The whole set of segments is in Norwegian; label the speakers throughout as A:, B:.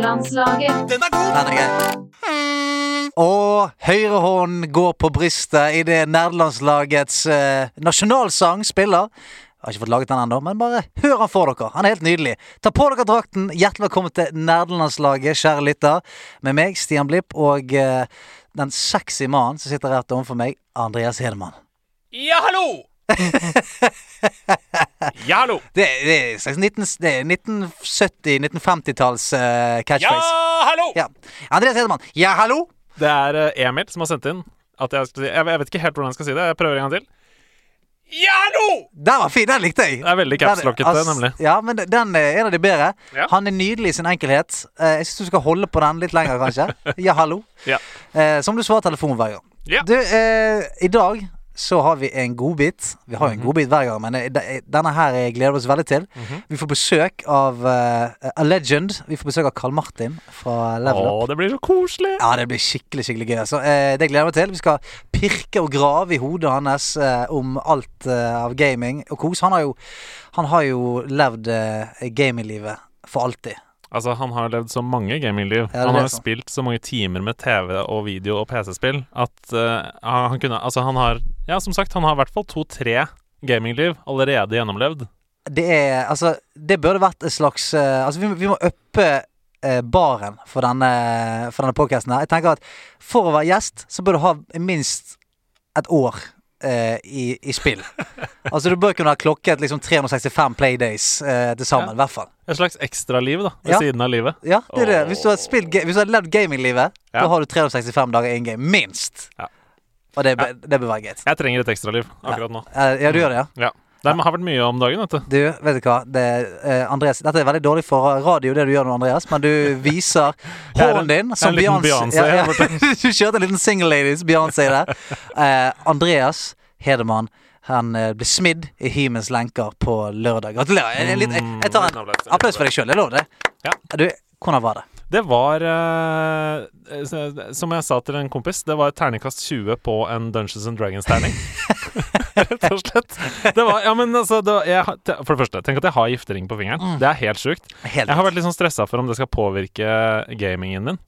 A: Landslaget.
B: Den er god!
C: Nei, den er grei. Og høyre hånd går på brystet idet nerdelandslagets eh, nasjonalsang spiller. Jeg har ikke fått laget den ennå, men bare hør han for dere. Han er helt nydelig. Ta på dere drakten. Hjertelig velkommen til nerdelandslaget, kjære lytter. Med meg, Stian Blipp, og eh, den sexy mannen som sitter rett overfor meg, Andreas Hedemann.
B: Ja, hallo! ja, hallo!
C: Det, det er slags 19 det er 1970-1950-talls eh,
B: Ja,
C: catchphrase.
B: hallo!
C: Ja. Andreas Hedemann. Ja, hallo?
D: Det er eh, Emil som har sendt inn at jeg, skal si, jeg, jeg vet ikke helt hvordan jeg skal si det. Jeg prøver en gang til.
B: Ja, hallo!
C: Den var fin, den likte jeg.
D: Det er veldig capslockete,
C: Den- ass-
D: nemlig.
C: Ja, men de- den er en av de bedre.
D: Ja.
C: Han er nydelig i sin enkelhet. Eh, Jeg syns du skal holde på den litt lenger, kanskje. Ja, hallo.
D: Ja.
C: Eh, Som du svarer telefonen hver gang.
D: Ja.
C: Du, eh, i dag så har vi en godbit. Vi har jo en
D: Mhm.
C: godbit hver gang, men eh, de- denne her eh, gleder vi oss veldig til. Vi får besøk av eh, a legend. Vi får besøk av Carl Martin fra Level Up.
D: Å, det blir så koselig!
C: Ja, det blir skikkelig skikkelig gøy. Altså. Eh, det gleder jeg meg til. Vi skal pirke og grave i hodet hans eh, om alt eh, av gaming og kos. Han har jo, han har jo levd eh, gaminglivet for alltid.
D: Altså, Han har levd så mange gamingliv.
C: Ja, det
D: han har
C: vet
D: jo
C: jeg.
D: spilt så mange timer med TV og video og PC-spill at eh, han kunne Altså, han har Ja, som sagt, han har i hvert fall to-tre gamingliv allerede gjennomlevd.
C: Det er Altså, det burde vært et slags eh, Altså, vi, må- vi må uppe eh, baren for denne, for denne podcasten her. Jeg tenker at for å være gjest, så bør du ha minst et år eh, i, i spill. altså, du bør kunne ha klokket liksom 365 playdays eh, til sammen, i hvert fall.
D: Et slags ekstraliv, da, ved
C: Ja.
D: siden av livet.
C: Ja, det er det. Hvis du har,
D: Åh.
C: spilt, ga- hvis du har levd gaminglivet,
D: Ja.
C: da har du 365 dager in game, minst.
D: Ja.
C: Og det, be- det bør være greit.
D: Jeg trenger et ekstraliv akkurat nå.
C: Eh, Ja, du gjør det, ja?
D: Ja. Det har vært mye om dagen, vet du.
C: Du, vet du hva, det, eh, Andreas, dette er veldig dårlig for radio, det du gjør nå, Andreas, men du viser
D: Jeg er en-
C: hånden din
D: jeg er
C: som
D: en liten Beyoncé
C: Ja, ja.
D: her
C: du kjørte en liten single ladies Beyoncé der. Eh, Andreas Hedemann, han eh, ble smidd i hymens lenker på lørdag. Gratulerer. Jeg, jeg, jeg, jeg tar en Mm. applaus for deg sjøl, det er lov, det.
D: Mm. Ja.
C: Du, hvordan var det?
D: Det var eh, s- Som jeg sa til en kompis, det var et terningkast 20 på en Dungeons and Dragons-terning. Rett og slett. Det var, ja, men altså, det var, jeg, har- te- for det første, tenk at jeg har giftering på fingeren.
C: Mm.
D: Det er helt sjukt.
C: Helt
D: Jeg har vært litt sånn stressa for om det skal påvirke gamingen min.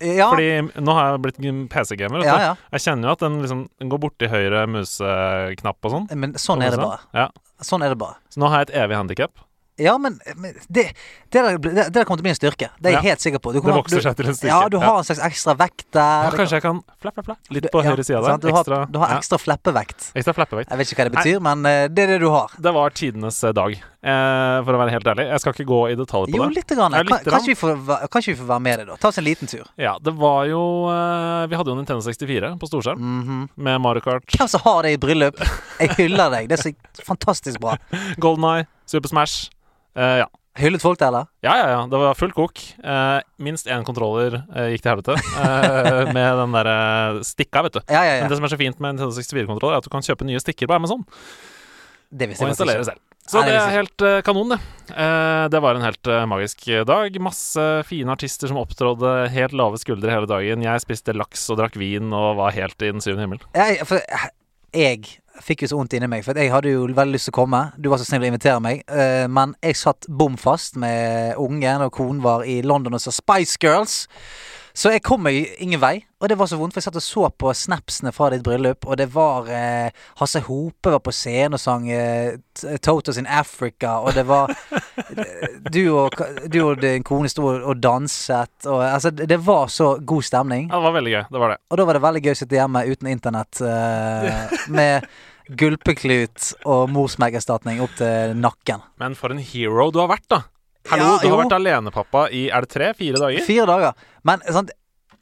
C: ja,
D: Fordi nå har jeg blitt gym- PC-gamer.
C: Ah.
D: vet
C: Ja,
D: du.
C: ja.
D: Jeg kjenner jo at den liksom den går borti høyre museknapp og sånn.
C: men sånn er det bare.
D: Ja.
C: Sånn er det bare.
D: Så nå har jeg et evig handikap.
C: Ja, men, men det, det, der, blir- det, det der kommer til å bli en styrke. Det er jeg
D: Ja.
C: helt sikker på. Du
D: Det
C: kommer-
D: vokser
C: du,
D: seg til en styrke.
C: Ja, du har en slags ekstra vekt der.
D: ja, Kanskje jeg kan fla, fla, fla litt på
C: Ja,
D: høyre side
C: sant?
D: der.
C: Du
D: Ekstra,
C: har, du har
D: ja,
C: ekstra fleppevekt.
D: ekstra flappevekt.
C: Jeg vet ikke hva det betyr, men eh, det er det du har.
D: Det var tidenes eh, dag, eh, for å være helt ærlig. Jeg skal ikke gå i detalj på
C: Jo,
D: det.
C: lite grann.
D: Ja,
C: Kan,
D: lite grann.
C: kanskje, vi får, væ- kanskje vi får være med deg, da. Ta oss en liten tur.
D: Ja, det var jo eh, Vi hadde jo Nintendo 64
C: Mm.
D: på storskjerm med Mario Kart,
C: Mhm. Hvem som har det i bryllup? Jeg hyller deg. Det er så fantastisk bra.
D: Golden Eye, Super Smash. Eh, ja.
C: Hyllet folk det, eller?
D: ja, ja, ja. Det var fullt kok. Eh, minst én kontroller eh, gikk til helvete eh, med den derre stikka, vet du.
C: Ja, ja,
D: Men
C: ja.
D: det som er så fint med Nintendo 64-kontroller, er at du kan kjøpe nye stikker på Amazon
C: Det visste
D: og
C: jeg
D: installere
C: faktisk ikke.
D: selv. Så
C: Nei, det
D: det
C: visste
D: er
C: jeg
D: helt eh, kanon, det. Eh, Det var en helt eh, magisk dag. Masse fine artister som opptrådde helt lave skuldre hele dagen. Jeg spiste laks og drakk vin og var helt i den syvende himmel.
C: Jeg, for, jeg fikk jo så vondt inni meg, for jeg hadde jo veldig lyst til å komme. Du var så snill å invitere meg. eh, men jeg satt bom fast med ungen, og konen var i London og så Spice Girls. Så jeg kom meg ingen vei, og det var så vondt, for jeg satt og så på snapsene fra ditt bryllup, og det var eh, Hasse Hope var på scenen og sang eh, T- Totos in Africa, og det var Du og, du og din kone sto og danset, og altså, det det var så god stemning.
D: Ja, det var veldig gøy. Det var det.
C: Og da var det veldig gøy å sitte hjemme uten internett eh, med gulpeklut og morsmelkerstatning opp til nakken.
D: Men for en hero du har vært, da. Hallo,
C: Ja,
D: du har
C: jo.
D: vært alenepappa i er det tre, fire dager?
C: Fire dager. Men sant,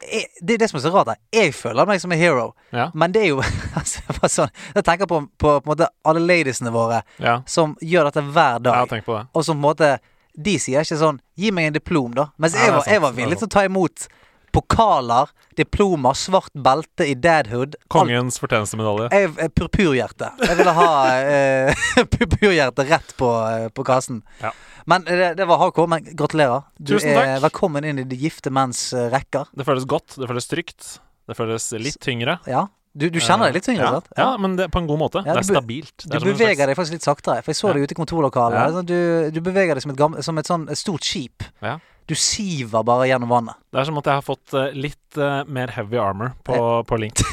C: jeg, det er det som er så rart. her. Jeg føler meg som en hero,
D: Ja.
C: men det er jo altså, bare sånn, Jeg tenker på, på, på en måte alle ladiesene våre
D: ja.
C: som gjør dette hver
D: Jeg har
C: dag,
D: tenkt på det.
C: og som på en måte De sier ikke sånn 'gi meg en diplom', da. Mens
D: Ja,
C: jeg,
D: det er
C: var, jeg
D: sant.
C: var villig til å ta imot pokaler, diplomer, svart belte i dadhood. alt
D: Kongens fortjenestemedalje.
C: Jeg, jeg, purpurhjerte. Jeg ville ha eh, purpurhjerte rett på, eh, på kassen.
D: Ja.
C: Men eh, det, det var hardcore. Men gratulerer. Du
D: Tusen
C: er
D: takk.
C: velkommen inn i de gifte menns eh, rekker.
D: Det føles godt, det føles trygt. Det føles litt tyngre.
C: Ja. Du, du kjenner deg litt tyngre,
D: Eh, ja.
C: sant?
D: ja, men det, på en god måte.
C: Ja,
D: det
C: du
D: er
C: be-
D: stabilt. Det
C: Du
D: er som en slags-
C: beveger deg faktisk litt saktere, for jeg så
D: Ja.
C: deg ute i kontorlokalet.
D: Ja.
C: Sånn, Du, du beveger deg som et, gammel, som et sånn et stort skip.
D: Ja.
C: Du siver bare gjennom vannet.
D: Det er som at jeg har fått eh, litt eh, mer heavy armor på,
C: Eh.
D: på Link.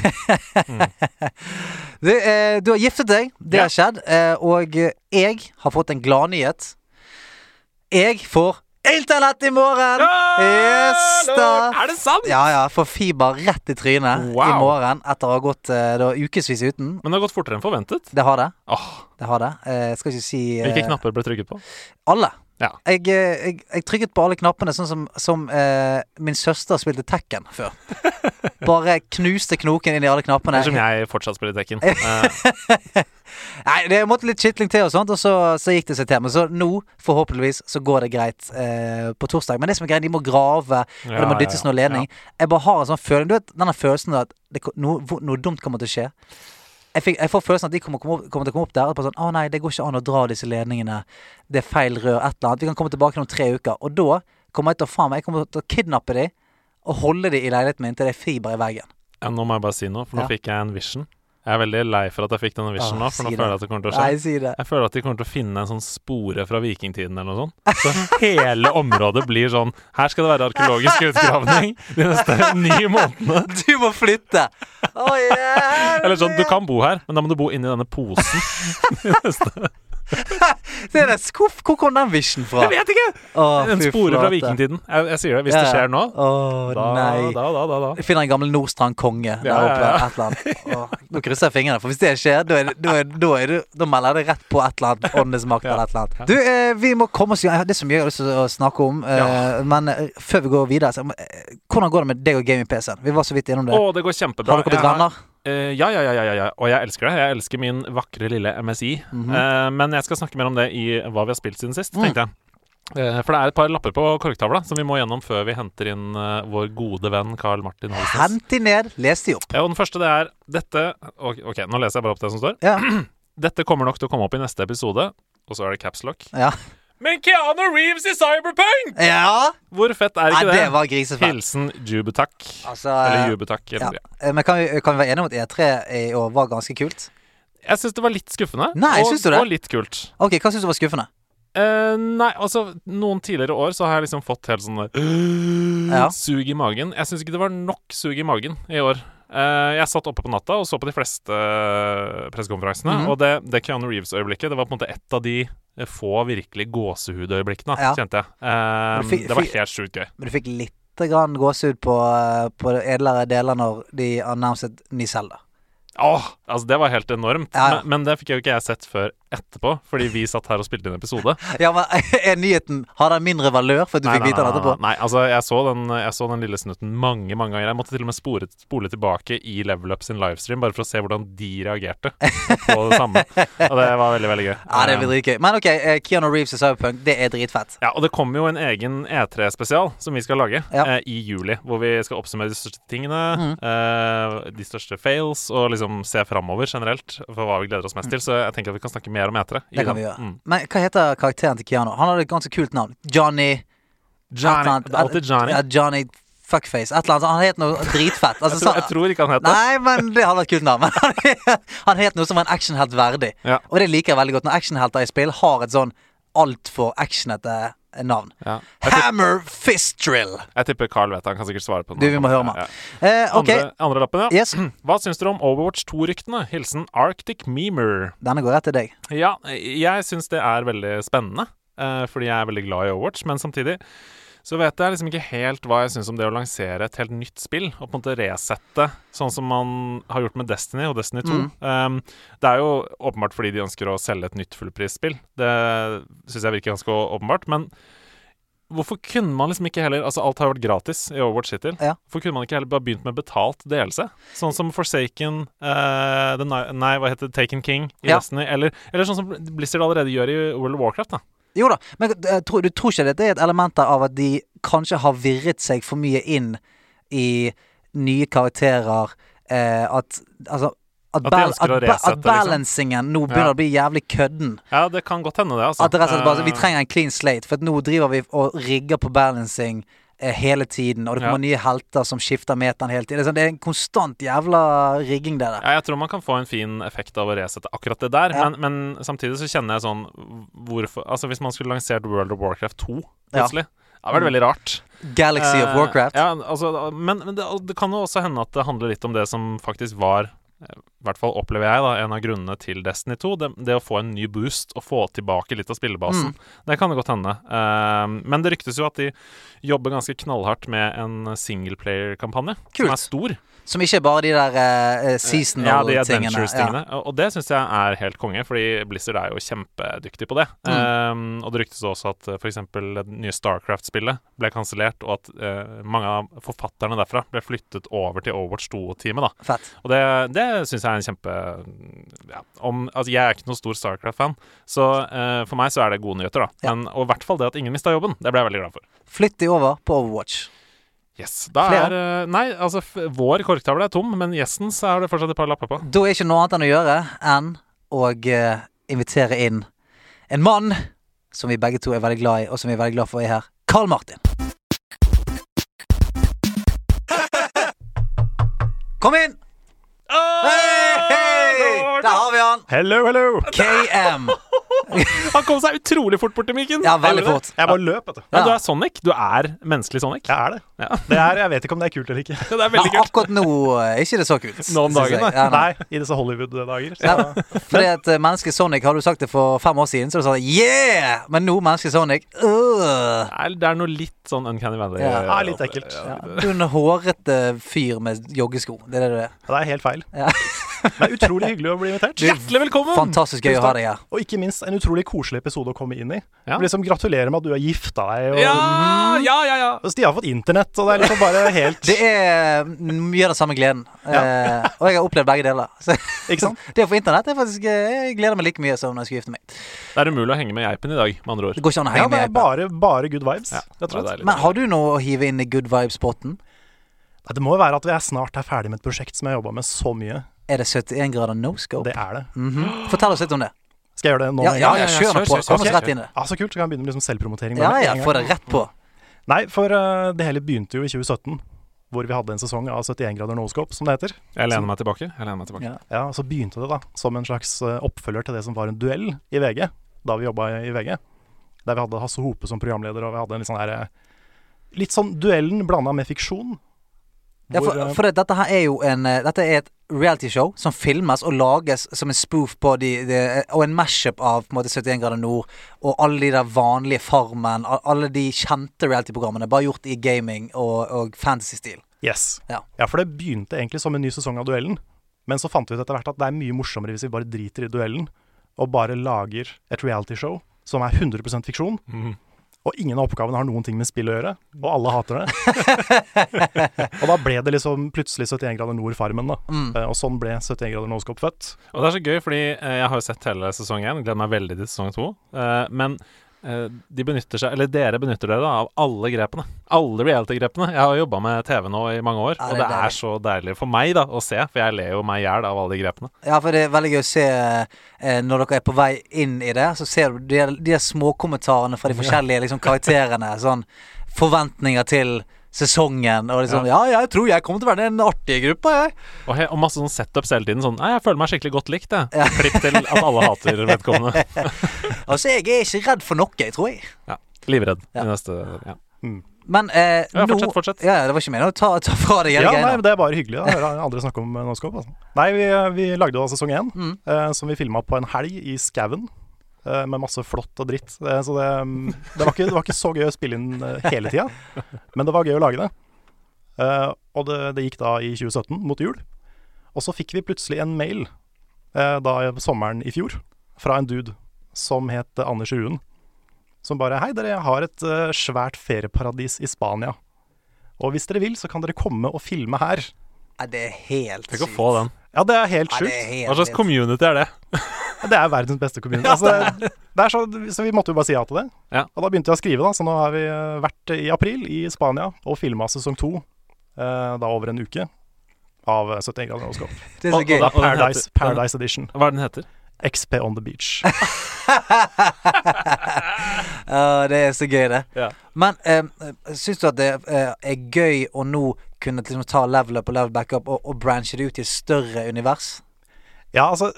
C: Du, eh, du har giftet deg, det
D: Ja.
C: har skjedd. Eh, og eh, jeg har fått en gladnyhet. Jeg får internett i morgen! Yes, da.
D: Er det sant?!
C: Ja ja, får fiber rett i trynet i
D: Wow.
C: morgen etter å ha gått eh, da, ukevis uten.
D: Men det har gått fortere enn forventet.
C: Det har det.
D: Åh,
C: det har det. Eh, jeg skal ikke si eh,
D: hvilke knapper ble trykket på?
C: Alle.
D: Ja.
C: Jeg, eh, jeg, jeg trykket på alle knappene, sånn som, som eh, min søster spilte Tekken før. Bare knuste knoken inn i alle knappene.
D: Eller som jeg fortsatt spiller Tekken. Eh,
C: Nei, det måtte litt skitling til, og sånt Og så, så gikk det seg til. Men så nå, forhåpentligvis, så går det greit eh, på torsdag. Men det som er greit, de må grave, og
D: Ja,
C: det må
D: ja,
C: dyttes
D: ja.
C: noe ledning. Jeg bare har en sånn følelse Du vet denne følelsen av at det, ko- noe, hvor- noe dumt kommer til å skje. Jeg, fikk, jeg får følelsen at de kommer, kommer, opp, kommer til å komme opp der og bare sånn Å nei, det går ikke an å dra disse ledningene. Det er feil rør. Et eller annet. Vi kan komme tilbake om tre uker. Og da kommer jeg til å faen meg Jeg kommer til å kidnappe de og holde de i leiligheten min til det er fiber i veggen.
D: ja, nå må jeg bare si noe, for nå
C: Ja.
D: fikk jeg en vision. Jeg er veldig lei for at jeg fikk denne
C: Åh,
D: vision nå, for nå
C: si
D: føler jeg at det kommer til å skje.
C: Nei, si det.
D: Jeg føler at de kommer til å finne en sånn spore fra vikingtiden eller noe sånt. Så hele området blir sånn Her skal det være arkeologisk utgravning de neste ni månedene.
C: Du må flytte! Å, jævlig!
D: Eller sånn, du kan bo her, men da må du bo inni denne posen.
C: Det er det. Skuff, hvor kom den visjen fra?
D: Jeg vet ikke!
C: Å,
D: En
C: Ah, fy
D: spore fra
C: flate.
D: vikingtiden. Jeg, jeg sier det. Hvis det
C: Ja, ja.
D: skjer nå,
C: Å
D: da,
C: nei.
D: da, da, da, da.
C: Jeg finner en gammel Nordstrand konge der
D: Ja, ja,
C: oppe.
D: ja.
C: Et eller annet. Å, nå krysser jeg fingrene, for hvis det skjer, da, er, det- da, er, da, er du, da melder jeg det rett på et eller annet. Åndenes makt eller et eller annet. Du, eh, vi må komme oss i gang. Jeg har- Det er så mye jeg har lyst til å snakke om. Eh, Men eh, før vi går videre, så, må- eh, hvordan går det med deg og gaming-PC-en? Vi var så vidt innom det.
D: Å, det går kjempebra.
C: har dere blitt
D: Jeg
C: venner?
D: Eh, ja, ja, ja, ja, ja, ja. Og jeg elsker det. Jeg elsker min vakre lille MSI.
C: Mhm.
D: Eh, men jeg skal snakke mer om det i hva vi har spilt siden sist, tenkte jeg.
C: Mm.
D: Eh, for det er et par lapper på korktavla som vi må gjennom før vi henter inn eh, vår gode venn Carl Martin Holsnes.
C: Hent de ned, les de opp.
D: Ja, og den første det er dette ok, OK, nå leser jeg bare opp det som står.
C: Ja.
D: Dette kommer nok til å komme opp i neste episode. Og så er det caps lock.
C: Ja,
B: Men Keanu Reeves i Cyberpunk!
C: ja.
D: Hvor fett er
C: Nei,
D: ikke
C: det
D: det?
C: var grisefett.
D: Hilsen Jubutak.
C: Altså, eh,
D: Eller Jubutak.
C: ja.
D: Eller, ja.
C: Eh, Men kan vi, kan vi være enige om at E3 i år var ganske kult?
D: Jeg syns det var litt skuffende.
C: Nei,
D: og,
C: syns du det?
D: og litt kult.
C: Ok, Hva syns du var skuffende?
D: Eh, nei, altså noen tidligere år så har jeg liksom fått helt sånn der
C: Ja.
D: Sug i magen. Jeg syns ikke det var nok sug i magen i år. Eh, jeg satt oppe på natta og så på de fleste eh,
C: Mhm.
D: pressekonferansene. Og det, det Keanu Reeves-øyeblikket Det var på en måte et av de eh, få virkelig gåsehudøyeblikkene,
C: Ja.
D: kjente jeg. Eh,
C: Men fi-
D: det var
C: fi-
D: helt sjukt gøy.
C: Men du fikk litt grann gåsehud på, eh, på det edlere deler når de annonset ny Zelda.
D: Åh, altså Det var helt enormt.
C: Ja, ja.
D: Men, men det fikk jo ikke jeg sett før etterpå, fordi vi satt her og spilte inn episode.
C: Ja, men eh, er nyheten Har den mindre valør for at du fikk vite den etterpå?
D: Nei, nei, altså jeg så, den, jeg så den lille snutten mange mange ganger. Jeg måtte til og med spore, spole tilbake i Level Up sin livestream bare for å se hvordan de reagerte på det samme. Og det var veldig, veldig gøy. Um,
C: Ja, det blir dritgøy. Men OK, eh, Keanu Reeves i Cyberpunk, det er dritfett.
D: Ja, og det kommer jo en egen E3-spesial som vi skal lage
C: Ja. Mhm.
D: eh, i juli. Hvor vi skal oppsummere de største tingene, eh, de største fails, og liksom se framover generelt for hva vi gleder oss mest til. Så jeg tenker at vi kan snakke mer om E3. i
C: Mhm. Det kan vi
D: den.
C: gjøre.
D: Mm.
C: Men hva heter karakteren til Keanu? Han hadde et ganske kult navn. Johnny et eller
D: Johnny,
C: annet.
D: det er alltid Johnny.
C: Ja, Johnny Fuckface. Et eller annet. Han het noe dritfett. Altså,
D: Jeg tror, jeg
C: sånn-
D: tror ikke han het det.
C: Nei, men det hadde vært kult navn. Men han het noe som var en actionhelt verdig.
D: Ja.
C: Og det liker jeg veldig godt når actionhelter i spill har et sånn altfor actionete eh, navn.
D: Ja. Jeg, tipper,
C: Hammer fist drill.
D: jeg tipper Carl vet det. Han kan sikkert svare på det.
C: Du, vi må høre med.
D: Ja, ja.
C: Eh, ok,
D: Andre, andre lappen, ja.
C: yes.
D: Hva syns dere om Overwatch 2-ryktene? Hilsen Arctic Memer.
C: Denne går rett til deg.
D: Ja, jeg syns det er veldig spennende, eh, fordi jeg er veldig glad i Overwatch, men samtidig så vet jeg liksom ikke helt hva jeg syns om det å lansere et helt nytt spill, og på en måte resette, sånn som man har gjort med Destiny og Destiny 2. Um, det er jo åpenbart fordi de ønsker å selge et nytt fullprisspill. Det syns jeg virker ganske åpenbart, men Hvorfor kunne man liksom ikke heller Altså Alt har vært gratis i Overwatch hittil.
C: Ja.
D: Hvorfor kunne man ikke heller bare begynt med betalt delelse? Sånn som Forsaken eh, The Ni- Nei, hva heter det? Taken King i
C: Ja.
D: Destiny. Eller, eller sånn som Blizzard allerede gjør i World of Warcraft. da
C: Jo da, men eh, tror- du tror ikke dette er et element av at de kanskje har virret seg for mye inn i nye karakterer? Eh, at altså at,
D: de
C: bal
D: ønsker å
C: at, ba
D: resette,
C: at
D: liksom.
C: balansingen nå begynner
D: Ja.
C: å bli jævlig kødden.
D: Ja, det kan godt hende, det. altså
C: At det rett og slett bare,
D: Eh,
C: Vi trenger en clean slate, for at nå driver vi og rigger på balancing eh, hele tiden. Og det kommer nye helter som skifter meteren hele tiden. Det er sånn- Det er en konstant jævla rigging, det der.
D: ja, jeg tror man kan få en fin effekt av å resette akkurat det der,
C: Ja.
D: men, men samtidig så kjenner jeg sånn hvorfor, Altså Hvis man skulle lansert World of Warcraft 2
C: Ja. Mm.
D: plutselig Det har vært veldig rart.
C: Galaxy of
D: Eh,
C: Warcraft.
D: Ja, altså, men, men det, det kan jo også hende at det handler litt om det som faktisk var eh, i hvert fall opplever jeg da, en av grunnene til Destiny 2. Det, det å få en ny boost og få tilbake litt av spillebasen.
C: Mm.
D: Det kan det godt hende. Eh, men det ryktes jo at de jobber ganske knallhardt med en singleplayer-kampanje. Som
C: Kult.
D: er stor.
C: Som ikke er bare de der eh, eh,
D: Ja, de
C: seasonal-tingene.
D: adventures-tingene. Og- Og det syns jeg er helt konge, fordi Blizzard er jo kjempedyktig på det.
C: Mm.
D: Um, og det ryktes også at f.eks. det nye Starcraft-spillet ble kansellert, og at eh, mange av forfatterne derfra ble flyttet over til Overwatch 2-teamet. da.
C: Fett.
D: Og det, det syns jeg er en kjempe ja, om, altså Jeg er ikke noen stor Starcraft-fan, så eh, for meg så er det gode nyheter. da.
C: Ja.
D: Men, og i hvert fall det at ingen mista jobben. Det ble jeg veldig glad for.
C: Flytt de over på Overwatch.
D: Yes, da
C: Flere?
D: er, eh, Nei, altså f vår korktavle er tom, men gjestens er det fortsatt et par lapper på.
C: Da er ikke noe annet enn å gjøre enn å eh, invitere inn en mann som vi begge to er veldig glad i, og som vi er veldig glad for er her. Carl Martin. Kom inn! Hei! Der har vi han!
D: Hello, hello!
C: KM.
D: Han kom seg utrolig fort bort til mikken.
C: Ja, veldig
D: Eller-
C: fort.
A: Jeg bare løp, vet du.
D: Men
C: Ja.
D: du er Sonic. Du er menneskelig Sonic.
A: Jeg er det.
D: Ja.
A: det er, jeg vet ikke om det er kult eller ikke.
D: Det er
C: Ja,
D: veldig kult.
C: akkurat nå eh, er ikke det så kult.
D: Nå om
C: synes
D: dagen,
C: jeg.
D: nei.
C: Ja, nei.
A: Nei, i disse Hollywood-dager.
C: Ja,
A: Så
C: fordi at eh, mennesket Sonic, hadde du sagt det for fem år siden, så hadde du sagt yeah! Men nå mennesket Sonic øh.
D: Det er- Det er noe litt sånn Uncanny Valley.
C: Ja.
A: Ja, litt ekkelt.
D: Ja.
C: ja, Du er en hårete fyr med joggesko. Det er det du er.
A: det er helt feil.
C: Ja.
A: Det er utrolig hyggelig å bli invitert.
D: Hjertelig velkommen!
C: Fantastisk gøy å ha deg her.
A: Og ikke minst en utrolig koselig episode å komme inn i.
D: Ja.
A: Liksom Gratulerer med at du har gifta deg. Og,
D: Ja, ja, ja, ja.
A: og Stian har fått internett, og det er liksom bare helt
C: Det er mm, mye av den samme gleden. Eh, og jeg har opplevd begge deler. Så
A: Ikke sant?
C: det å få internett er faktisk eh, Jeg gleder meg like mye som når jeg skulle gifte meg.
D: Det er umulig å henge med geipen i dag, med andre ord.
C: Det går ikke an å
A: Ja,
C: henge
A: det
C: med.
A: er bare, bare good vibes,
D: Ja,
A: rett
D: det
A: og
D: er
A: slett.
D: deilig.
C: Men har du noe å hive inn i good vibes-potten?
A: Nei, Det må jo være at jeg snart er ferdig med et prosjekt som jeg har jobba med så mye.
C: Er det 71 grader no scope?
A: Det er det.
C: Mhm. Fortell oss litt om det.
A: Skal jeg gjøre det nå?
C: Ja,
A: med en
C: ja,
A: gang?
C: ja, kjør nå
D: kjør,
C: på.
D: kjør,
C: Kom
A: kjør.
C: oss rett inn i det.
A: Ja, så kult. Så kan jeg begynne med liksom selvpromotering.
C: Ja,
A: med
C: ja,
A: en gang.
C: få det rett på.
A: Nei, for eh, det hele begynte jo i 2017, hvor vi hadde en sesong av 71 grader noscope, som det heter.
D: Jeg lener meg tilbake. Jeg lener meg tilbake.
C: Ja.
A: Ja, og Så begynte det da som en slags eh, oppfølger til det som var en duell i VG, da vi jobba i VG. Der vi hadde Hasse Hope som programleder, og vi hadde en litt sånn der eh, Litt sånn duellen blanda med fiksjon.
C: Ja,
A: Hvor,
C: for,
A: eh,
C: for det, dette her er jo en eh, Dette er et realityshow som filmes og lages som en spoof på de, de Og en mashup av på en måte 71 grader nord og alle de der vanlige Farmen. a- Alle de kjente realityprogrammene, bare gjort i gaming og, og fantasy-stil.
A: Yes.
C: Ja.
A: ja, for det begynte egentlig som en ny sesong av duellen. Men så fant vi ut etter hvert at det er mye morsommere hvis vi bare driter i duellen og bare lager et realityshow som er 100 fiksjon.
D: Mhm.
A: Og ingen av oppgavene har noen ting med spill å gjøre, og alle hater det. og da ble det liksom plutselig 71 grader nord-farmen, da.
C: Mm.
A: Eh, Og sånn ble 71 grader Noscope født.
D: Og det er så gøy, fordi eh, jeg har jo sett hele sesong 1, gleder meg veldig til sesong 2. Eh, men eh, de benytter seg, eller dere benytter dere da, av alle grepene. Alle reality-grepene. Jeg har jobba med TV nå i mange år,
C: Ja, det
D: og
C: er
D: det er
C: deilig.
D: så deilig for meg da å se, for jeg ler jo meg i hjel av alle de grepene.
C: Ja, for det er veldig gøy å se eh, når dere er på vei inn i det, så ser du de, de der småkommentarene fra de forskjellige liksom, karakterene. Sånn forventninger til sesongen og liksom Ja, jeg tror jeg kommer til å være den artige gruppa, jeg.
D: Og, he, og masse sånn setups hele tiden. Sånn Nei, jeg føler meg skikkelig godt likt, jeg. Klipp til at alle hater vedkommende.
C: Altså, jeg er ikke redd for noe, tror jeg.
D: Ja. Livredd
C: Ja.
D: i neste ja.
C: Men eh, nå
D: Ja, fortsett, fortsett.
C: Ja, ja, det var ikke meningen å ta, ta fra deg hele
A: Ja, nei,
C: greia.
A: men Det er bare hyggelig da, å høre andre snakke om eh, Noscope. Altså. Nei, vi, vi lagde jo da sesong én, eh, som vi filma på en helg i skauen. eh, Med masse flott og dritt. Eh, Så det, mm, det, var ikke, det var ikke så gøy å spille inn eh, hele tida, men det var gøy å lage det. Eh, Og det, det gikk da i 2017, mot jul. Og så fikk vi plutselig en mail eh, da i sommeren i fjor fra en dude som het eh, Anders Ruen. Som bare Hei, dere, jeg har et eh, svært ferieparadis i Spania. Og hvis dere vil, så kan dere komme og filme her.
C: Nei, det er helt
D: Tenk å få den.
A: Ja, det er helt
C: Nei, det er
A: sjukt.
C: helt
D: Hva slags
C: vilt.
D: community er det?
A: Det er verdens beste kommune. Altså, det er så, så vi måtte jo bare si ja til det.
D: Ja.
A: Og da begynte jeg å skrive, da. Så nå har vi eh, vært i april i Spania og filma sesong to. Eh, da over en uke av eh, 71 grader nordskap.
C: Det er så
D: Og- og
C: gøy.
D: da- og den
A: Paradise,
D: heter-
A: Paradise Edition.
D: den- Hva er den heter?
A: XP on the beach.
C: Ja, det er så gøy, det.
D: Ja.
C: Men eh, syns du at det eh, er gøy å nå kunne liksom ta level up og level back up og, og branche det ut i et større univers?
A: Ja, altså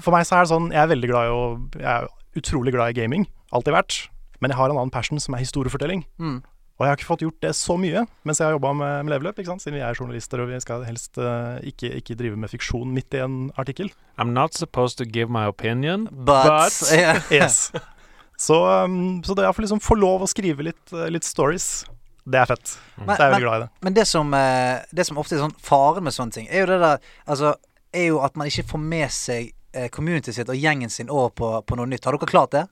A: For meg så er det sånn Jeg er veldig glad i å Jeg er utrolig glad i gaming. Alltid vært. Men jeg har en annen passion som er historiefortelling.
C: Mm.
A: Og jeg har ikke fått gjort det så mye mens jeg har jobba med, med leveløp, ikke sant? siden vi er journalister og vi skal helst eh, ikke, ikke drive med fiksjon midt i en artikkel.
D: I'm not supposed to give my opinion.
C: But,
D: But-
C: Ja.
A: Yes. så, um, så det er for liksom få lov å skrive litt, eh, litt stories. Det er fett. Så
C: Men,
A: jeg er
C: men,
A: veldig glad i det.
C: men det, som, eh, det som ofte er sånn faren med sånne ting, er jo det der Altså, er jo at man ikke får med seg eh, communityet sitt og gjengen sin over på, på noe nytt. Har dere klart det?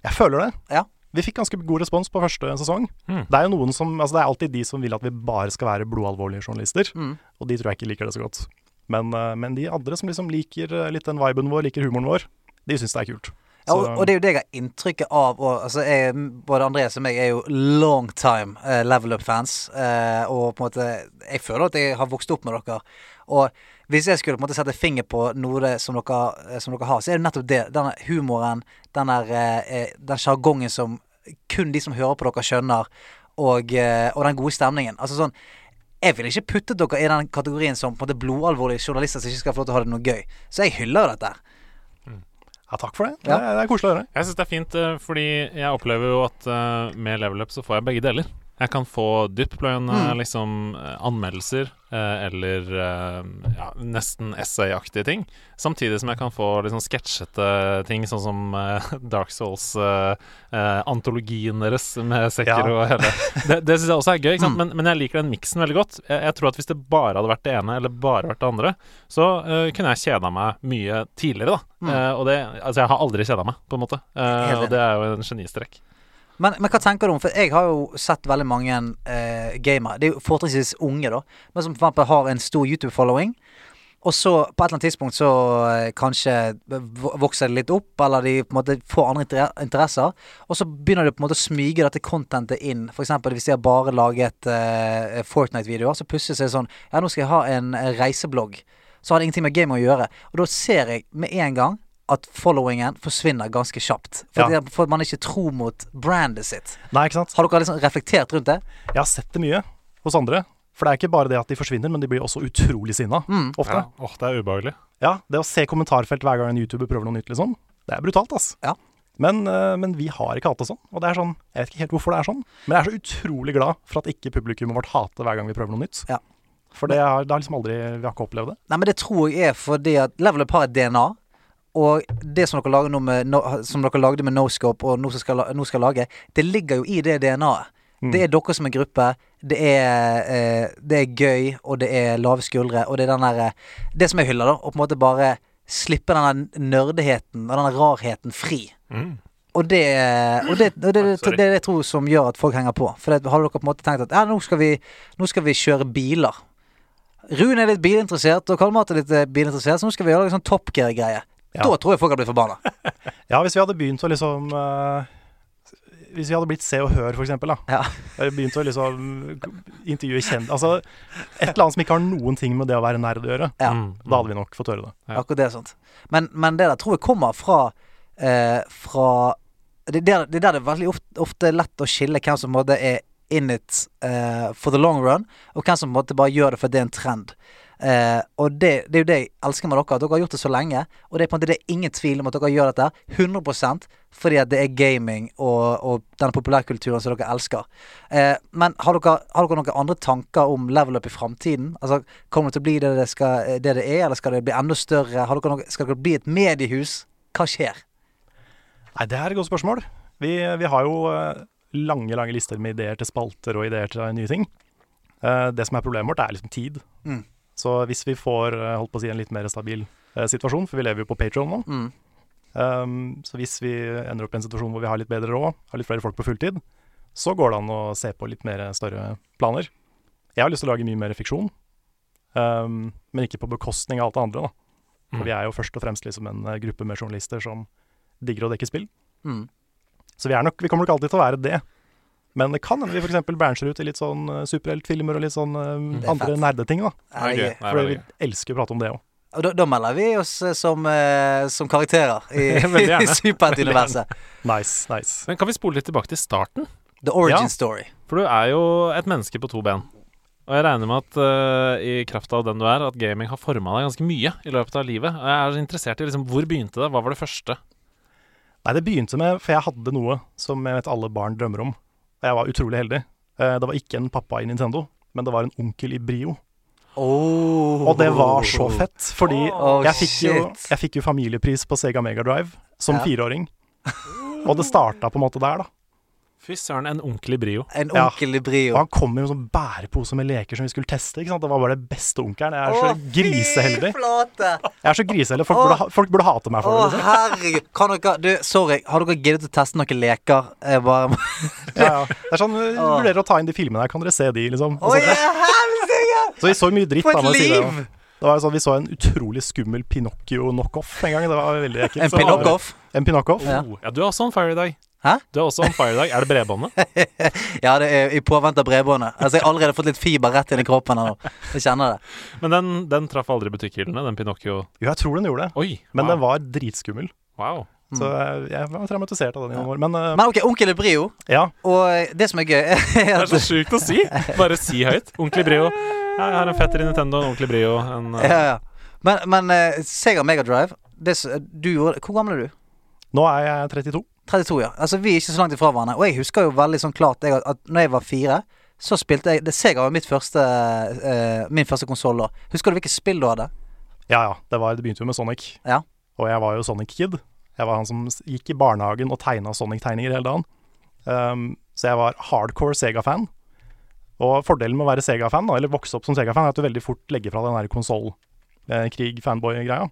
A: Jeg føler det.
C: Ja.
A: Vi fikk ganske god respons på første sesong.
D: Mm.
A: Det er jo noen som, altså det er alltid de som vil at vi bare skal være blodalvorlige journalister,
C: Mm.
A: og de tror jeg ikke liker det så godt. Men, eh, men de andre som liksom liker eh, litt den viben vår, liker humoren vår, de syns det er kult.
C: Ja, og,
A: Så-
C: og det er jo det jeg har inntrykket av. Og, altså, jeg, både Andreas og meg er jo long time eh, level up-fans. eh, og på en måte Jeg føler at jeg har vokst opp med dere. Og hvis jeg skulle på en måte sette finger på noe det, som, dere, eh, som dere har, så er det nettopp det. Denne humoren, den der, eh, eh, den sjargongen som kun de som hører på dere, skjønner. Og, eh, og den gode stemningen. Altså sånn jeg ville ikke puttet dere i den kategorien som på en måte blodalvorlige journalister som ikke skal få lov til å ha det noe gøy. Så jeg hyller jo dette.
A: Ja, takk for det.
C: Ja.
A: Det, er, det er koselig å høre.
D: Jeg syns det er fint, eh, fordi jeg opplever jo at eh, med level up så får jeg begge deler. Jeg kan få dyptpløyende
C: Mm.
D: liksom, eh, anmeldelser eh, eller eh, ja, nesten essayaktige ting. Samtidig som jeg kan få liksom, sketsjete ting, sånn som eh, Dark Souls-antologien deres med sekker
A: Ja.
D: og hele Det, det syns jeg også er gøy, ikke sant? Men, men jeg liker den miksen veldig godt. Jeg, jeg tror at hvis det bare hadde vært det ene eller bare vært det andre, så eh, kunne jeg kjeda meg mye tidligere, da.
C: Mm.
D: Eh, og det, altså, jeg har aldri kjeda meg, på en måte. Eh,
C: Helt
D: og det er jo en genistrek.
C: Men, men hva tenker du om For jeg har jo sett veldig mange eh, gamere. Det er jo fortrinnsvis unge, da. Men som for eksempel har en stor YouTube-following. Og så på et eller annet tidspunkt så eh, kanskje vo- vokser det litt opp, eller de på en måte får andre inter- interesser. Og så begynner de på en måte å smyge dette contentet inn. F.eks. hvis de har bare laget eh, Fortnite-videoer, så plutselig så er det sånn Ja, nå skal jeg ha en eh, reiseblogg. Så har det ingenting med game å gjøre. Og da ser jeg med en gang at followingen forsvinner ganske kjapt. For,
A: Ja.
C: det, for at man ikke tror mot brandet sitt.
A: Nei, ikke sant.
C: Har dere liksom reflektert rundt det?
A: Jeg har sett det mye hos andre. For det er ikke bare det at de forsvinner, men de blir også utrolig sinna.
C: Mm.
A: Ofte.
D: Åh, det er ubehagelig.
A: Ja, det å se kommentarfelt hver gang en YouTuber prøver noe nytt, liksom. Det er brutalt, ass.
C: Ja.
A: Men, eh, men vi har ikke hatt det sånn. Og det er sånn, jeg vet ikke helt hvorfor det er sånn, men jeg er så utrolig glad for at ikke publikummet vårt hater hver gang vi prøver noe nytt.
C: Ja.
A: For det har, det har liksom aldri Vi har ikke opplevd det.
C: Nei, men det tror jeg er fordi at Level Up har et DNA. Og det som dere, lager nå med, no, som dere lagde med Noscope og nå som skal, la- nå skal lage, det ligger jo i det DNA-et. Det er dere som er gruppe. Det er, eh, det er gøy, og det er lave skuldre. Og det er den der eh, Det som jeg hyller, da. Å på en måte bare slippe den der nerdeheten og den der rarheten fri.
D: Mm.
C: Og det og det, og det, det, det,
D: sorry.
C: er det jeg tror som gjør at folk henger på. For det, har dere på en måte tenkt at ja, nå, skal vi, nå skal vi kjøre biler. Rune er litt bilinteressert, og Karl Mart er litt eh, bilinteressert, så nå skal vi gjøre en sånn Top Gear-greie.
A: Ja.
C: Da tror jeg folk hadde blitt forbanna.
A: Ja, hvis vi hadde begynt å liksom eh, Hvis vi hadde blitt Se og Hør, for eksempel, da.
C: Ja.
A: Eller Begynt å liksom intervjue kjent... Altså et eller annet som ikke har noen ting med det å være nerd å gjøre.
C: Ja.
D: Mm.
A: Da hadde vi nok fått høre det.
D: Ja.
C: Akkurat det er sant. Men, men det der tror jeg kommer fra eh, Fra det, det, er- det er der det er veldig ofte, ofte lett å skille hvem som på en måte er in it eh, for the long run, og hvem som på en måte bare gjør det fordi det er en trend. Eh, og det, det er jo det jeg elsker med dere, at dere har gjort det så lenge. Og det er på en måte det er ingen tvil om at dere gjør dette 100 fordi at det er gaming og, og den populærkulturen som dere elsker. Eh, men har dere, har dere noen andre tanker om level up i framtiden? Altså, kommer det til å bli det det, skal, eh, det det er, eller skal det bli enda større? Har dere noe, skal dere bli et mediehus? Hva skjer?
A: Nei, det er et godt spørsmål. Vi, vi har jo eh, lange lange lister med ideer til spalter og ideer til nye ting. Eh, Det som er problemet vårt, er liksom tid.
C: Mm.
A: Så hvis vi får eh, holdt på å si, en litt mer stabil eh, situasjon, for vi lever jo på Patron nå
C: Mm.
A: ehm, Så hvis vi ender opp i en situasjon hvor vi har litt bedre råd, har litt flere folk på fulltid, så går det an å se på litt mer eh, større planer. Jeg har lyst til å lage mye mer fiksjon, ehm, men ikke på bekostning av alt det andre. da.
D: Mm.
A: For vi er jo først og fremst liksom en eh, gruppe med journalister som digger å dekke spill.
C: Mm.
A: Så vi, er nok, vi kommer nok alltid til å være det. Men det kan hende vi f.eks. brancher ut i litt sånn eh, superheltfilmer og litt sånn eh,
C: Mm.
D: Det
C: er
A: andre
C: fett.
A: nerdeting, da.
C: Er det gøy?
D: Det er gøy. Nei,
A: For
D: veldig
A: vi elsker å prate om det òg.
C: Og da, da melder vi oss eh, som, eh, som karakterer i,
D: Veldig gjerne.
C: i superheltuniverset.
A: Nice, nice.
D: Men kan vi spole litt tilbake til starten?
C: The origin
A: Ja.
C: story.
D: For du er jo et menneske på to ben. Og jeg regner med at eh, i kraft av den du er, at gaming har forma deg ganske mye i løpet av livet. Og jeg er så interessert i liksom, hvor begynte det? Hva var det første?
A: Nei, det begynte med For jeg hadde noe som jeg vet alle barn drømmer om. Og jeg var utrolig heldig. Eh, Det var ikke en pappa i Nintendo, men det var en onkel i Brio.
C: Oh.
A: Og det var så fett, fordi
C: Oh,
A: jeg, fikk jo,
C: shit.
A: jeg fikk jo familiepris på Sega Megadrive som
C: Ja.
A: fireåring. Og det starta på en måte der, da.
D: Fy søren, en onkel i brio.
C: En
A: Ja.
C: onkel i
A: Og
C: brio.
A: han kom med en sånn bærepose med leker som vi skulle teste. ikke sant? Det var bare det beste onkelen. Jeg er
C: Å,
A: så
C: Fy
A: griseheldig.
C: flate!
A: Jeg er så griseheldig. Folk burde, ha- folk burde hate
C: Å,
A: meg for det. liksom.
C: herregud. Kan dere Du, sorry. Har dere giddet å teste noen leker? Jeg bare
A: Ja, ja. Det er sånn, eh, Vurderer å ta inn de filmene her, kan dere se de, liksom.
C: Å,
A: Altså,
C: ja, helsike!
A: Så vi så mye dritt,
C: For et
A: da. må jeg si det.
C: liv!
A: Det var sånn, Vi så en utrolig skummel Pinocchio knockoff en gang. Det var veldig ekkelt.
C: En
A: Så-
C: pinockoff?
A: En Pinocchio.
C: Ja.
D: Oh, ja, du er også on fire i dag.
C: Hæ?
D: Du er også on fire i dag. Er det bredbåndet?
C: Ja, det er i påvente av bredbåndet. Altså, jeg har allerede fått litt fiber rett inn i kroppen her nå. Jeg kjenner det.
D: Men den, den traff aldri butikkhyllene, den Pinocchio.
A: Jo, jeg tror den gjorde det.
D: Oi.
A: Men
D: wow.
A: den var dritskummel.
D: wow.
A: Så eh, jeg, jeg var traumatisert av den i noen år. Men eh,
C: Mm. Men OK, onkel i brio.
A: ja,
C: Og det som er gøy, er
D: Det er
C: at
D: så sånn, sjukt å si. Bare si høyt. Onkel i brio. Ja, jeg har en fetter i Nintendo, en onkel i brio. En, eh,
C: ja, ja. Men, men eh, Sega Megadrive du gjorde, Hvor gammel er du?
A: nå er jeg 32.
C: 32, ja. Altså, vi er ikke så langt ifra hverandre. Og jeg husker jo veldig sånn klart jeg, at når jeg var fire, så spilte jeg det, Sega var mitt første, eh, min første konsoll da. Husker du hvilke spill du hadde?
A: Ja ja, det, var, det begynte jo med Sonic.
C: Ja.
A: Og jeg var jo Sonic Kid. Jeg var han som s- gikk i barnehagen og tegna Sonic-tegninger hele dagen. Um, så jeg var hardcore Sega-fan. Og fordelen med å være Sega-fan, da, eller vokse opp som Sega-fan, er at du veldig fort legger fra den der konsoll-krig-fanboy-greia.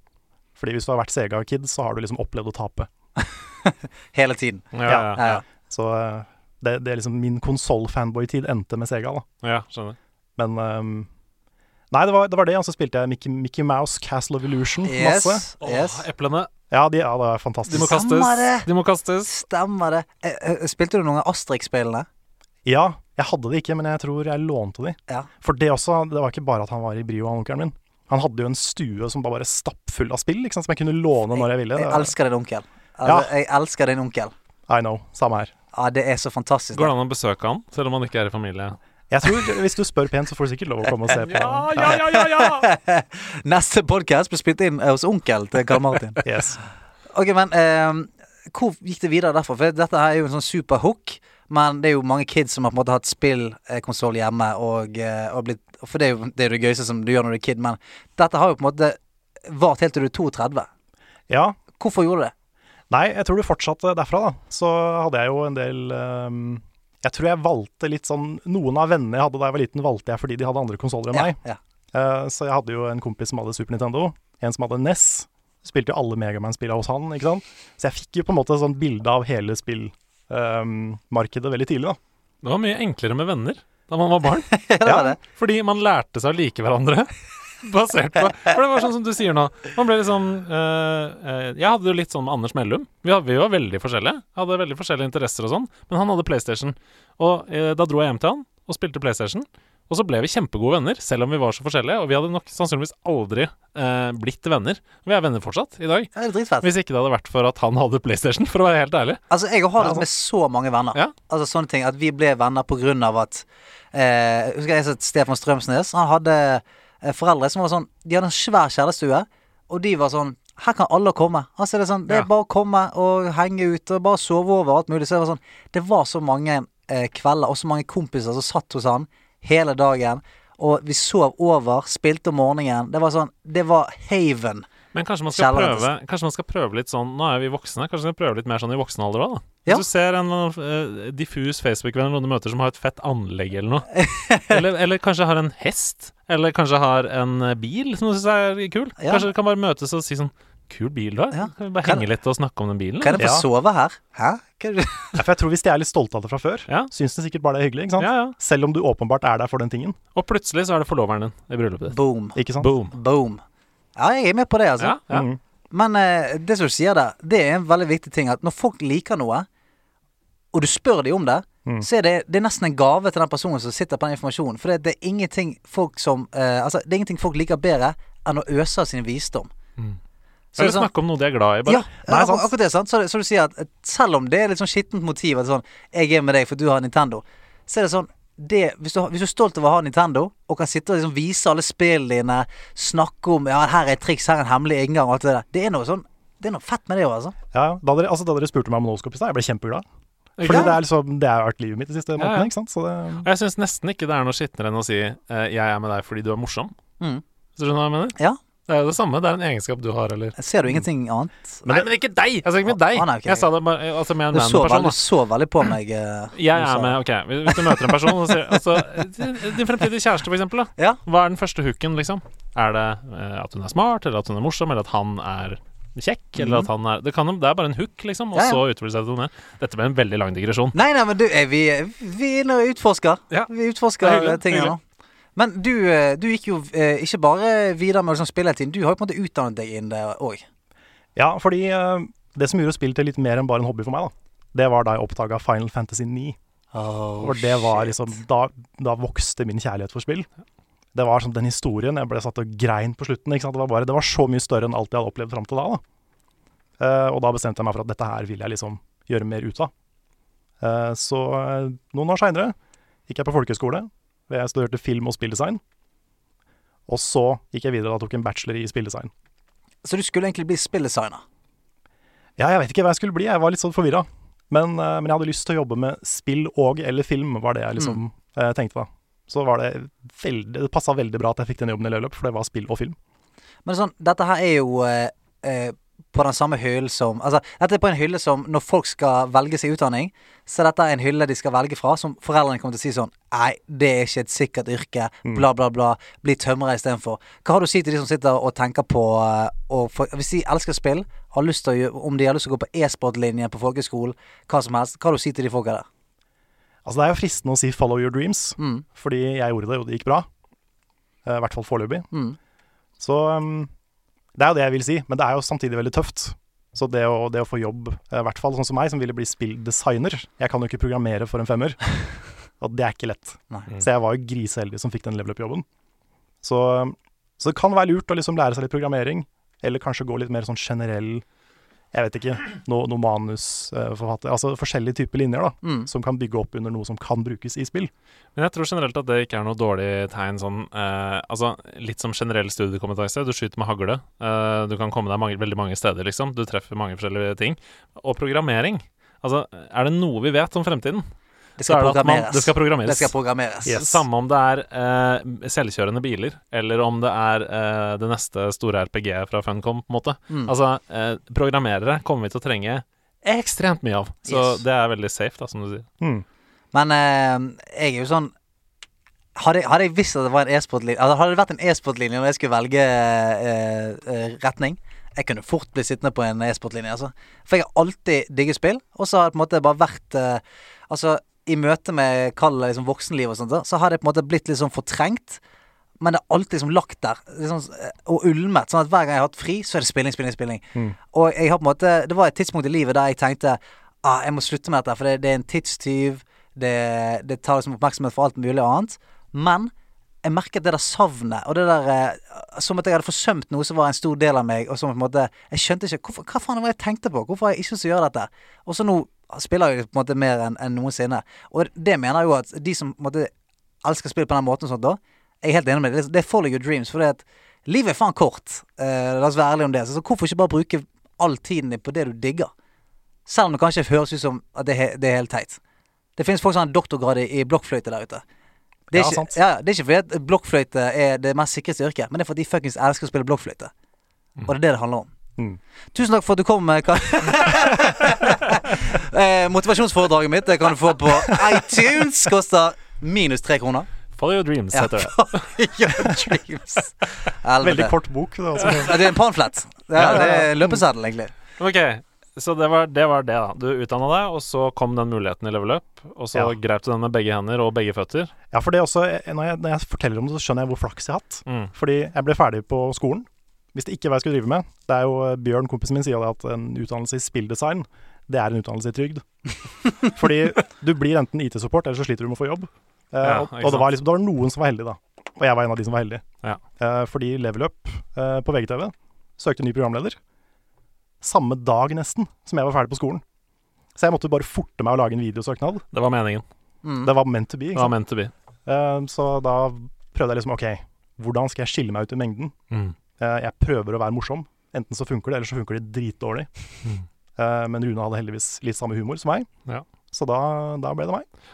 A: Fordi hvis du har vært Sega-kid, så har du liksom opplevd å tape.
C: Hele tiden.
D: ja, ja,
C: Ja, ja.
A: Så eh, det, det er liksom min konsoll-fanboy-tid endte med Sega, da.
D: ja, skjønner.
A: Men ehm, Nei, det var det, var det og så spilte jeg Mickey, Mickey Mouse Castle of Illusion masse.
C: Eh, Yes.
D: Åh,
C: yes.
D: eplene.
A: Ja, de, ja, det er
D: De må
A: fantastisk.
C: Stemmer
D: kastes.
C: det.
D: De må kastes.
C: Stemmer det. Eh, eh, Spilte du noen av Asterix-spillene?
A: Ja, jeg hadde de ikke, men jeg tror jeg lånte de.
C: Ja.
A: For det også, det var ikke bare at han var i brio, han onkelen min. Han hadde jo en stue som var bare stappfull av spill, ikke sant, som jeg kunne låne når jeg ville.
C: Jeg
A: Det var-
C: elsker din onkel.
A: Ja.
C: Altså, Jeg elsker din onkel.
A: I know, samme her.
C: Ja, det er så fantastisk.
D: Går det an å besøke han, selv om han ikke er i familie?
A: Jeg tror, Hvis du spør pent, så får du sikkert lov å komme og se på.
D: ja, ja, ja! ja.
C: Neste podkast blir spilt inn eh, hos onkel til Karl Martin.
A: Yes.
C: Ok, men eh, hvor gikk det videre derfra? For dette her er jo en sånn super hook. Men det er jo mange kids som har på en måte hatt spillkonsoll hjemme. Og, eh, og blitt, for det er jo det, er jo det gøyeste som du gjør når du er kid, men dette har jo på en måte vart helt til du er 32.
A: Ja.
C: Hvorfor gjorde du det?
A: Nei, jeg tror du fortsatte derfra, da. Så hadde jeg jo en del ehm, Jeg tror jeg valgte litt sånn Noen av vennene jeg hadde da jeg var liten, valgte jeg fordi de hadde andre konsoller enn meg.
C: Ja, ja.
A: Eh, Så jeg hadde jo en kompis som hadde Super Nintendo, en som hadde NES. Spilte jo alle Megaman-spillene hos han, ikke sant. Så jeg fikk jo på en måte sånn bilde av hele spillmarkedet veldig tidlig, da.
D: Det var mye enklere med venner da man var barn.
C: Ja, det var det.
D: Fordi man lærte seg å like hverandre. Basert på For det var sånn som du sier nå. Man ble liksom eh, eh, Jeg hadde det jo litt sånn med Anders Mellum. Vi, hadde, vi var veldig forskjellige. Hadde veldig forskjellige interesser og sånn. Men han hadde PlayStation. Og eh, da dro jeg hjem til han og spilte PlayStation. Og så ble vi kjempegode venner, selv om vi var så forskjellige. Og vi hadde nok sannsynligvis aldri eh, blitt venner. Vi er venner fortsatt i dag.
C: Ja, det er dritfett.
D: Hvis ikke det hadde vært for at han hadde PlayStation, for å være helt ærlig.
C: Altså, jeg har det med så mange venner.
D: Ja.
C: Altså sånne ting At vi ble venner på grunn av at eh, Husker jeg at Stefan Strømsnes Han hadde eh, foreldre som var sånn De hadde en svær kjærestue, og de var sånn her kan alle komme. Altså Det er sånn Det er
D: Ja.
C: bare å komme og henge ut og bare sove over og alt mulig. Så Det var sånn Det var så mange eh, kvelder og så mange kompiser som satt hos han hele dagen. Og vi sov over, spilte om morgenen. Det var sånn Det var haven.
D: Men kanskje man, skal
C: Shallow
D: prøve, kanskje man skal prøve litt sånn Nå er vi voksne, kanskje man skal prøve litt mer sånn i voksen alder òg, da. Hvis
C: Ja.
D: du ser en eller annen, eh, diffus Facebook-venn eller noen du møter som har et fett anlegg eller noe, eller, eller kanskje har en hest, eller kanskje har en eh, bil som du syns er kul,
C: Ja.
D: kanskje du kan bare møtes og si sånn Kul bil du har.
C: Ja.
D: Kan vi bare
C: Kan-
D: henge litt og snakke om den bilen?
C: Kan jeg få
A: Ja.
C: sove her? Hæ? Hva er det? du-
A: Ja, For jeg tror hvis de er litt stolte av det fra før,
D: Ja.
A: syns de sikkert bare det er hyggelig, ikke sant.
D: Ja, ja.
A: Selv om du åpenbart er der for den tingen,
D: Og plutselig så er det forloveren din i bryllupet ditt.
C: Boom.
A: ikke sant.
D: Boom.
C: Boom. Ja, jeg er med på det, altså.
D: Ja, ja.
A: Mhm.
C: Men eh, det som du sier der, det er en veldig viktig ting at når folk liker noe, og du spør dem om det, så er det, det er nesten en gave til den personen som sitter på den informasjonen. For det, det, er, ingenting folk som, eh, altså, det er ingenting folk liker bedre enn å øse av sin visdom. Så det
D: Eller
C: er sånn-
D: snakke om noe de er glad i,
C: ja,
D: bare.
A: Nei,
C: akkur-
A: sant.
C: akkurat det. sant Så, så du sier at eh, selv om det er litt sånn skittent motiv at sånn, jeg er med deg for du har Nintendo, så er det sånn det, hvis, du, har- hvis du er stolt over å ha Nintendo og kan sitte og liksom vise alle spillene dine, snakke om ja, her er et triks, her er en hemmelig inngang og alt det der, det er noe sånn Det er noe fett med det òg, altså.
A: Ja, ja. Da dere, altså, da dere spurte meg om Noscope i stad, jeg ble kjempeglad.
D: Ikke
A: Fordi
D: sant?
A: det er liksom Det har vært livet mitt de siste
D: ja.
A: månedene, ikke sant. Så det
D: Og jeg syns nesten ikke det er noe skitnere enn å si eh, 'jeg er med deg fordi du er morsom'.
C: Mm.
D: Skjønner du hva jeg mener?
C: Ja.
D: Det er jo det samme. Det er en egenskap du har, eller
C: Ser du ingenting annet?
D: Nei, men ikke deg! Jeg sa ikke med
C: Ah,
D: deg.
C: ah, nei, ok.
D: Jeg sa det bare altså, med en
C: Du så,
D: man-person.
C: veldig, så veldig på meg. eh,
D: Jeg
C: du
D: er
C: sa.
D: med, ok Hvis hvis du møter en person og sier altså, Din fremtidige kjæreste, for eksempel. Da.
C: Ja.
D: Hva er den første hooken, liksom? Er det eh, at hun er smart, eller at hun er morsom, eller at han er kjekk? Eller at han er det, kan, jo- det er bare en hook, liksom,
C: Mhm.
D: og
C: Ja, ja.
D: så utvikler seg til noe mer. Dette ble en veldig lang digresjon.
C: Nei, nei, men du, eh, vi, vi er nå utforsker.
D: Ja.
C: Vi
D: Det er
C: utforsker
D: hyggelig,
C: eh, tingene nå. Men du, eh, du gikk jo eh, ikke bare videre med å liksom spille hele tiden, du har jo på en måte utdannet deg inn det òg.
A: Ja, fordi eh, det som gjorde spill til litt mer enn bare en hobby for meg, da, det var da jeg oppdaga Final Fantasy 9.
C: Oh,
A: For det var liksom da, da vokste min kjærlighet for spill. Det var sånn den historien jeg ble satt og grein på slutten. Ikke sant? Det, var bare, det var så mye større enn alt jeg hadde opplevd fram til da. da. Eh, og da bestemte jeg meg for at dette her vil jeg liksom gjøre mer ut av. Eh, så eh, noen år seinere gikk jeg på folkehøyskole. hvor Jeg studerte film og spilldesign. Og så gikk jeg videre og tok en bachelor i spilldesign.
C: Så du skulle egentlig bli spilldesigner?
A: Ja, jeg vet ikke hva jeg skulle bli, jeg var litt sånn forvirra. Men, eh, men jeg hadde lyst til å jobbe med spill og eller film, var det jeg liksom eh, tenkte da. Så var det veldig, det passa veldig bra at jeg fikk den jobben i Løyeløp, for det var spill og film.
C: Men sånn, dette her er jo eh, eh, på den samme hyllen som Altså, dette er på en hylle som når folk skal velge seg utdanning, så dette er en hylle de skal velge fra, som foreldrene kommer til å si sånn Nei, det er ikke et sikkert yrke.
D: Mm.
C: Bla, bla, bla. Bli tømrer istedenfor. Hva har du å si til de som sitter og tenker på eh, og for, Hvis de elsker spill, har lyst til å, gjø- om de har lyst til å gå på e-sportlinjen på folkehøyskolen, hva som helst, hva har du å si til de folka der?
A: Altså Det er jo fristende å si 'follow your dreams',
C: Mm.
A: fordi jeg gjorde det, og det gikk bra. Eh, I hvert fall foreløpig.
C: Mm.
A: Så um, det er jo det jeg vil si, men det er jo samtidig veldig tøft. Så det å, det å få jobb, eh, i hvert fall sånn som meg, som ville bli spilldesigner Jeg kan jo ikke programmere for en femmer, og det er ikke lett.
C: Nei.
A: Så jeg var jo griseheldig som fikk den level up-jobben. Så, um, så det kan være lurt å liksom lære seg litt programmering, eller kanskje gå litt mer sånn generell jeg vet ikke, noe no manusforfatter Altså forskjellige typer linjer da,
C: Mm.
A: som kan bygge opp under noe som kan brukes i spill.
D: Men jeg tror generelt at det ikke er noe dårlig tegn sånn eh, Altså litt som generell studiekompetanse. Du skyter med hagle. eh, du kan komme deg mange, veldig mange steder, liksom. Du treffer mange forskjellige ting. Og programmering. Altså, er det noe vi vet om fremtiden,
C: Det
D: så
C: skal
D: er det at man,
C: programmeres.
D: det skal programmeres.
C: Det skal programmeres.
A: Yes.
D: Samme om det er eh, selvkjørende biler, eller om det er eh, det neste store RPG-et fra Funcom, på en måte.
C: Mm.
D: Altså, eh, programmerere kommer vi til å trenge ekstremt mye av. Så
C: Yes.
D: det er veldig safe, da, som du sier.
A: Mm.
C: Men eh, jeg er jo sånn hadde, hadde jeg visst at det var en e-sport-linje altså, Hadde det vært en e-sport-linje når jeg skulle velge eh, eh, retning Jeg kunne fort bli sittende på en e-sport-linje, altså. For jeg har alltid digget spill, og så har det på en måte bare vært eh, Altså, i møte med kall det liksom voksenliv og sånt, da, så har det på en måte blitt litt sånn fortrengt. Men det er alltid liksom lagt der liksom, eh, og ulmet. Sånn at hver gang jeg har hatt fri, så er det spilling, spilling, spilling. Og jeg har på en måte Det var et tidspunkt i livet der jeg tenkte ah, jeg må slutte med dette, for det, det er en tidstyv. Det, det tar liksom oppmerksomhet for alt mulig annet. Men jeg merket det der savnet, og det der eh, Som at jeg hadde forsømt noe som var en stor del av meg, og som på en måte Jeg skjønte ikke hvorfor, Hva faen var det jeg tenkte på? Hvorfor har jeg ikke lyst til å gjøre dette? Og så nå spiller jeg på en måte mer enn enn noensinne. Og det mener jeg jo at de som på en måte elsker spill på den måten og sånt da, jeg er helt enig med deg. Det- Det er follow your dreams. For at livet er faen kort. Eh, la oss være ærlige om det. Så, så hvorfor ikke bare bruke all tiden din på det du digger? Selv om det kanskje høres ut som at det, er he- det er helt teit. Det finnes folk som har en doktorgrad i, i blokkfløyte der ute. Det er,
A: Ja,
C: ikke,
A: sant.
C: ja, ja, det er ikke fordi at blokkfløyte er det mest sikreste yrket, men det er fordi de fuckings elsker å spille blokkfløyte. Og det er det det handler om.
A: Mm.
C: Tusen takk for at du kom. eh, Kar- eh, motivasjonsforedraget mitt det kan du få på iTunes. Koster minus tre kroner.
D: Follow your dreams,
C: Ja,
D: heter det.
C: Your dreams. Helvete.
A: Veldig kort bok. altså. Det, er også.
C: Ja, Det er en pamflett. Det er, det er løpeseddel, egentlig.
D: Ok, så det var det, var det da. Du utdanna deg, og så kom den muligheten i level up. Og så
A: Ja.
D: grep du den med begge hender og begge føtter.
A: Ja, for det er også, eh, når jeg, når jeg forteller om det, så skjønner jeg hvor flaks jeg har hatt.
D: Mm.
A: Fordi jeg ble ferdig på skolen. Visste ikke hva jeg skulle drive med. Det er jo eh, Bjørn, kompisen min, sier jo det at en utdannelse i spilldesign, det er en utdannelse i trygd. Fordi du blir enten IT-support, eller så sliter du med å få jobb. Eh,
D: Ja,
A: og
D: ikke
A: og det, var
D: sant.
A: liksom, det var noen som var heldige, da. Og jeg var en av de som var heldige.
D: Ja.
A: Eh, fordi Level Up eh, på VGTV søkte ny programleder. Samme dag, nesten, som jeg var ferdig på skolen. Så jeg måtte bare forte meg å lage en videosøknad.
D: Det var meningen.
C: Mm.
A: Det var meant to be.
D: Det
A: Ikke sant?
D: var meant to be.
A: Eh, Så da prøvde jeg liksom OK, hvordan skal jeg skille meg ut i mengden?
D: Mm.
A: Eh, Jeg prøver å være morsom. Enten så funker det, eller så funker det dritdårlig.
D: Mm.
A: Eh, Men Rune hadde heldigvis litt samme humor som meg.
D: Ja.
A: Så da, da ble det meg.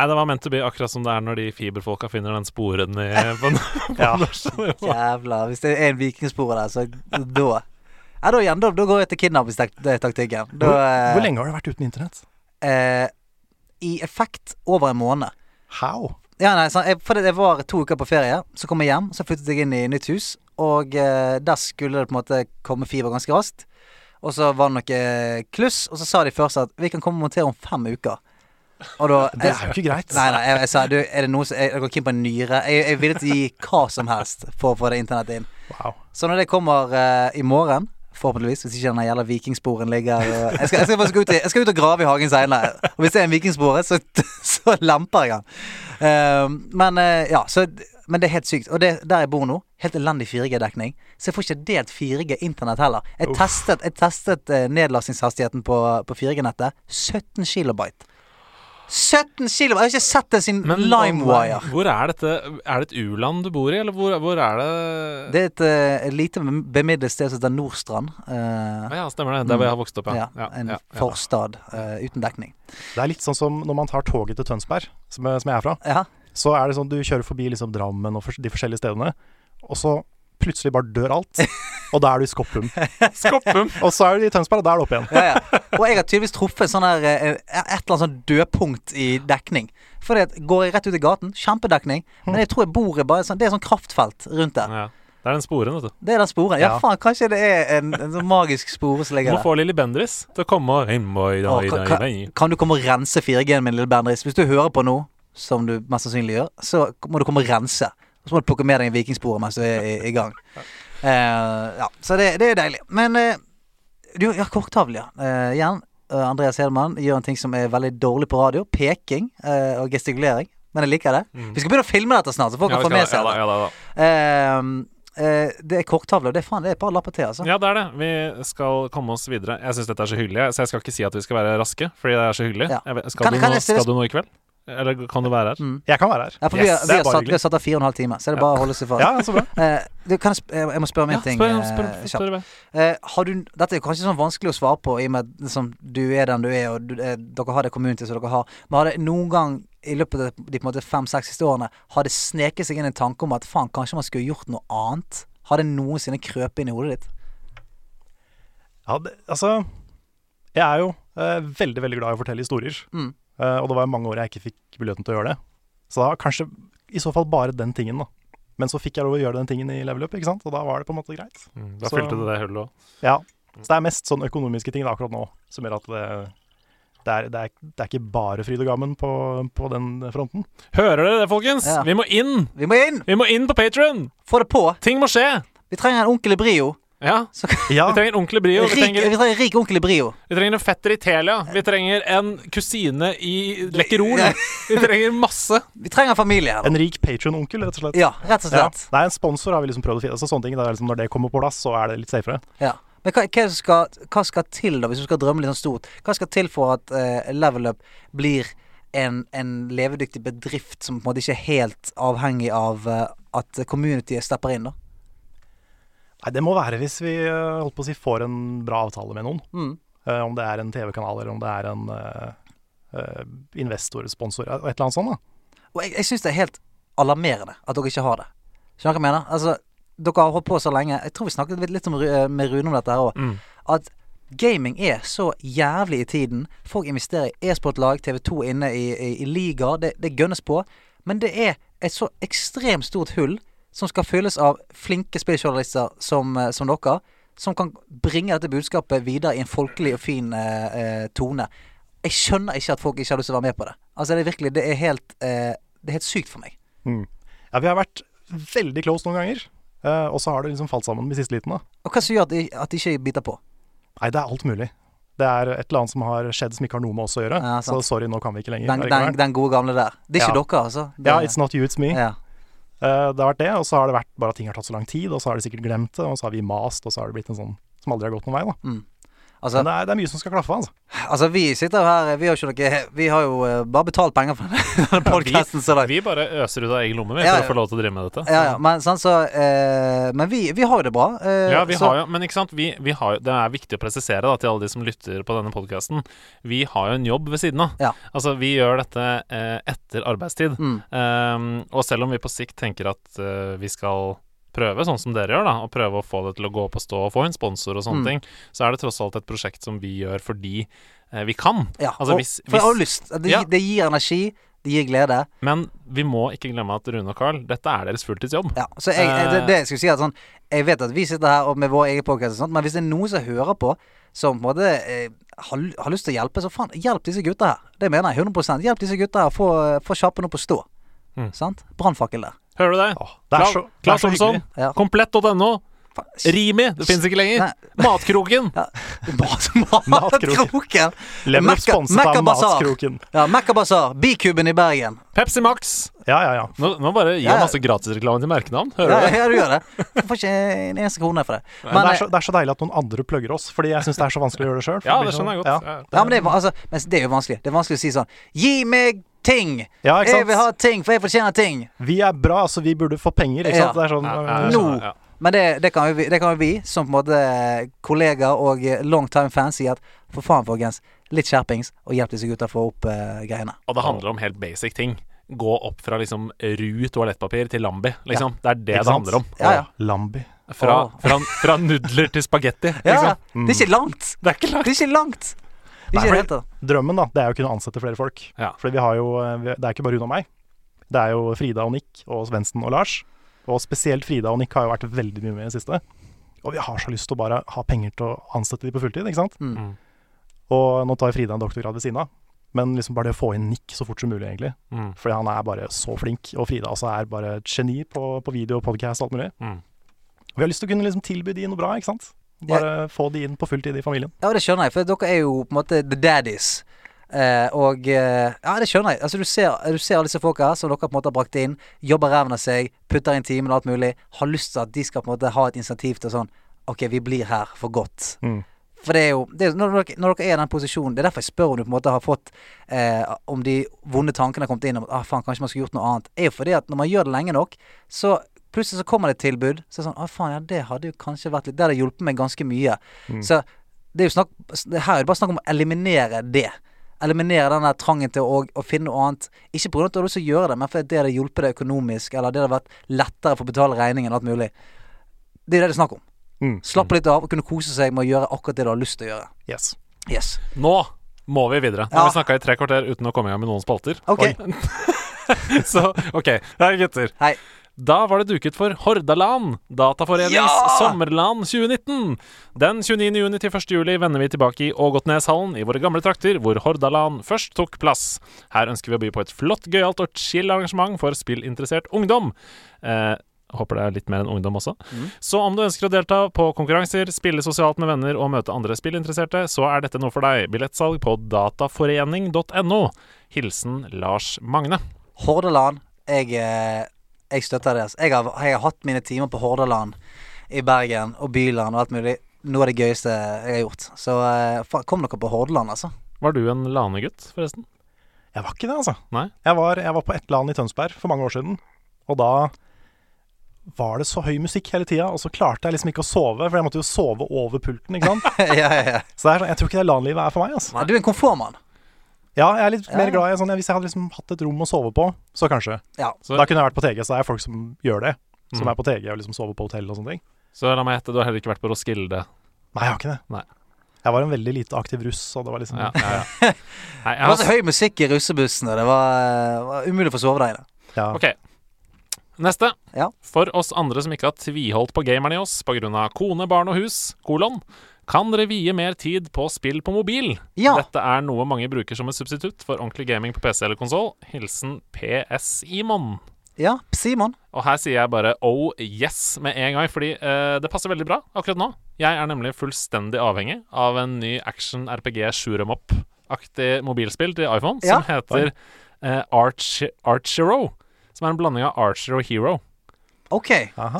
D: Nei, det var meant to be, akkurat som det er når de fiberfolka finner den sporen i på, på
A: Ja.
D: norsk.
C: Jævla. Hvis det er en vikingspor der, så da Ja, da igjen, da, da går jeg til kidnappingstaktikken. Da,
A: Hvor, hvor
C: eh,
A: lenge har du vært uten internett?
C: Eh, I effekt over en måned.
A: How?
C: Ja, nei, sant, jeg, for det, jeg var to uker på ferie, så kom jeg hjem, så flyttet jeg inn i nytt hus. Og eh, der skulle det på en måte komme fiber ganske raskt. Og så var det noe eh, kluss, og så sa de først at vi kan komme og montere om fem uker. Og da
A: Det er jo ikke greit.
C: Nei, nei, jeg, jeg sa du, er det noe som Jeg jeg går keen på en nyre. Jeg, jeg er villig til å gi hva som helst for å få det internettet inn.
A: Wow.
C: Så når det kommer eh, i morgen, forhåpentligvis, hvis ikke den jævla vikingsporen ligger og, jeg, skal, jeg, skal faktisk gå ut i, jeg skal ut og grave i hagen seinere. Og hvis det er en vikingspore, så, så lemper jeg den. Eh, men eh, ja, så men det er helt sykt. Og det, der jeg bor nå, helt elendig 4G-dekning. Så jeg får ikke delt 4G-internett heller. Jeg testet, jeg testet eh, nedlastingshastigheten på, på 4G-nettet. 17 kilobyte. 17 kilobyte! Jeg har ikke sett det siden LimeWire.
D: Hvor er dette Er det et u-land du bor i, eller hvor, hvor er det
C: Det er et, eh, et lite bemidlet sted som heter Nordstrand. eh,
D: Ja, stemmer det. Der hvor jeg har vokst opp, ja.
C: Ja, en forstad eh, uten dekning.
A: Det er litt sånn som når man tar toget til Tønsberg, som, eh, som jeg er fra.
C: Ja.
A: Så er det sånn du kjører forbi liksom Drammen og fors- de forskjellige stedene, og så plutselig bare dør alt. Og da er du i Skoppum.
D: Skoppum!
A: Og så er du i Tønsberg, og da er du oppe igjen.
C: Ja, ja. Og jeg har tydeligvis truffet sånn her, eh, et eller annet sånn dødpunkt i dekning. Fordi at går jeg rett ut i gaten, kjempedekning, men jeg tror jeg bor i bare sånn, det er sånn kraftfelt rundt der.
D: Ja. Det er den sporen, vet du.
C: Det er den sporen. Ja,
A: Ja.
C: faen, kanskje det er en, en sånn magisk spore som
D: Du
C: ligger
D: må
C: der.
D: få Lilly Bendriss til å komme og Hei,
C: Å,
D: dai,
C: kan,
D: dai,
C: kan,
D: dai.
C: kan du komme og rense 4G-en min, lille Bendriss? Hvis du hører på nå, som du mest sannsynlig gjør, så må du komme og rense. Og så må du plukke med deg en vikingspore mens du er i, i gang. Eh, ja, så det, det er deilig. Men eh, du, ja, korktavle, ja. Eh, igjen. eh, Andreas Hedman gjør en ting som er veldig dårlig på radio. Peking eh, og gestikulering. Men jeg liker det. Vi skal begynne å filme dette snart, så folk
D: Mm. Ja,
C: kan få
D: vi
C: med
D: skal-
C: seg
D: ja, da,
C: det.
D: ja, da, da.
C: Eh, eh, det er korktavle, og det er faen, det er et par lapper til, altså.
D: Ja, det er det. Vi skal komme oss videre. Jeg syns dette er så hyggelig, så jeg skal ikke si at vi skal være raske. Fordi det er så hyggelig.
C: Ja.
D: Jeg vet, skal,
C: Kan-
D: du
C: kan
D: nå,
C: jeg Mm, stille-
D: skal du nå i kveld? Eller kan du være her?
A: Jeg kan være her.
C: Ja, for vi,
D: Yes,
C: har,
A: det
C: vi,
A: er
C: har
A: bare
C: satt, vi
A: hyggelig.
C: har satt av fire og en halv time, så det er bare å holde seg for.
A: Ja, så bra.
C: Eh, du, kan jeg, sp- jeg, jeg må spørre om en
D: Ja,
C: ting.
D: spør,
C: eh,
D: spør, spør,
C: kjapt.
D: spør,
C: Eh, har du, dette er kanskje sånn vanskelig å svare på, i og med at liksom, du er den du er, og du, eh, dere har det community som dere har. Men har det noen gang i løpet av de på en måte fem-seks siste årene Har det sneket seg inn en tanke om at faen, kanskje man skulle gjort noe annet? Har det noensinne krøpet inn i hodet ditt?
A: Ja, det, altså Jeg er jo eh, veldig, veldig glad i å fortelle historier.
C: Mm.
A: Eh, og det var jo mange år jeg ikke fikk muligheten til å gjøre det. Så da kanskje i så fall bare den tingen, da. Men så fikk jeg lov å gjøre den tingen i level up, ikke sant? og da var det på en måte greit.
D: Mm, Da
A: Så-
D: fylte du det hullet òg.
A: Ja. Så det er mest sånn økonomiske ting da, akkurat nå som gjør at det, det, er, det, er, det er ikke bare fryd og gammen på, på den fronten.
D: Hører dere det, folkens?
C: Ja.
D: Vi må inn!
C: Vi må inn!
D: Vi må inn på Patron!
C: Få det på!
D: Ting må skje!
C: Vi trenger en onkel i brio.
D: Ja.
A: Ja,
D: Vi trenger en ordentlig brio. Vi
C: Rik,
D: trenger,
C: vi trenger en rik onkel i brio.
D: vi trenger en fetter i Telia. Vi trenger en kusine i Lekkerol.
C: Ja.
D: Vi trenger masse.
C: Vi trenger en familie her. da.
A: en rik patron-onkel, rett og slett.
C: Ja, rett og
A: Ja.
C: slett.
A: Nei, en sponsor har vi liksom prøvd å finne. Altså, sånne ting, det er liksom, når det kommer på plass, så er det litt safere.
C: Ja. Men hva, hva, er det som skal, hva skal til, da, hvis du skal drømme litt sånn stort? Hva skal til for at eh, Level Up blir en, en levedyktig bedrift som på en måte ikke er helt avhengig av eh, at communityet stepper inn, da?
A: Nei, det må være hvis vi eh, holdt på å si, får en bra avtale med noen.
C: Mm.
A: Eh, om det er en TV-kanal, eller om det er en eh, eh, investor, sponsor, et eller annet sånt. da.
C: Og jeg, jeg syns det er helt alarmerende at dere ikke har det. Skjønner du hva jeg mener? Altså, dere har holdt på så lenge. Jeg tror vi snakket litt- litt om, Ru- eh, med Rune om dette her òg. At gaming er så jævlig i tiden. Folk investerer i e-sportlag, TV2 inne i, i, i ligaer. Det, det gønnes på. Men det er et så ekstremt stort hull som skal fylles av flinke spilljournalister som, eh, som dere. Som kan bringe dette budskapet videre i en folkelig og fin eh, eh, tone. Jeg skjønner ikke at folk ikke har lyst til å være med på det. Altså Det er virkelig, det er helt, eh, det er helt sykt for meg.
A: Ja, vi har vært veldig close noen ganger, eh, og så har det liksom falt sammen med siste liten. da.
C: Og hva som gjør at de, at de ikke biter på?
A: Nei, det er alt mulig. Det er et eller annet som har skjedd som ikke har noe med oss å gjøre.
C: Ja, sant.
A: så sorry, nå kan vi ikke lenger.
C: Den,
A: allikevel.
C: den, den gode gamle der. Det er ikke
A: Ja.
C: dere, altså. Det,
A: ja, it's not you, it's me.
C: ja.
A: Eh, det har vært det, og så har det vært bare at ting har tatt så lang tid, og så har de sikkert glemt det, og så har vi mast, og så har det blitt en sånn som aldri har gått noen vei, da.
C: Altså,
A: Men det er, det er mye som skal klaffe, altså.
C: altså vi sitter her Vi har, jo ikke noe, vi har jo eh, bare betalt penger for denne podkasten så langt.
D: Vi bare øser ut av egen lomme vi,
C: Ja,
D: for
C: ja.
D: å få lov til å drive med dette.
C: Ja, ja, men, sånn, så, eh, men vi, vi har jo det bra. eh,
D: Ja, vi
C: så,
D: har jo, men ikke sant, vi, vi har, jo- det er viktig å presisere da, til alle de som lytter på denne podkasten. Vi har jo en jobb ved siden av.
C: Ja.
D: Altså, vi gjør dette eh, etter arbeidstid.
C: Mm.
D: Um, og selv om vi på sikt tenker at eh, vi skal prøve sånn som dere gjør, da, og prøve å få det til å gå opp og stå og få en sponsor og sånne
C: Mm.
D: ting, så er det tross alt et prosjekt som vi gjør fordi eh, vi kan.
C: ja,
D: altså,
C: og-
D: hvis-
C: For jeg har
D: hvis-
C: jo lyst. Det,
D: Ja.
C: det gir energi, det gir glede.
D: Men vi må ikke glemme at Rune og Carl, dette er deres fulltidsjobb.
C: Ja, så jeg, jeg- det, det jeg skulle si er sånn Jeg vet at vi sitter her og med vår egen podcast og sånt, men hvis det er noen som hører på, som på en måte eh, har, ly- har lyst til å hjelpe, så faen, hjelp disse gutta her. Det mener jeg 100 Hjelp disse gutta her. Få, få sjappen opp og stå.
D: Mm.
C: Sant? Brannfakkel der.
D: Hører du det?
A: det er
D: Kla-
A: så- det er
D: Claes
A: så
D: Olsson,
A: hyggelig.
C: Ja.
D: komplett.no,
C: Faen, s-
D: Rimi, det fins ikke lenger.
C: Nei.
D: Matkroken.
C: Ja. Mat- Matkroken!
A: Lever
C: Mekka-
A: sponset av
C: Mekka Bazaar.
A: Matkroken.
C: Ja, Mekka Bazaar. Bikuben i Bergen.
D: Pepsi Max.
A: Ja, ja, ja.
D: Nå, nå bare gir
C: Ja,
D: jeg
C: ja.
D: masse gratisreklame til merkenavn. Hører
C: Ja,
D: du det?
C: ja, du gjør det. Du får ikke en eneste krone for det. Men,
A: Men det, er
C: eh,
A: så, det er så deilig at noen andre plugger oss, fordi jeg syns det er så vanskelig å gjøre det sjøl.
D: Ja, det skjønner jeg godt.
A: Ja.
D: Ja.
C: ja, men, det, er va- altså, men det er jo vanskelig. Det er vanskelig å si sånn Gi meg ting!
A: Ja, ikke
C: Jeg vil ha
A: sant?
C: ting, for jeg fortjener ting.
A: Vi er bra, så vi burde få penger, ikke
C: Ja.
A: sant? Det er sånn
D: Nei,
A: ja,
D: nei,
C: Nå.
D: nei, ja.
C: Men det, det, kan jo vi, det kan jo vi, som på en måte kollegaer og eh, long time fans, si at for faen, folkens. Litt skjerpings, og hjelp disse gutta å få opp eh, greiene.
D: Og det handler om helt basic ting. Gå opp fra liksom ru toalettpapir til Lambi, liksom. Det er det
A: Ikke
D: det
A: sant?
D: handler om.
C: Ja, ja.
A: Lambi.
D: Fra,
C: Åh.
D: fra, fra nudler til spagetti.
C: Ja, ja.
D: Liksom.
C: Det er ikke langt!
D: Det er ikke
C: Det
D: langt.
C: er ikke langt! Det
A: Mm. Nei,
C: er ikke
A: for-
C: helt det.
A: Drømmen, da, det er jo å kunne ansette flere folk.
D: Ja.
A: Fordi vi har jo eh, vi- Det er ikke bare Rune og meg. Det er jo Frida og Nick og Svendsen og Lars. Og spesielt Frida og Nick har jo vært veldig mye med i det siste. Og vi har så lyst til å bare ha penger til å ansette de på fulltid, ikke sant?
C: Mm.
D: Mm.
A: Og nå tar Frida en doktorgrad ved siden av. Men liksom bare det å få inn Nick så fort som mulig, egentlig.
D: Mm.
A: Fordi han er bare så flink, og Frida også er bare et geni på, på video og podcast og alt mulig.
D: Mm.
A: Og vi har lyst til å kunne liksom tilby de noe bra, ikke sant? Bare få de inn på full tid i familien.
C: Ja, det skjønner jeg, for dere er jo på en måte the daddies. Eh, og eh, Ja, det skjønner jeg. Altså, du ser, du ser alle disse folka her som dere på en måte har brakt inn. Jobber ræven av seg, putter inn timen og alt mulig. Har lyst til at de skal på en måte ha et insentiv til sånn OK, vi blir her for godt.
A: Mm.
C: For det er jo det er, jo- når, dere, når dere er i den posisjonen Det er derfor jeg spør om du på en måte har fått eh, Om de vonde tankene har kommet inn om at ah, faen, kanskje man skulle gjort noe annet. er jo fordi at når man gjør det lenge nok, så plutselig så kommer det et tilbud. Så er det sånn ah, faen, ja, det hadde jo kanskje vært litt Det hadde hjulpet meg ganske mye. Så det er jo snakk det- Her er det bare snakk om å eliminere det. Eliminere den der trangen til å, å finne noe annet. Ikke pga. at du har lyst til å gjøre det, men fordi det hadde hjulpet deg økonomisk, eller det hadde vært lettere for å betale regningen og alt mulig. Det er jo det det er snakk om.
A: Mm.
C: Slappe litt av og kunne kose seg med å gjøre akkurat det du har lyst til å gjøre.
A: Yes.
C: Yes.
D: Nå må vi videre. Nå
C: Ja.
D: har vi snakka i tre kvarter uten å komme i gang med noen spalter.
C: Ok.
D: Så OK. Hei, gutter.
C: Hei.
D: Da var det duket for Hordaland, Dataforenings
C: Ja!
D: sommerland 2019. Den 29. juni til 1. juli vender vi tilbake i Ågotneshallen i våre gamle trakter, hvor Hordaland først tok plass. Her ønsker vi å by på et flott, gøyalt og chill arrangement for spillinteressert ungdom. Eh, Håper det er litt mer enn ungdom også. Så om du ønsker å delta på konkurranser, spille sosialt med venner og møte andre spillinteresserte, så er dette noe for deg. Billettsalg på dataforening.no. Hilsen Lars Magne.
C: Hordaland. Jeg, eh, jeg støtter det. altså. Jeg har, jeg har hatt mine timer på Hordaland i Bergen og Byland og alt mulig. Noe av det gøyeste jeg har gjort. Så eh, faen, kom dere på Hordaland, altså.
D: Var du en lanegutt, forresten?
A: Jeg var ikke det, altså.
D: Nei?
A: Jeg var, jeg var på et land i Tønsberg for mange år siden, og da var det så høy musikk hele tida, og så klarte jeg liksom ikke å sove, for jeg måtte jo sove over pulten, ikke sant.
C: ja, ja, ja.
A: Så det er, sånn- jeg tror ikke det LAN-livet er for meg, altså.
C: Ja, Du er en komfortmann.
A: Ja, jeg er litt
C: Ja.
A: mer glad i sånn Hvis jeg hadde liksom hatt et rom å sove på, så kanskje.
C: Ja.
D: Så-
A: Da kunne jeg vært på TG, så det er folk som gjør det. Som
D: Mm.
A: er på TG og liksom sover på hotell og sånne ting.
D: Så la meg gjette, du har heller ikke vært på Roskilde.
A: Nei, jeg har ikke det.
D: Nei.
A: Jeg var en veldig lite aktiv russ, og det var liksom
D: Ja, ja,
A: ja.
D: ja. Nei,
C: Det
D: jeg
C: var
D: har,
C: så høy musikk i russebussene. Det var, eh, var umulig å få sove der inne.
D: Ok. Neste.
C: Ja.
D: For oss andre som ikke har tviholdt på gameren i oss pga. kone, barn og hus, kolon, kan dere vie mer tid på spill på mobil?
C: Ja.
D: Dette er noe mange bruker som et substitutt for ordentlig gaming på PC eller konsoll. Hilsen PS-Imon.
C: Ja, Simon.
D: Og her sier jeg bare oh yes med en gang, fordi eh, det passer veldig bra akkurat nå. Jeg er nemlig fullstendig avhengig av en ny action RPG shoot 'em up-aktig mobilspill til iPhone
C: Ja.
D: som heter eh, Arch Archero. Som er en blanding av Archer og Hero.
C: OK.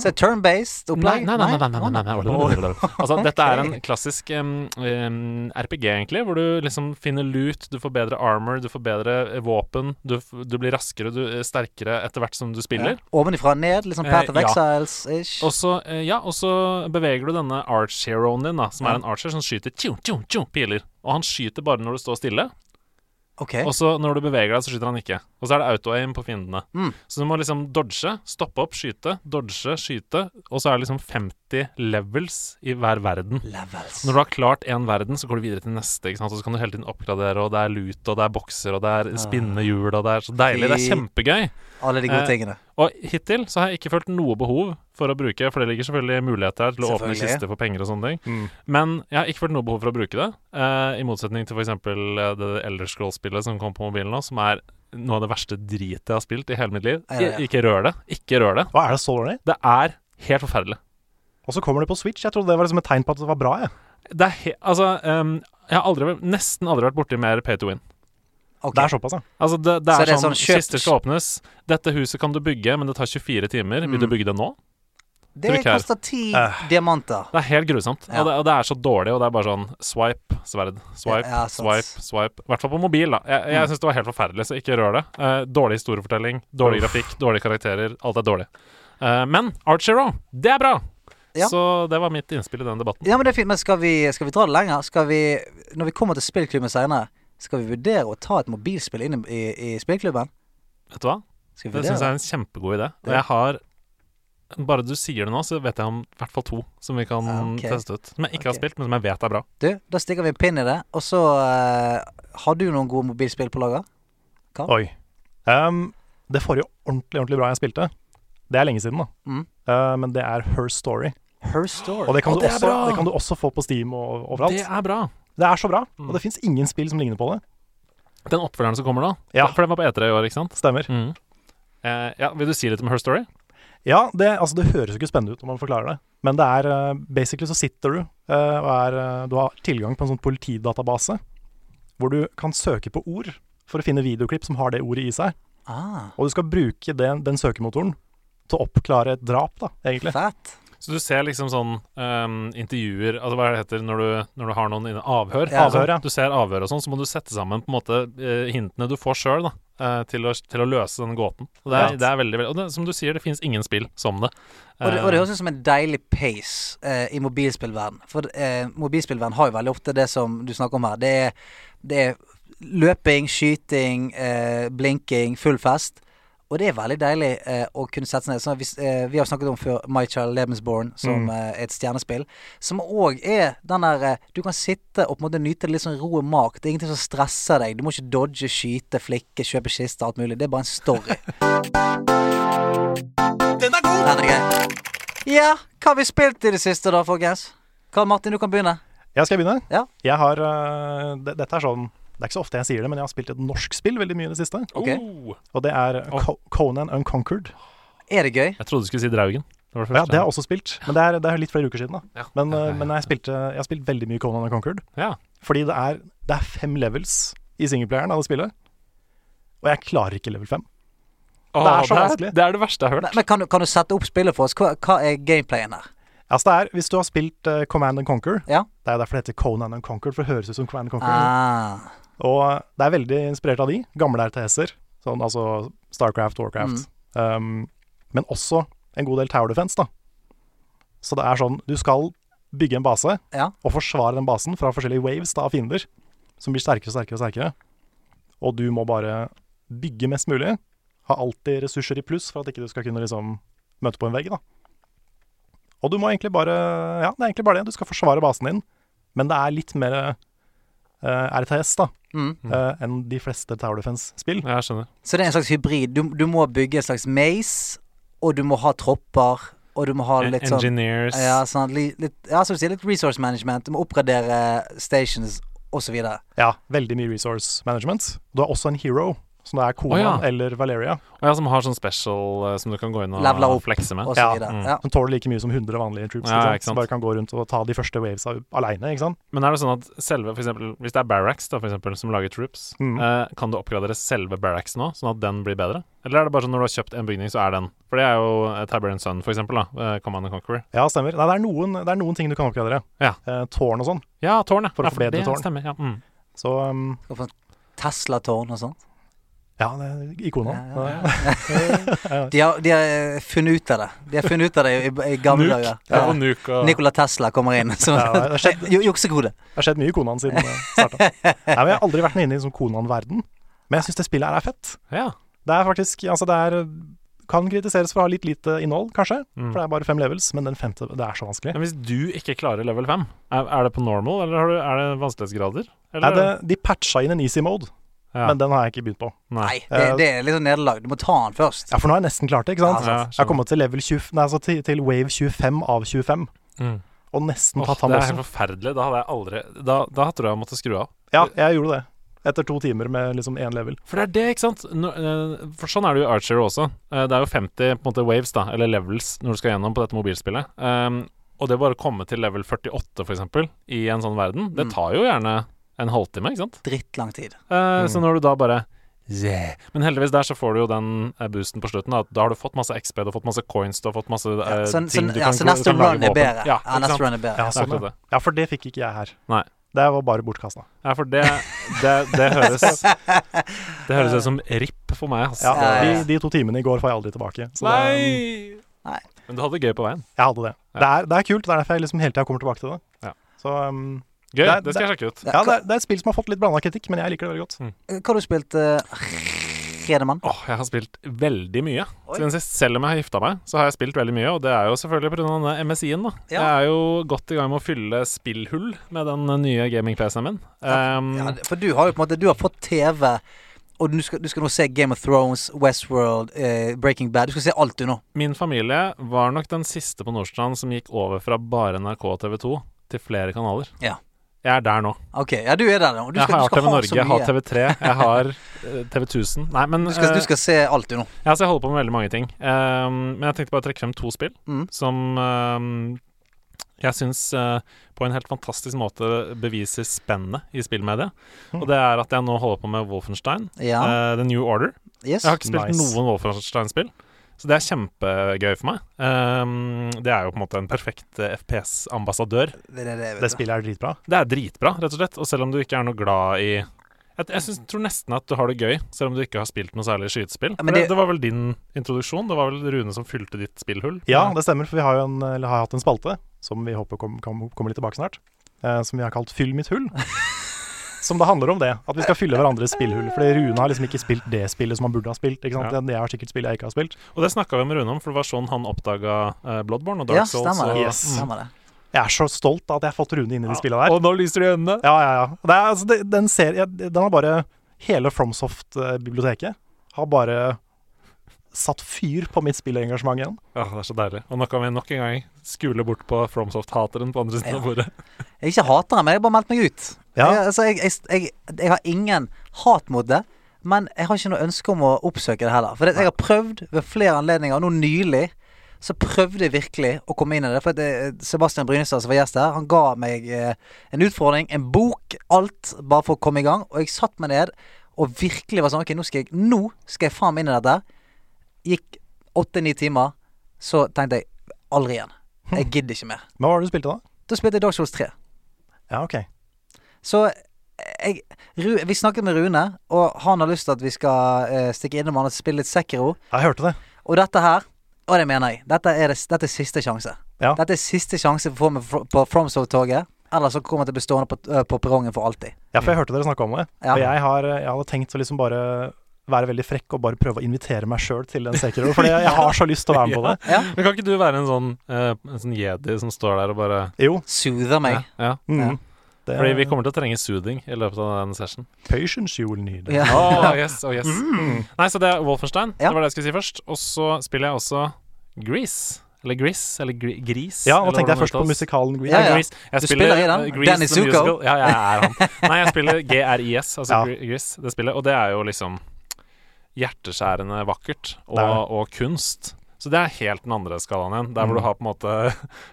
C: Så turn-based opplegg?
D: Nei, nei, nei, nei,
C: Å,
D: nei, nei, nei, nei. Altså, dette er en klassisk em, em, RPG, egentlig, hvor du liksom finner loot, du får bedre armor, du får bedre eh, våpen, du, f- du blir raskere, du er sterkere etter hvert som du
C: Ja.
D: spiller.
C: Ovenifra og ned, litt sånn
D: Eh,
C: Path of
D: ja.
C: Exiles-ish.
D: Og så, eh, ja, og så beveger du denne arch-heroen din, da, som er en archer som skyter tjo, tjo, tjo, piler. Og han skyter bare når du står stille,
C: OK.
D: og så når du beveger deg, så skyter han ikke. Og så er det auto-aim på fiendene.
C: Mm.
D: Så du må liksom dodge, stoppe opp, skyte, dodge, skyte, og så er det liksom 50 levels i hver verden.
C: Levels.
D: Når du har klart én verden, så går du videre til neste. Ikke sant? Og så kan du hele tiden oppgradere, og det er lut, og det er bokser, og det er spinnende hjul, og det er så deilig. Det er kjempegøy.
C: Alle de gode
D: eh,
C: tingene.
D: Og hittil så har jeg ikke følt noe behov for å bruke For det ligger selvfølgelig muligheter her til å åpne
C: Selvfølgelig.
D: kister for penger og sånne ting. Men jeg har ikke følt noe behov for å bruke det. eh, I motsetning til f.eks. det Elder Scrolls-spillet som kom på mobilen nå, som er noe av det verste dritet jeg har spilt i hele mitt liv.
C: Ja, ja, ja.
D: I- Ikke rør det. Ikke rør det.
A: Hva er det så dårlig?
D: Det er helt forferdelig.
A: Og så kommer det på Switch. Jeg trodde det var liksom et tegn på at det var bra. Jeg.
D: Det er he altså, ehm, jeg har aldri, nesten aldri vært borti mer pay to win.
C: Ok.
A: Det er såpass, ja.
D: Altså det, det
C: Så
D: er,
C: det er
D: sånn,
C: sånn, kjøp-
D: Kister skal åpnes. Dette huset kan du bygge, men det tar 24 timer. Vil du
C: Mm.
D: bygge det nå?
C: Det
D: trykk her. Eh,
C: koster ti diamanter.
D: Det er helt grusomt.
C: Ja.
D: Og, det, og det er så dårlig, og det er bare sånn swipe, sverd, swipe,
C: Ja, sånn Mm. sant.
D: swipe, swipe. I hvert fall på mobil, da. Jeg, jeg syns det var helt forferdelig, så ikke rør det. Eh, dårlig historiefortelling, dårlig grafikk, dårlige karakterer. Alt er dårlig. Eh, men Archero, det er bra!
C: Ja.
D: Så det var mitt innspill i den debatten.
C: Ja, men det er fint, men skal vi, skal vi dra det lenger? Skal vi, når vi kommer til spillklubben senere, skal vi vurdere å ta et mobilspill inn i, i spillklubben?
D: Vet du hva?
C: Skal vi
D: Det
C: vurdere
D: syns jeg er en kjempegod idé. Og
C: Ja.
D: jeg har Bare du sier det nå, så vet jeg om i hvert fall to som vi kan
C: Ah, ok.
D: teste ut. Som jeg ikke har
C: Ok.
D: spilt, men som jeg vet er bra.
C: Du, da stikker vi en pinn i det, og så eh, Har du noen gode mobilspill på lager?
A: Oi. Ehm, det forrige ordentlig, ordentlig bra jeg spilte, det er lenge siden, da.
C: Mm.
A: Eh, men det er Her Story.
C: Her Story.
A: Og det kan,
D: Å,
A: du,
D: det er
A: også,
D: bra!
A: det kan du også få på Steam og overalt.
D: Det
A: Det er,
D: er Mm. bra.
A: så bra, og det fins ingen spill som ligner på det.
D: Den oppfølgeren som kommer nå,
A: Ja.
D: for den var på E3 i år, ikke sant?
A: Stemmer.
D: Mm. Eh, ja, vil du si litt om Her Story?
A: Ja, det, altså, det høres jo ikke spennende ut når man forklarer det, men det er eh, basically så sitter du eh, og er eh, Du har tilgang på en sånn politidatabase hvor du kan søke på ord for å finne videoklipp som har det ordet i seg,
C: Ah,
A: og du skal bruke den, den søkemotoren til å oppklare et drap, da, egentlig.
C: fett.
D: Så du ser liksom sånn ehm, intervjuer Altså hva er det heter når du, når du har noen inne Avhør.
C: Ja.
A: Avhør, ja.
D: Du ser avhør og sånn, så må du sette sammen på en måte eh, hintene du får sjøl, da. eh, til, å, til å løse den gåten. Og det er,
A: Ja.
D: det er veldig, veldig Og det, som du sier, det fins ingen spill som det.
C: Og det, og det
D: Eh,
C: høres ut som en deilig pace eh, i mobilspillverden. For eh, mobilspillverden har jo veldig ofte det som du snakker om her. Det er, det er løping, skyting, eh, blinking, full fest. Og det er veldig deilig eh, å kunne sette seg ned. Sånn, at hvis, eh, vi har snakket om før My Child Lebensborn, som eh, er et stjernespill. Som òg er den der eh, Du kan sitte og på en måte nyte det litt sånn ro og mak. Det er ingenting som stresser deg. Du må ikke dodge, skyte, flikke, kjøpe kiste, alt mulig. Det er bare en story. Den er grei. Ja, hva har vi spilt i det siste da, folkens? Karl Martin, du kan begynne.
A: Jeg skal begynne.
C: Ja.
A: Jeg har eh, det, Dette er sånn Det er ikke så ofte jeg sier det, men jeg har spilt et norsk spill veldig mye i det siste.
C: Ok.
D: oh,
A: Og det er eh,
D: Åh.
A: Co- Conan Unconquered.
C: Er det gøy?
D: jeg trodde du skulle si Draugen. Det var det
A: Ja,
D: første.
A: det har jeg også spilt, men det er, det er litt flere uker siden. da
D: Ja.
A: Men,
D: Ja,
A: eh,
D: ja, ja.
A: men jeg, spilte, jeg har spilt veldig mye Conan Unconquered.
D: Ja.
A: Fordi det er, det er fem levels i singleplayeren av det spillet. Og jeg klarer ikke level fem.
D: Åh,
A: Det er så
D: det
A: vanskelig.
D: er, det er det verste jeg har
C: Men,
D: hørt.
C: men kan, du, kan du sette opp spillet for oss? Hva, hva er gameplayen her?
A: Altså det er, Hvis du har spilt eh, Command and Conquer
C: Ja.
A: Det er derfor det heter Conan and Conquer, for det høres ut som Command and Conquer.
C: Ah,
A: Og eh, det er veldig inspirert av de, gamle RTS-er. Sånn altså Starcraft, Warcraft. Um, men også en god del Tower Defense, da. Så det er sånn, du skal bygge en base
C: Ja.
A: og forsvare den basen fra forskjellige waves da, av fiender, som blir sterkere og sterkere og sterkere. Og du må bare bygge mest mulig. Ha alltid ressurser i pluss for at ikke du skal kunne liksom møte på en vegg, da. Og du må egentlig bare Ja, det er egentlig bare det. Du skal forsvare basen din, men det er litt mer eh, RTS, da
C: mm.
A: eh, enn de fleste Tower Defense-spill.
D: Ja, jeg skjønner.
C: Så det er en slags hybrid. Du, du må bygge en slags maze, og du må ha tropper, og du må ha litt sånn
D: Engineers.
C: ja, sånn, li- litt, ja, som du sier, litt resource management. Du må oppgradere stations, og så videre.
A: Ja, veldig mye resource management. Du har også en hero Så det er Konan
D: Å, ja.
A: eller Valeria.
D: Og jeg som har sånn special eh, som du kan gå inn
C: Leveler
D: og
C: opp.
D: flekse med.
C: og så
A: Ja,
C: videre.
D: mm.
C: Ja.
A: Som tåler like mye som 100 vanlige troops.
D: Ja,
A: ikke
D: ikke
A: sant?
D: sant.
A: Som bare kan gå rundt og ta de første wavesa aleine, ikke sant.
D: Men er det sånn at selve, for eksempel, hvis det er Barracks da, for eksempel, som lager troops,
A: Mm.
D: eh, kan du oppgradere selve Barracks nå, sånn at den blir bedre? Eller er det bare sånn når du har kjøpt en bygning, så er den? For det er jo eh, Tiberian Sun, for eksempel, da. eh, Command and Conqueror.
A: Ja, stemmer. Nei, det er noen, det er noen ting du kan oppgradere.
D: Ja.
A: Eh, tårn og sånn.
D: Ja, tårnet.
A: For
D: ja,
A: å
D: det
A: forbedre tårn.
D: Stemmer, ja. Mm.
A: Så um,
C: Og sånn Tesla-tårn og sånn. sånt.
A: ja, det er ikona.
C: Ja, ja, De har, de har eh, funnet ut av det. De har funnet ut av det i, i gamle
D: Nuke.
C: dager.
D: Ja. Og
C: Ja.
D: Nuke og
C: Nikola Tesla kommer inn. Så,
A: Ja, det har skjedd.
C: Ju- Juksekode.
A: Det har skjedd mye i Konan siden det starta. Nei, men jeg har aldri vært inne i sånn Konan-verden. Men jeg syns det spillet her er fett.
D: Ja.
A: Det er faktisk Altså, det er kan kritiseres for å ha litt lite innhold, kanskje.
D: Mm.
A: For det er bare fem levels, men den femte Det er så vanskelig.
D: Men hvis du ikke klarer level 5, er, er det på normal, eller har du, er det vanskelighetsgrader?
A: Nei,
D: Eller?
A: det, de patcha inn en easy mode,
D: ja.
A: men den har jeg ikke begynt på.
D: Nei.
C: Nei, det, det er litt sånn nederlag. Du må ta den først.
A: Ja, For nå har jeg nesten klart det, ikke sant?
D: Ja, sant.
A: jeg har kommet til level 20, nei, altså til, til wave 25 av 25,
D: Mm.
A: og nesten
D: Åh,
A: tatt ham
D: det er
A: også.
D: helt forferdelig. Da hadde jeg aldri Da, da tror jeg jeg måtte skru av.
A: Ja, jeg gjorde det. Etter to timer med liksom én level.
D: For det er det, ikke sant? Nå- eh, For sånn er det jo i Archer også. Eh, Det er jo 50 på en måte waves, da, eller levels, når du skal gjennom på dette mobilspillet. Um, og det å bare komme til level 48, for eksempel, i en sånn verden, det
C: Mm.
D: tar jo gjerne en halvtime, ikke sant?
C: Drittlang tid.
D: Eh,
A: Mm.
D: Så når du da bare Yeah. Men heldigvis der så får du jo den eh, boosten på slutten. Da, at da har du fått masse XP, du har fått masse coins, du har fått masse eh,
C: Ja, så, så,
D: ting du
C: ja,
D: kan,
C: så
D: du
C: neste
D: kan lage
C: run er
D: våpen.
C: bedre.
D: Ja,
C: Ja,
D: ikke sant?
C: neste run er bedre.
D: Det
A: Ja,
D: er
A: sånn,
D: akkurat
A: ja.
D: det.
A: ja, for det fikk ikke jeg her.
D: Nei.
A: Det var bare bortkasta.
D: Ja, for det, det, det høres Det høres ut som RIP for meg, altså.
A: Ja,
C: Ja, ja, ja.
A: de, de to timene i går får jeg aldri tilbake. Så det,
D: Nei!
C: Nei.
D: Men du hadde det gøy på veien.
A: jeg hadde det.
D: Ja.
A: Det er, det er kult. Det er derfor jeg liksom hele tida kommer tilbake til det.
D: Ja.
A: Så um,
D: Gøy,
A: Det er-
D: det skal jeg sjekke ut.
A: ja, det er, det er et spill som har fått litt blanda kritikk, men jeg liker det veldig godt.
C: Hva har du spilt, uh, Redemann?
D: Åh, jeg har spilt veldig mye
C: Oi.
D: siden sist. Selv om jeg har gifta meg, så har jeg spilt veldig mye. Og det er jo selvfølgelig pga. denne MSI-en, da.
C: Ja.
D: Jeg er jo godt i gang med å fylle spillhull med den eh, nye gaming-PC-en min. Um,
C: Ja, for du har jo på en måte Du har fått TV, og du skal, du skal nå se Game of Thrones, Westworld, eh, Breaking Bad. Du skal se alt, du nå.
D: Min familie var nok den siste på Nordstrand som gikk over fra bare NRK og TV 2 til flere kanaler.
C: Ja.
D: Jeg er der nå.
C: Ok, ja, du er der nå. Du
D: jeg
C: skal,
D: har
C: du skal
D: TV
C: ha
D: Norge,
C: så
D: jeg har
C: mye.
D: TV 3, jeg har eh, TV 1000. Nei, men
C: Du skal,
D: eh,
C: du skal se alt, du nå.
D: Ja, så jeg holder på med veldig mange ting. Ehm, men jeg tenkte bare å trekke frem to spill
C: Mm.
D: som ehm, jeg syns eh, på en helt fantastisk måte beviser spennet i spillmediet.
A: Mm.
D: Og det er at jeg nå holder på med Wolfenstein,
C: Hm. Ja.
D: eh, The New Order.
C: Yes.
D: Jeg har ikke spilt
A: Nice.
D: noen Wolfenstein-spill, så det er kjempegøy for meg. Ehm, det er jo på en måte en perfekt eh, FPS-ambassadør.
C: Det, det, det,
A: Det
C: vet du.
A: spillet er dritbra.
D: Det er dritbra, rett og slett. Og selv om du ikke er noe glad i jeg, jeg syns- tror nesten at du har det gøy, selv om du ikke har spilt noe særlig skytespill.
C: Ja,
D: For
C: men
D: det,
C: det-
D: det var vel din introduksjon? Det var vel Rune som fylte ditt spillhull?
A: Ja, det stemmer, for vi har jo en, eller har hatt en spalte som vi håper kom, kom, kommer litt tilbake snart, eh, som vi har kalt 'Fyll mitt hull'. Som det handler om det, at vi skal fylle hverandres spillhull. Fordi Rune har liksom ikke spilt det spillet som han burde ha spilt. Ikke sant?
D: Ja.
A: Jeg har sikkert spill jeg ikke har spilt.
D: Og det snakka vi med Rune om, for det var sånn han oppdaga eh, Bloodborne og Dark
C: Ja,
D: Souls.
C: stemmer
D: Og,
C: det.
A: Yes.
C: Stemmer det.
A: Jeg er så stolt av at jeg har fått Rune inn i de spillene der.
D: Og nå lyser det i øynene!
A: Ja, ja, ja. Det er, altså, det, den serien Den har bare Hele FromSoft-biblioteket har bare satt fyr på mitt spillengasjement igjen.
D: Ja, det er så deilig. Og nå kan vi nok en gang skule bort på FromSoft-hateren på andre siden
C: Ja.
D: av bordet.
C: Jeg er ikke hater, men jeg har bare meldt meg ut.
A: Ja.
C: Jeg, altså, jeg, jeg, jeg, jeg har ingen hat mot det, men jeg har ikke noe ønske om å oppsøke det heller. For det, jeg har prøvd ved flere anledninger, og nå nylig så prøvde jeg virkelig å komme inn i det. For at eh, Sebastian Brynestad, som var gjest her, han ga meg eh, en utfordring, en bok, alt, bare for å komme i gang. Og jeg satte meg ned og virkelig var sånn Ok, nå skal jeg, nå skal jeg faen meg inn i dette. Gikk åtte-ni timer, så tenkte jeg aldri igjen. Jeg gidder ikke mer.
A: Men hva var det du spilte da?
C: Da spilte jeg Dark Souls 3.
A: Ja, ok.
C: Så eh, jeg, Ru, vi snakket med Rune, og han har lyst til at vi skal eh, stikke innom han og spille litt Sekiro.
A: Jeg hørte det.
C: Og dette her, og det mener jeg, dette er, det, dette er siste sjanse.
A: Ja.
C: Dette er siste sjanse for å få meg fr- på FromSoft-toget. Ellers så kommer jeg til å bli stående på, eh, på perrongen for alltid.
A: Ja,
D: Mm.
A: for jeg hørte dere snakke om det.
C: Ja.
A: Og jeg, har, jeg hadde tenkt å liksom bare være veldig frekk og bare prøve å invitere meg sjøl til den Sekiro, fordi jeg har så lyst til å være med på det.
C: Ja.
D: Men kan ikke du være en sånn, eh, en sånn jedi som står der og bare
A: Jo.
C: Soother meg.
D: ja.
A: Mm. Det
D: Fordi vi kommer til å trenge soothing i løpet av den session.
A: Patience you will need.
C: Ja.
D: Oh, yes, oh, yes. Nei, så det er Wolfenstein.
C: Ja.
D: Det var det jeg skulle si først. Og så spiller jeg også Grease. Eller Gris, eller gri Gris.
A: Ja, nå
D: eller
A: tenkte
D: hvordan
A: jeg først
D: det
A: på
D: uttales.
A: musikalen Green.
C: Ja, ja.
D: Grease. Jeg
C: Du spiller i den.
D: eh, Grease
C: Danny
D: the
C: Zuko.
D: Musical. Ja, jeg er han. Nei, jeg spiller GRIS, altså
A: Ja.
D: Gr- Gris, det spillet. Og det er jo liksom hjerteskjærende vakkert og,
A: Det er det.
D: og kunst. Så det er helt den andre skalaen igjen. Der hvor du har på en måte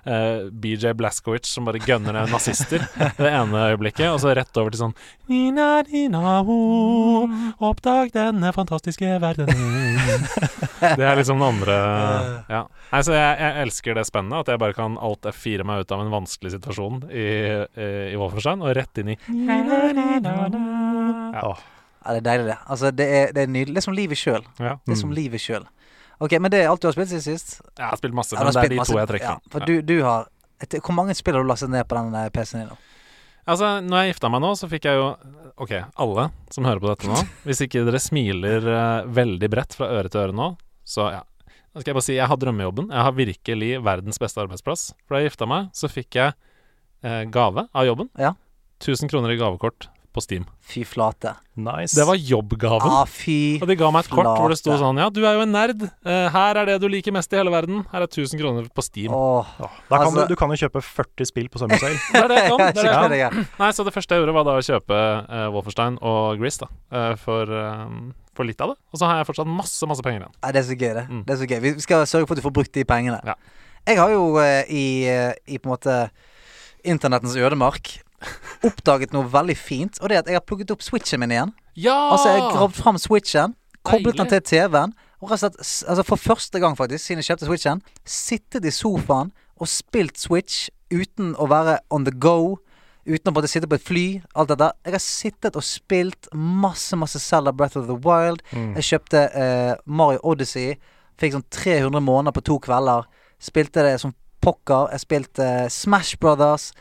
D: eh, BJ Blazkowicz som bare gønner ned nazister det ene øyeblikket, og så rett over til sånn Nina, nina, wo, oppdag denne fantastiske verdenen. Det er liksom den andre Ja. Nei, så jeg, jeg elsker det spennet, at jeg bare kan alt F4 meg ut av en vanskelig situasjon i, eh, i Wolfenstein, og rett inn i nina, nina, na. Ja.
A: Åh,
C: Ja, det er deilig, det. Altså, det er, det er nydelig. Det er som livet sjøl.
D: ja.
C: Det er som livet sjøl. Ok, men det er alt du har spilt siden sist?
D: Jeg har spilt masse,
C: Ja, du
D: men
C: har
D: det er
C: spilt
D: de
C: masse-
D: to jeg trekker.
C: Ja, for
D: Ja.
C: du, du har et, Hvor mange spill har du lastet ned på den eh, PC-en din nå?
D: Altså, når jeg gifta meg nå, så fikk jeg jo Ok, alle som hører på dette nå. Hvis ikke dere smiler eh, veldig bredt fra øre til øre nå, så ja. Da skal jeg bare si jeg har drømmejobben. Jeg har virkelig verdens beste arbeidsplass. For da jeg gifta meg, så fikk jeg eh, gave av jobben.
C: Ja.
D: 1000 kroner i gavekort på Steam.
C: Fy flate.
A: nice.
D: Det var jobbgaven.
C: Ah, fy
D: Og de ga meg et kort hvor det sto
C: flate.
D: sånn Ja, du er jo en nerd. Eh, her er det du liker mest i hele verden. Her er 1000 kroner på Steam.
C: Åh,
A: Åh, da kan
C: Altså-
A: du, du kan jo kjøpe 40 spill på Summer Sale.
D: Det er det jeg kan. Det er det jeg
C: skikkelig
D: kan.
C: digg.
D: Nei, så det første jeg gjorde var da å kjøpe eh, Wolfenstein og Gris da, eh, for, eh, for litt av det. Og så har jeg fortsatt masse, masse penger igjen.
C: Nei, det er så gøy, det.
D: Mm.
C: det er så gøy. Vi skal sørge for at du får brukt de pengene.
D: Ja.
C: Jeg har jo eh, i, eh, i på en måte internettens ødemark oppdaget noe veldig fint, og det er at jeg har plukket opp switchen min igjen.
D: Ja!
C: Altså, jeg gravd fram switchen, koblet den
D: Deilig.
C: til TV-en, og rett og slett, s- altså for første gang faktisk, siden jeg kjøpte switchen, sittet i sofaen og spilt switch uten å være on the go, uten å måtte sitte på et fly, alt dette. Jeg har sittet og spilt masse, masse Zelda Breath of the Wild. Jeg kjøpte eh, Mario Odyssey, fikk sånn 300 måneder på to kvelder, spilte det som pokker, jeg spilte eh, Smash Brothers,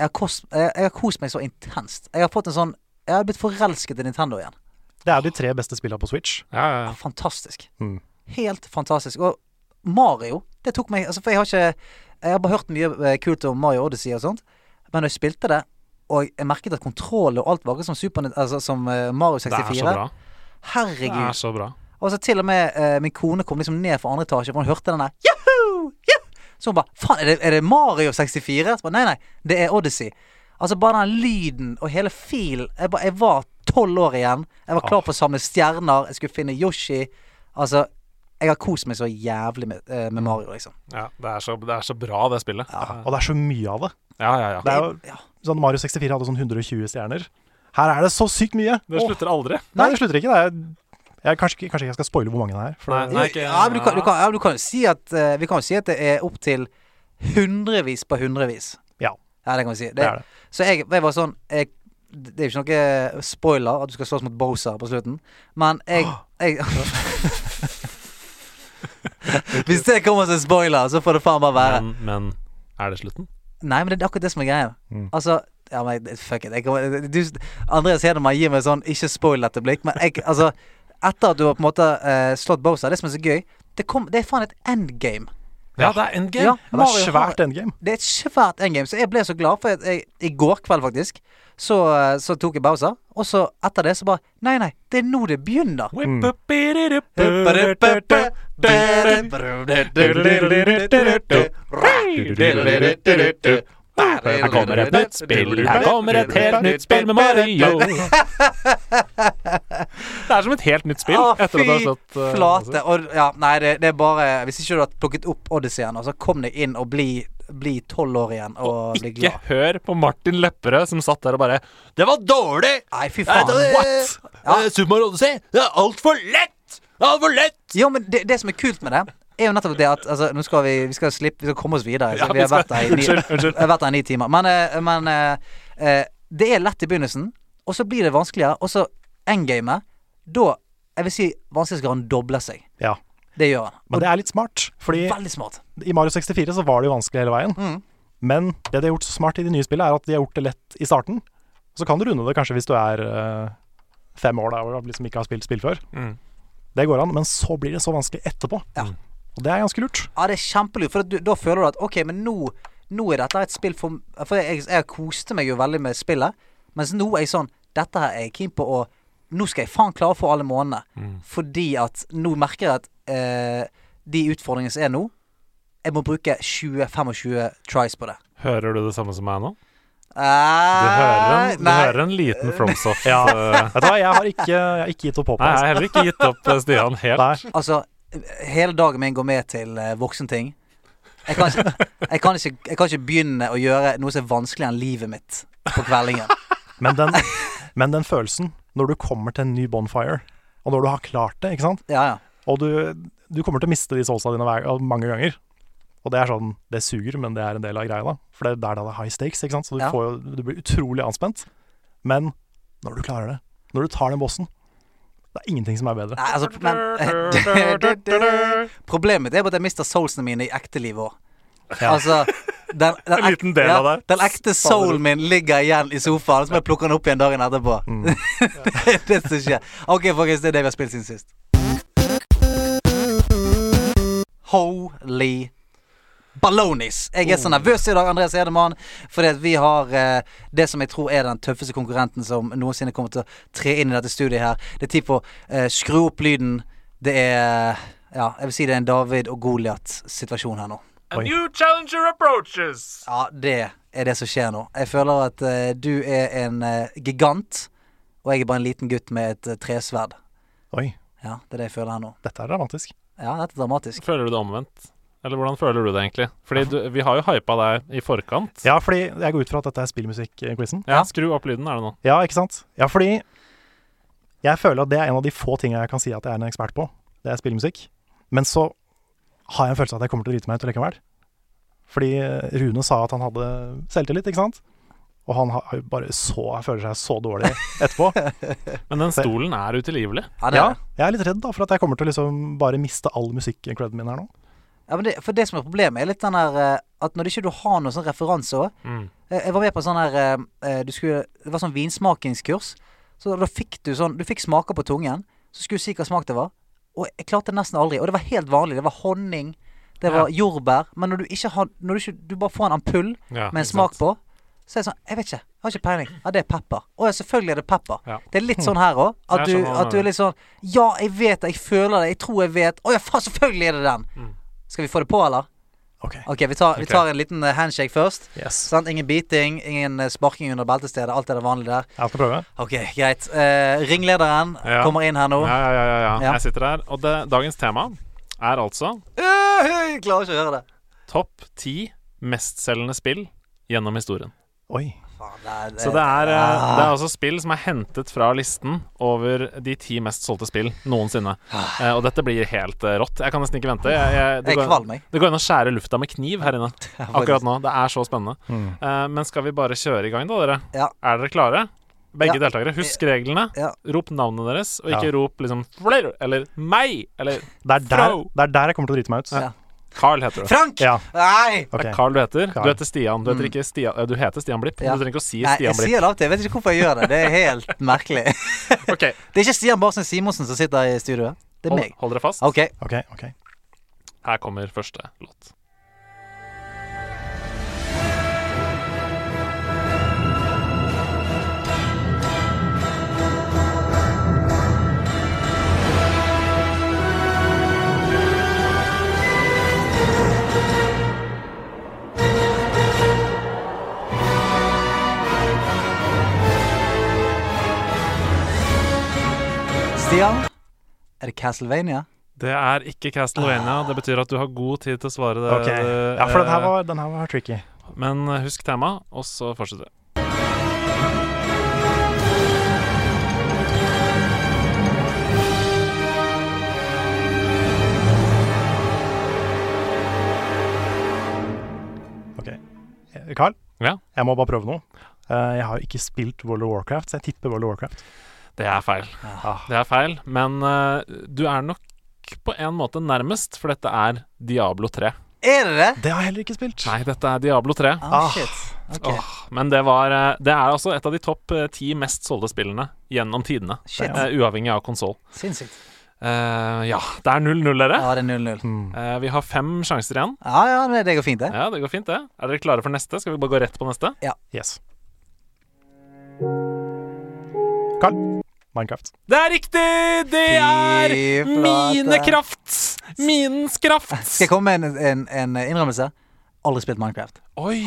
C: jeg har, kost, jeg, jeg har kost meg så intenst. Jeg har fått en sånn, jeg har blitt forelsket i Nintendo igjen.
A: Det er de tre beste spillene på Switch.
D: ja, ja, ja.
C: Fantastisk.
A: Mm.
C: Helt fantastisk. Og Mario, det tok meg altså For jeg har ikke Jeg har bare hørt mye eh, kult om Mario Odyssey og sånt, men da jeg spilte det, og jeg merket at kontrollen og alt var ikke som, Super, Nint- altså, som eh, Mario
D: Det er så
C: 64
D: bra. Det
C: Herregud.
D: er så bra.
C: Og så til og med eh, min kone kom liksom ned fra andre etasje, for hun hørte den der Yahoo! Yahoo! Så hun bare Faen, er, det- er det Mario 64? Så bare, nei, nei, det er Odyssey. Altså bare den lyden og hele filen Jeg, bare, jeg var tolv år igjen. Jeg var klar for å samle stjerner. Jeg skulle finne Yoshi. Altså, jeg har kost meg så jævlig med, eh, med Mario, liksom.
D: Ja, det, er så, det er så bra, det spillet. Ja,
A: Og det er så mye av det.
D: ja, ja.
A: Det er jo,
C: Ja.
A: sånn Mario 64 hadde sånn 120 stjerner. Her er det så sykt mye!
D: Det slutter aldri.
A: Nei, det slutter ikke. Det er, jeg, kanskje, ikke- kanskje ikke jeg skal spoile hvor mange det er. For
D: Nei,
A: det,
D: nei, ikke,
C: ja, men du kan, du kan, ja, men du kan jo si at eh, Vi kan jo si at det er opptil hundrevis på hundrevis.
A: ja,
C: Ja, det kan vi si. Det,
A: det er det.
C: Så jeg, jeg var sånn jeg, Det er jo ikke noe eh, spoiler at du skal slåss mot Bosa på slutten, men jeg, jeg Hvis det kommer som en spoiler, så får det faen bare være.
D: Men, men er det slutten?
C: Nei, men det er akkurat det som er greia. Altså ja, men, Fuck it. Jeg kommer, du, Andreas Hedemann gir meg sånn ikke spoil dette blikk, men jeg, altså Etter at du har på en måte eh, slått Bosa, det som er så gøy Det, kom, det er faen et endgame.
D: Ja, det er endgame.
A: Ja, det er
C: Mario har-
A: svært endgame.
C: det er et svært endgame, så jeg ble så glad for at jeg, I går kveld, faktisk, så, så tok jeg Bowser, og så etter det så bare Nei, nei, det er nå det begynner.
D: Mm. Her kommer et nytt spill, her kommer et helt nytt spill med Mario. Det er som et helt nytt spill
C: Å,
D: etter at du har slått
C: Ah, fy
D: eh,
C: flate. Og, ja, nei, det, det er bare Hvis ikke du har plukket opp Odysseyen, og så kom deg inn og bli bli tolv år igjen og, bli
D: Ikke
C: glad.
D: hør på Martin Lepperød som satt der og bare Det var dårlig!
C: Nei, fy faen. Ja.
D: Eh, Super Mario Odyssey, det er altfor lett! Det er altfor lett!
C: Jo, men det, det som er kult med det, er jo nettopp det at altså, Nå skal vi, vi skal slippe, vi skal komme oss videre.
D: Ja,
C: Så vi har
D: vi skal-
C: vært der i ni,
D: Unnskyld, unnskyld.
C: jeg har vært der i ni timer. Men, eh, men eh, eh, det er lett i begynnelsen, og så blir det vanskeligere. Og så endgamet. Da Jeg vil si vanskelighetsgraden dobler seg.
A: Ja.
C: Det gjør han.
A: Men det er litt smart, fordi
C: Veldig smart.
A: i Mario 64 så var det jo vanskelig hele veien.
D: Mm.
A: Men det de har gjort så smart i de nye spillene, er at de har gjort det lett i starten. Så kan du runde det kanskje hvis du er eh, fem år da, og liksom ikke har spilt spill før.
D: Mm.
A: Det går an, men så blir det så vanskelig etterpå.
C: Ja.
A: Og det er ganske lurt.
C: Ja, det er kjempelurt, for at du, da føler du at OK, men nå, nå er dette et spill for For jeg, jeg koste meg jo veldig med spillet, mens nå er jeg sånn Dette her er jeg keen på å Nå skal jeg faen klare for alle månedene. Fordi at nå merker jeg at eh, de utfordringene som er nå Jeg må bruke 20-25 tries på det.
D: Hører du det samme som meg nå? Du hører en, du
C: nei.
D: hører en liten FromSoft
A: Ja.
D: eh,
A: Vet du hva, jeg har ikke, jeg har ikke gitt opp
D: Nei,
A: håpet.
D: jeg har
A: altså.
D: heller ikke gitt opp eh, Stian helt.
A: Nei.
C: Altså, hele dagen min går med til eh, voksenting. Jeg kan, ikke, jeg, kan ikke, jeg kan ikke begynne å gjøre noe som er vanskeligere enn livet mitt på kveldingen.
A: Men, den, men den følelsen når du kommer til en ny bonfire, og når du har klart det, ikke sant
C: Ja, ja.
A: Og du, du kommer til å miste de soulsa dine hver, mange ganger. Og det er sånn Det suger, men det er en del av greia, da. For det er der det er high stakes, ikke sant. Så du,
C: Ja.
A: får, jo- du blir utrolig anspent. Men når du klarer det, når du tar den bossen, det er ingenting som er bedre.
C: Nei, altså, men eh, Problemet mitt er bare at jeg mister soulsene mine i ekte liv òg. Altså den, den
D: En liten del av deg.
C: Den ekte soulen min ligger igjen i sofaen, så må jeg plukke den opp igjen dagen etterpå.
D: Mm.
C: det er det som skjer. OK, folkens, det er det vi har spilt siden sist. Holy Ballonis. Jeg er
D: Oh.
C: så nervøs i dag, Andreas Edemann, fordi at vi har eh, det som jeg tror er den tøffeste konkurrenten som noensinne kommer til å tre inn i dette studiet her. Det er tid for eh, skru opp lyden. Det er Ja, jeg vil si det er en David og Goliat-situasjon her nå.
B: A new challenger approaches.
C: Ja, det er det som skjer nå. Jeg føler at eh, du er en eh, gigant, og jeg er bare en liten gutt med et eh, tresverd.
A: Oi,
C: Ja, det er det jeg føler her nå.
A: dette er dramatisk.
C: Ja, dette er dramatisk.
D: Føler du det omvendt? Eller hvordan føler du det egentlig? Fordi du, vi har jo hypa deg i forkant.
A: Ja, fordi jeg går ut fra at dette er spillmusikk-quizen.
D: Ja, skru opp lyden, er det nå.
A: Ja, ikke sant? Ja, fordi jeg føler at det er en av de få tingene jeg kan si at jeg er en ekspert på. Det er spillmusikk. Men så har jeg en følelse av at jeg kommer til å drite meg ut likevel. Fordi eh, Rune sa at han hadde selvtillit, ikke sant? Og han har jo bare så, jeg føler seg så dårlig etterpå.
D: Men den stolen er utilgivelig.
C: Ja, det
A: Ja,
C: er det.
A: jeg er litt redd da for at jeg kommer til å liksom bare miste all musikk-creden min her nå.
C: Ja, men det, for det som er problemet, er litt den der eh, at når ikke du ikke har noen sånn referanse også,
D: Mm.
C: Jeg jeg var med på en sånn her eh, eh, du skulle, Det var sånn vinsmakingskurs. Så da fikk du sånn Du fikk smaker på tungen. Så skulle du si hva smak det var. Og jeg klarte det nesten aldri. Og det var helt vanlig. Det var honning. Det var jordbær. Men når du ikke har Når du, ikke, du bare får en ampull
D: Ja,
C: med en
D: ikke
C: smak på, så er det sånn Jeg vet ikke. Jeg har ikke peiling. Ja, det er pepper. Å ja, selvfølgelig er det pepper.
D: Ja.
C: Det er litt sånn her òg. At,
D: Jeg
C: du-
D: skjønner hva du
C: at du er litt sånn Ja, jeg vet det. Jeg føler det. Jeg tror jeg vet. Å ja, faen, selvfølgelig er det den. Skal vi få det på, eller?
A: Ok.
C: OK, vi tar, vi
D: Mm. Ok.
C: tar en liten eh, handshake først.
A: Yes.
C: Sant? Ingen biting, ingen eh, sparking under beltestedet. Alt er det vanlige der.
A: Jeg skal prøve.
C: Ok, greit. Eh, ringlederen
D: Ja.
C: kommer inn her nå.
D: Ja, ja, ja, ja, ja.
C: Ja.
D: Jeg sitter her. Og det, dagens tema er altså
C: Eh, Jeg klarer ikke å høre det.
D: topp ti mestselgende spill gjennom historien.
A: Oi.
C: Faen, det er,
D: Så det er, eh, det
C: ah.
D: er også spill som er hentet fra listen over de ti mest solgte spill noensinne. Eh, Og dette blir helt eh, rått. Jeg kan nesten ikke vente. Jeg, jeg, det
C: Ah. Jeg er
D: går-
C: kvalm, jeg.
D: Det går an å skjære lufta med kniv her inne akkurat nå. Det er så spennende.
A: Mm.
D: Eh, men skal vi bare kjøre i gang, da, dere?
C: eh, Ja.
D: Er dere klare? Begge
C: Ja.
D: deltakere. Husk reglene.
C: Ja.
D: Rop navnene deres, og ikke
A: Ja.
D: rop liksom Flair! Eller meg! Eller
A: Det er, der,
D: Throw.
A: det er der jeg kommer til å drite meg ut.
C: Ja.
D: Carl heter du.
C: Frank!
A: Ja,
C: Nei!
A: ok.
D: Det er Carl du heter.
A: Carl.
D: Du heter Stian. Du heter ikke Stian eh, Du heter Stian Blipp.
C: Mm. Ja.
D: Du trenger ikke å si
C: Nei, jeg
D: Stian Blipp.
C: sier det alltid. Jeg vet ikke hvorfor jeg gjør det. Det er helt merkelig.
D: Ok,
C: Det er ikke Stian Barsen Simonsen som sitter i studioet. Det er
D: hold,
C: meg.
D: hold dere fast.
C: Ok.
A: Ok, ok.
D: Her kommer første låt.
C: Stian? Er det Castlevania?
D: Det er ikke Castlevania. Det betyr at du har god tid til å svare det.
A: Ok. Ja, for den
D: eh,
A: her var, den her var tricky.
D: Men eh, husk temaet, og så fortsetter vi.
A: Ok. Eh, Carl,
D: Ja.
A: jeg må bare prøve noe. Eh, Jeg har ikke spilt World of Warcraft, så jeg tipper World of Warcraft.
D: Det er feil.
A: Ah.
D: Det er feil, men eh, du er nok på en måte nærmest, for dette er Diablo 3.
C: Er det det?
A: Det har jeg heller ikke spilt.
D: Nei, dette er Diablo 3.
C: Ah,
A: Ah.
C: shit. Ok.
D: Åh, men det, var, eh, det er altså et av de topp eh, ti mest solgte spillene gjennom tidene.
C: Shit.
D: eh, uavhengig av konsoll. Eh,
C: Sinnssykt.
D: ja, det er 0-0, dere.
C: Ja, det er 0-0.
A: Hmm.
D: Eh, vi har fem sjanser igjen.
C: Ja, ja, men det går fint, det.
D: Ja, Det går fint, det. Er dere klare for neste? Skal vi bare gå rett på neste?
A: Yes. Carl, Minecraft.
D: Det er riktig! Det er
C: Fy flate.
D: minekraft! Minens kraft!
C: Skal jeg komme med en, en, en innrømmelse? aldri spilt Minecraft.
D: Oi!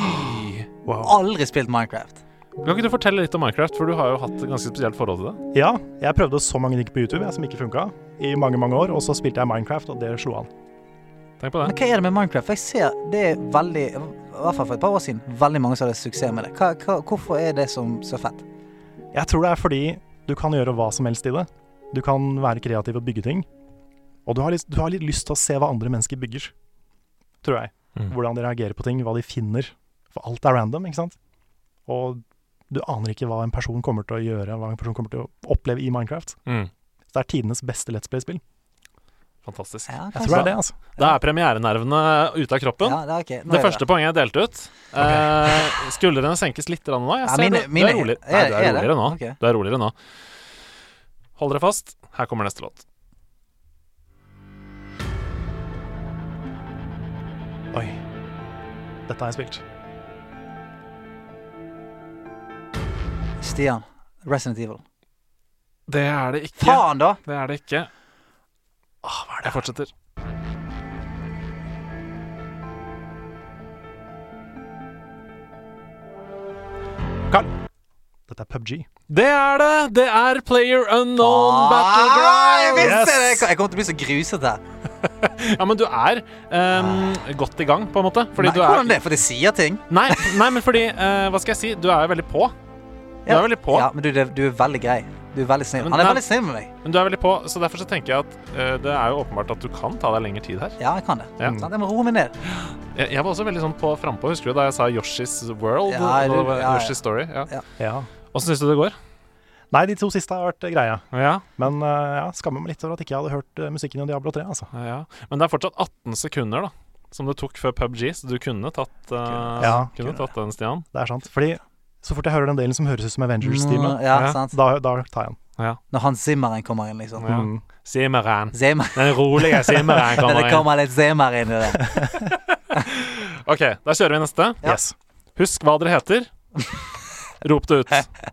A: Wow.
C: Aldri spilt Minecraft.
D: Kan ikke du fortelle litt om Minecraft, for du har jo hatt et ganske spesielt forhold til det?
A: Ja, jeg prøvde så mange ting på YouTube jeg, som ikke funka i mange, mange år. Og så spilte jeg Minecraft, og det slo an.
D: Tenk på
C: Men
D: det.
C: hva er det med Minecraft? For jeg ser det er veldig, i hvert fall for et par år siden, veldig mange som hadde suksess med det. Hva, hva, hvorfor er det som så fett?
A: Jeg tror det er fordi du kan gjøre hva som helst i det. Du kan være kreativ og bygge ting. Og du har litt, du har litt lyst til å se hva andre mennesker bygger, tror jeg.
D: Mm.
A: Hvordan de reagerer på ting, hva de finner. For alt er random, ikke sant. Og du aner ikke hva en person kommer til å gjøre, hva en person kommer til å oppleve i Minecraft.
D: Mm.
A: Så det er tidenes beste Let's Play-spill.
D: Fantastisk.
C: Ja,
A: Jeg tror det er det, altså.
D: Da er premierenervene ute av kroppen.
C: Ja, det er ok. Nå
D: Det
C: er
D: første poenget er delt ut. Eh, skuldrene senkes litt grann nå.
C: Ja,
D: Jeg ser
C: mine-
D: du, du
C: mine-
D: er roligere,
C: er-
D: Nei, du er
C: er det?
D: roligere nå.
C: Ok.
D: Du er roligere nå. Hold dere fast. Her kommer neste låt.
A: Oi. Dette har jeg spilt.
C: Stian. Resident Evil.
D: Det er det ikke.
C: Faen, da!
D: Det er det ikke. Jeg fortsetter.
A: Carl. Dette er PubG.
D: Det er det! Det er Player Unknown
C: Ah, jeg
D: Battleground!
C: visste det!
A: Yes.
C: Jeg kommer til å bli så gruset her.
D: Ja, men du er eh, godt i gang, på en måte.
C: Ah. Nei,
D: Fordi du er
C: Hvordan det? For det sier ting.
D: Nei, nei, men fordi eh, Hva skal jeg si? Du er jo veldig på. Du er veldig på.
C: Ja, men du, det, du er veldig grei. Du er veldig snill.
D: Men
C: Han er
D: nei-
C: veldig snill med meg.
D: Men du er veldig på, så derfor så tenker jeg at eh, det er jo åpenbart at du kan ta deg lengre tid her.
C: Ja, jeg kan det.
D: Ja.
C: Sant? Jeg må roe meg ned.
D: Jeg, jeg var også veldig sånn på frampå. Husker du da jeg sa Yoshi's World?
C: Ja,
D: og
C: du- ja, ja.
D: Yoshi's Story ja.
C: Ja.
A: Ja.
D: Åssen syns du det går?
A: Nei, de to siste har vært eh, greia.
D: Ja,
A: Men eh, ja, skammer meg litt over at ikke jeg hadde hørt eh, musikken i Diablo 3, altså.
D: ja. Men det er fortsatt 18 sekunder da som det tok før PubG, så du kunne tatt, eh,
A: Ja,
D: kunne
A: kunne.
D: tatt den, Stian.
A: Det er sant. Fordi så fort jeg hører den delen som høres ut som Avengers-teamet,
C: Mm, ja,
D: Ja.
C: sant?
A: da, da tar jeg den.
C: Når han Zimmeren kommer inn, liksom.
D: Ja.
A: Mm.
D: Simmeren.
C: Zimmer.
D: Den rolige
C: Men
D: simmeren
C: det
D: kommer inn.
C: kommer litt Zimmer inn i det.
D: OK, da kjører vi neste.
C: Ja.
A: Yes.
D: Husk hva dere heter. Rop det ut.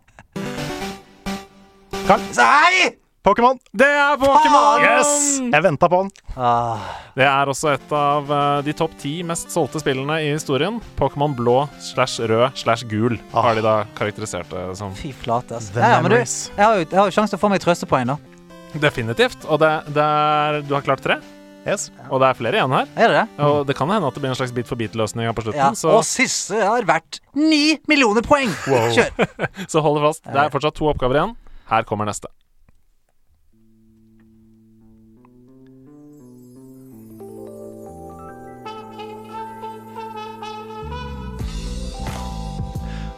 C: Nei!
A: Pokémon!
D: Det er Pokémon!
A: Yes! Jeg venta på den.
C: Ah,
D: Det er også et av eh, de topp ti mest solgte spillene i historien. Pokémon blå slash rød slash gul
C: Ah.
D: har de da karakterisert det som.
C: fy flate, altså.
A: The
C: Ja, ja, men du, jeg
A: memories.
C: har jo, jeg har jo sjanse til å få meg trøstepoeng nå.
D: Definitivt. Og det, det er, du har klart tre,
A: Yes.
D: og det er flere igjen her.
C: Er det det?
D: Og det kan hende at det blir en slags bit for bit-løsning her på
C: Ja.
D: slutten,
C: Og siste har vært ni millioner poeng! Kjør!
D: så, så hold fast. Det er fortsatt to oppgaver igjen. Her kommer neste.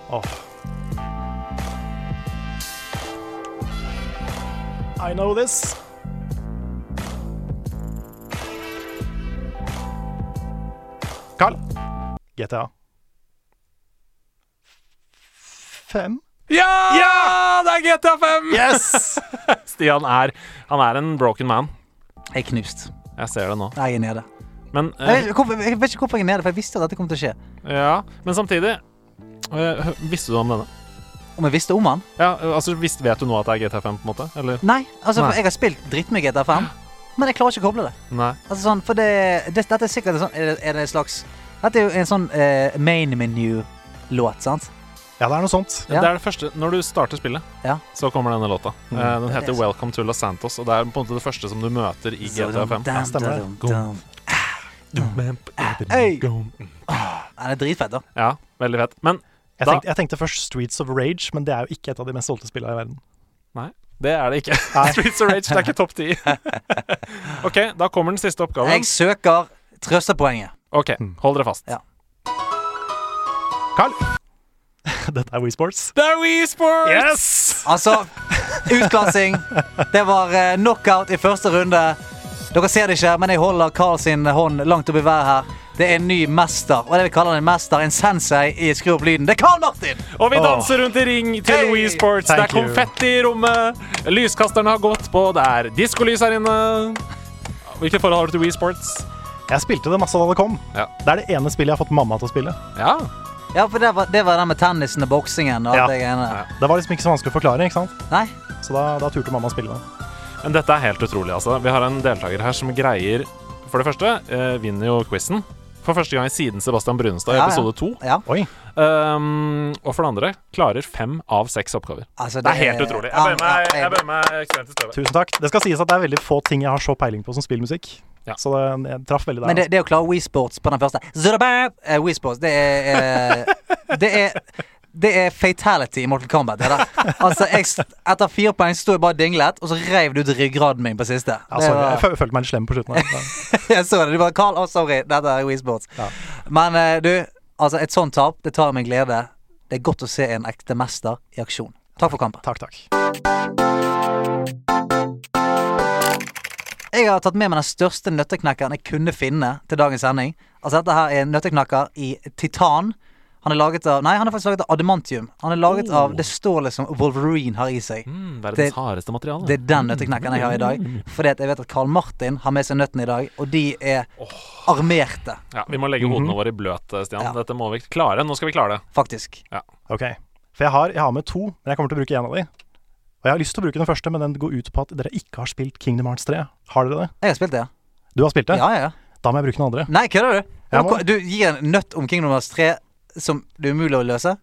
A: Åh. I know this. Carl. GTA. Fem?
D: Ja! Det er GTA5!
A: Yes!
D: Stian er, han er en broken man.
C: Jeg er knust.
D: Jeg ser det nå.
C: Nei, Jeg er nede.
D: Men,
C: Jeg
D: eh,
C: vet, hvorfor- jeg vet ikke hvorfor jeg er nede, for jeg visste at dette kom til å skje.
D: ja. Men samtidig eh, Visste du om denne?
C: Om jeg visste om han?
D: Ja, altså visst Vet du nå at det er GTA5, på en måte? Eller?
C: Nei. altså,
D: Nei.
C: for Jeg har spilt drittmye GTA 5, men jeg klarer ikke å koble det.
D: Nei.
C: Altså sånn, for det, det, Dette er sikkert en sånn Er det, er det en slags Dette er jo en sånn eh, main menu-låt, sant?
A: Ja, det er noe sånt.
C: Ja.
D: Det er det første Når du starter spillet,
C: Ja.
D: så kommer denne låta. Eh, den
C: Det er
D: heter
C: sant.
D: 'Welcome to Los Santos', og det er på en måte det første som du møter i GTA5.
C: Dum,
A: stemmer det.
C: dum, dum. Hey. Ja, det er dritfett, da.
D: Ja, veldig fett. Men
A: Jeg
D: Da-
A: tenkte, jeg tenkte først Streets of Rage, men det er jo ikke et av de mest solgte spillene i verden.
D: Nei, det er det ikke. Streets of Rage det er ikke topp ti. OK, da kommer den siste oppgaven.
C: Jeg søker trøstepoenget.
D: OK, hold dere fast.
C: Ja.
A: Carl. Dette er WeSports.
D: Det er WeSports!
A: Yes!
C: Altså, utklassing. Det var eh, knockout i første runde. Dere ser det ikke, men jeg holder Carl sin hånd langt opp i været her. Det er en ny mester. Og det vi kaller en mester, en sensei i Skru opp lyden. Det er Carl Martin!
D: Og vi danser rundt i ring til
C: Hey!
D: WeSports. Det er
A: Thank you.
D: konfetti i rommet. Lyskasterne har gått på. Det er diskolys her inne. Hvilket forhold har du til WeSports?
A: Jeg spilte det masse da det kom.
D: Ja.
A: Det er det ene spillet jeg har fått mamma til å spille.
D: Ja.
C: Ja, for det var det var den med tennisen og boksingen og
A: Ja.
C: alt det greiene der.
A: Det var liksom ikke så vanskelig å forklare, ikke sant?
C: Nei?
A: Så da, da turte mamma å spille det.
D: Men dette er helt utrolig, altså. Vi har en deltaker her som greier For det første eh, vinner jo quizen. For første gang siden Sebastian Brunestad i
C: Ja, ja.
D: episode to.
C: Ja,
A: Oi.
D: Um, og for det andre klarer fem av seks oppgaver.
C: altså
D: Det er helt utrolig. Jeg bøyer meg,
C: ja,
D: jeg bøyer meg ekstremt i støvet.
A: Tusen takk. Det skal sies at det er veldig få ting jeg har så peiling på som spillmusikk.
D: Ja.
A: Så det, jeg traff veldig der.
C: Men det,
A: altså.
C: det å klare WeSports på den første Zudabab! eh, WeSports, det er eh, Det er det er fatality i Mortal Kombat. Det der. Altså, jeg, st- etter fire poeng sto jeg bare og dinglet, og så reiv du ut ryggraden min på siste. Det
A: altså. ja, sorry,
C: var-
A: jeg føl- følte meg litt slem på slutten. her.
C: jeg så det. Du bare Carl, å, sorry, dette er WeSports.
A: Ja.
C: Men eh, du, altså, et sånt tap, det tar min glede. Det er godt å se en ekte mester i aksjon. Takk for kampen.
A: Takk, takk.
C: Jeg har tatt med meg den største nøtteknekkeren jeg kunne finne til dagens sending. Altså, dette her er en nøtteknekker i titan. Han er laget av Nei, han er faktisk laget av adamantium. Han er laget
D: Oh.
C: av det stålet som Wolverine har i seg. Det-
D: Mm, verdens hardeste materiale.
C: Det er den nøtteknekkeren jeg har i dag.
D: Mm.
C: Fordi at jeg vet at Carl Martin har med seg nøttene i dag, og de er armerte,
D: Ja, vi må legge hodene våre i bløt, eh, Stian.
C: Mhm. Ja.
D: Dette må vi klare. Nå skal vi klare det.
C: faktisk.
A: Ok. For jeg har, jeg har med to, men jeg kommer til å bruke én av de. Og jeg har lyst til å bruke den første, men den går ut på at dere ikke har spilt Kingdom Hearts 3. Har dere det?
C: Jeg har spilt det, ja.
A: Du har spilt det?
C: Ja, ja, ja.
A: Da må jeg bruke den andre.
C: Nei, kødder du?
A: Jeg
C: Du-
A: må.
C: Du gir en nøtt om Kingdom Hearts 3 som det er umulig å løse?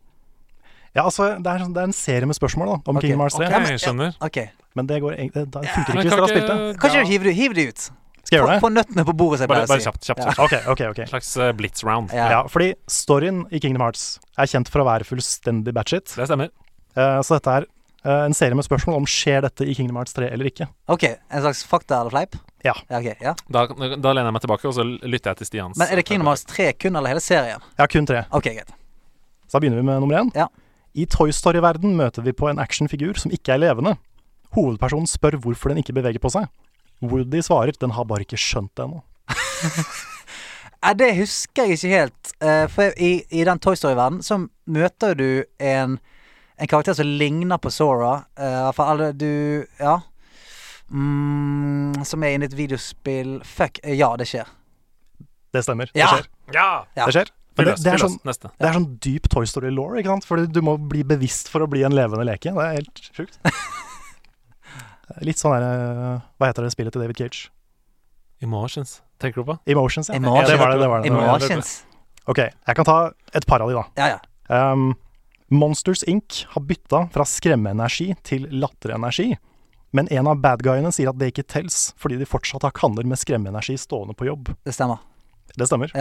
A: Ja, altså, det er, sånn- det er en serie med spørsmål da, om
C: Ok.
A: Kingdom Hearts 3,
D: Ok, jeg skjønner.
C: Ok.
A: men det, går, egentlig- det, det funker
D: Men
A: ikke hvis
D: kan
A: dere har spilt det.
D: ikke-
C: Kanskje
D: ja.
C: du hiver det, hiver det ut?
A: Skal jeg
C: Få,
A: gjøre det?
C: få nøttene på bordet, som jeg
D: Bare,
C: pleier å
D: bare
C: si.
D: kjapt. kjapt,
C: Ja.
D: kjapt.
A: Ok, ok, ok.
D: En slags eh, blitz round.
C: Ja.
A: Ja, fordi storyen i Kingdom Hearts er kjent for å være fullstendig batshit.
D: Det stemmer.
A: Eh, så dette er eh, en serie med spørsmål om skjer dette i Kingdom Hearts 3 eller ikke.
C: Ok, en slags fakta eller fleip?
A: Ja.
C: ok, ja.
D: Da, da lener jeg meg tilbake, og så lytter jeg til Stians.
C: Men er det Kingdom Hearts 3 kun, eller hele serien?
A: Jeg har kun tre.
C: Ok, greit.
A: Så da begynner vi med nummer én.
C: Ja.
A: I Toy Story-verden møter vi på en actionfigur som ikke er levende. Hovedpersonen spør hvorfor den ikke beveger på seg. Woody svarer 'den har bare ikke skjønt det ennå'.
C: Nei, det husker jeg ikke helt. eh, For i, i den Toy Story-verdenen så møter du en, en karakter som ligner på Sora. Uh, for alle du Ja. Mm, som er inne i et videospill Fuck. eh, Ja, det skjer.
A: Det stemmer.
C: Ja.
A: Det skjer.
D: Ja!
C: Ja.
A: Det, skjer.
D: Fyll
A: Men det,
D: løs,
A: det, er
D: fyll
A: sånn,
D: løs. Neste.
A: det er sånn dyp Toy Story-law, ikke sant? Fordi du må bli bevisst for å bli en levende leke. Det er helt sjukt. Litt sånn der eh, Hva heter det spillet til David Cage?
D: Emotions. Tenker du på?
A: Emotions, ja.
C: Emotions.
A: Ja, det var det, det var det. det, var det.
C: Emotions.
A: Ok, jeg kan ta et par av de, da.
C: Ja, ja.
A: Ehm, Monsters Inc. har bytta fra skremmeenergi til latterenergi. Men en av bad guyene sier at det ikke tells, fordi de fortsatt har kanner med skremmeenergi stående på jobb.
C: Det stemmer.
A: Det stemmer.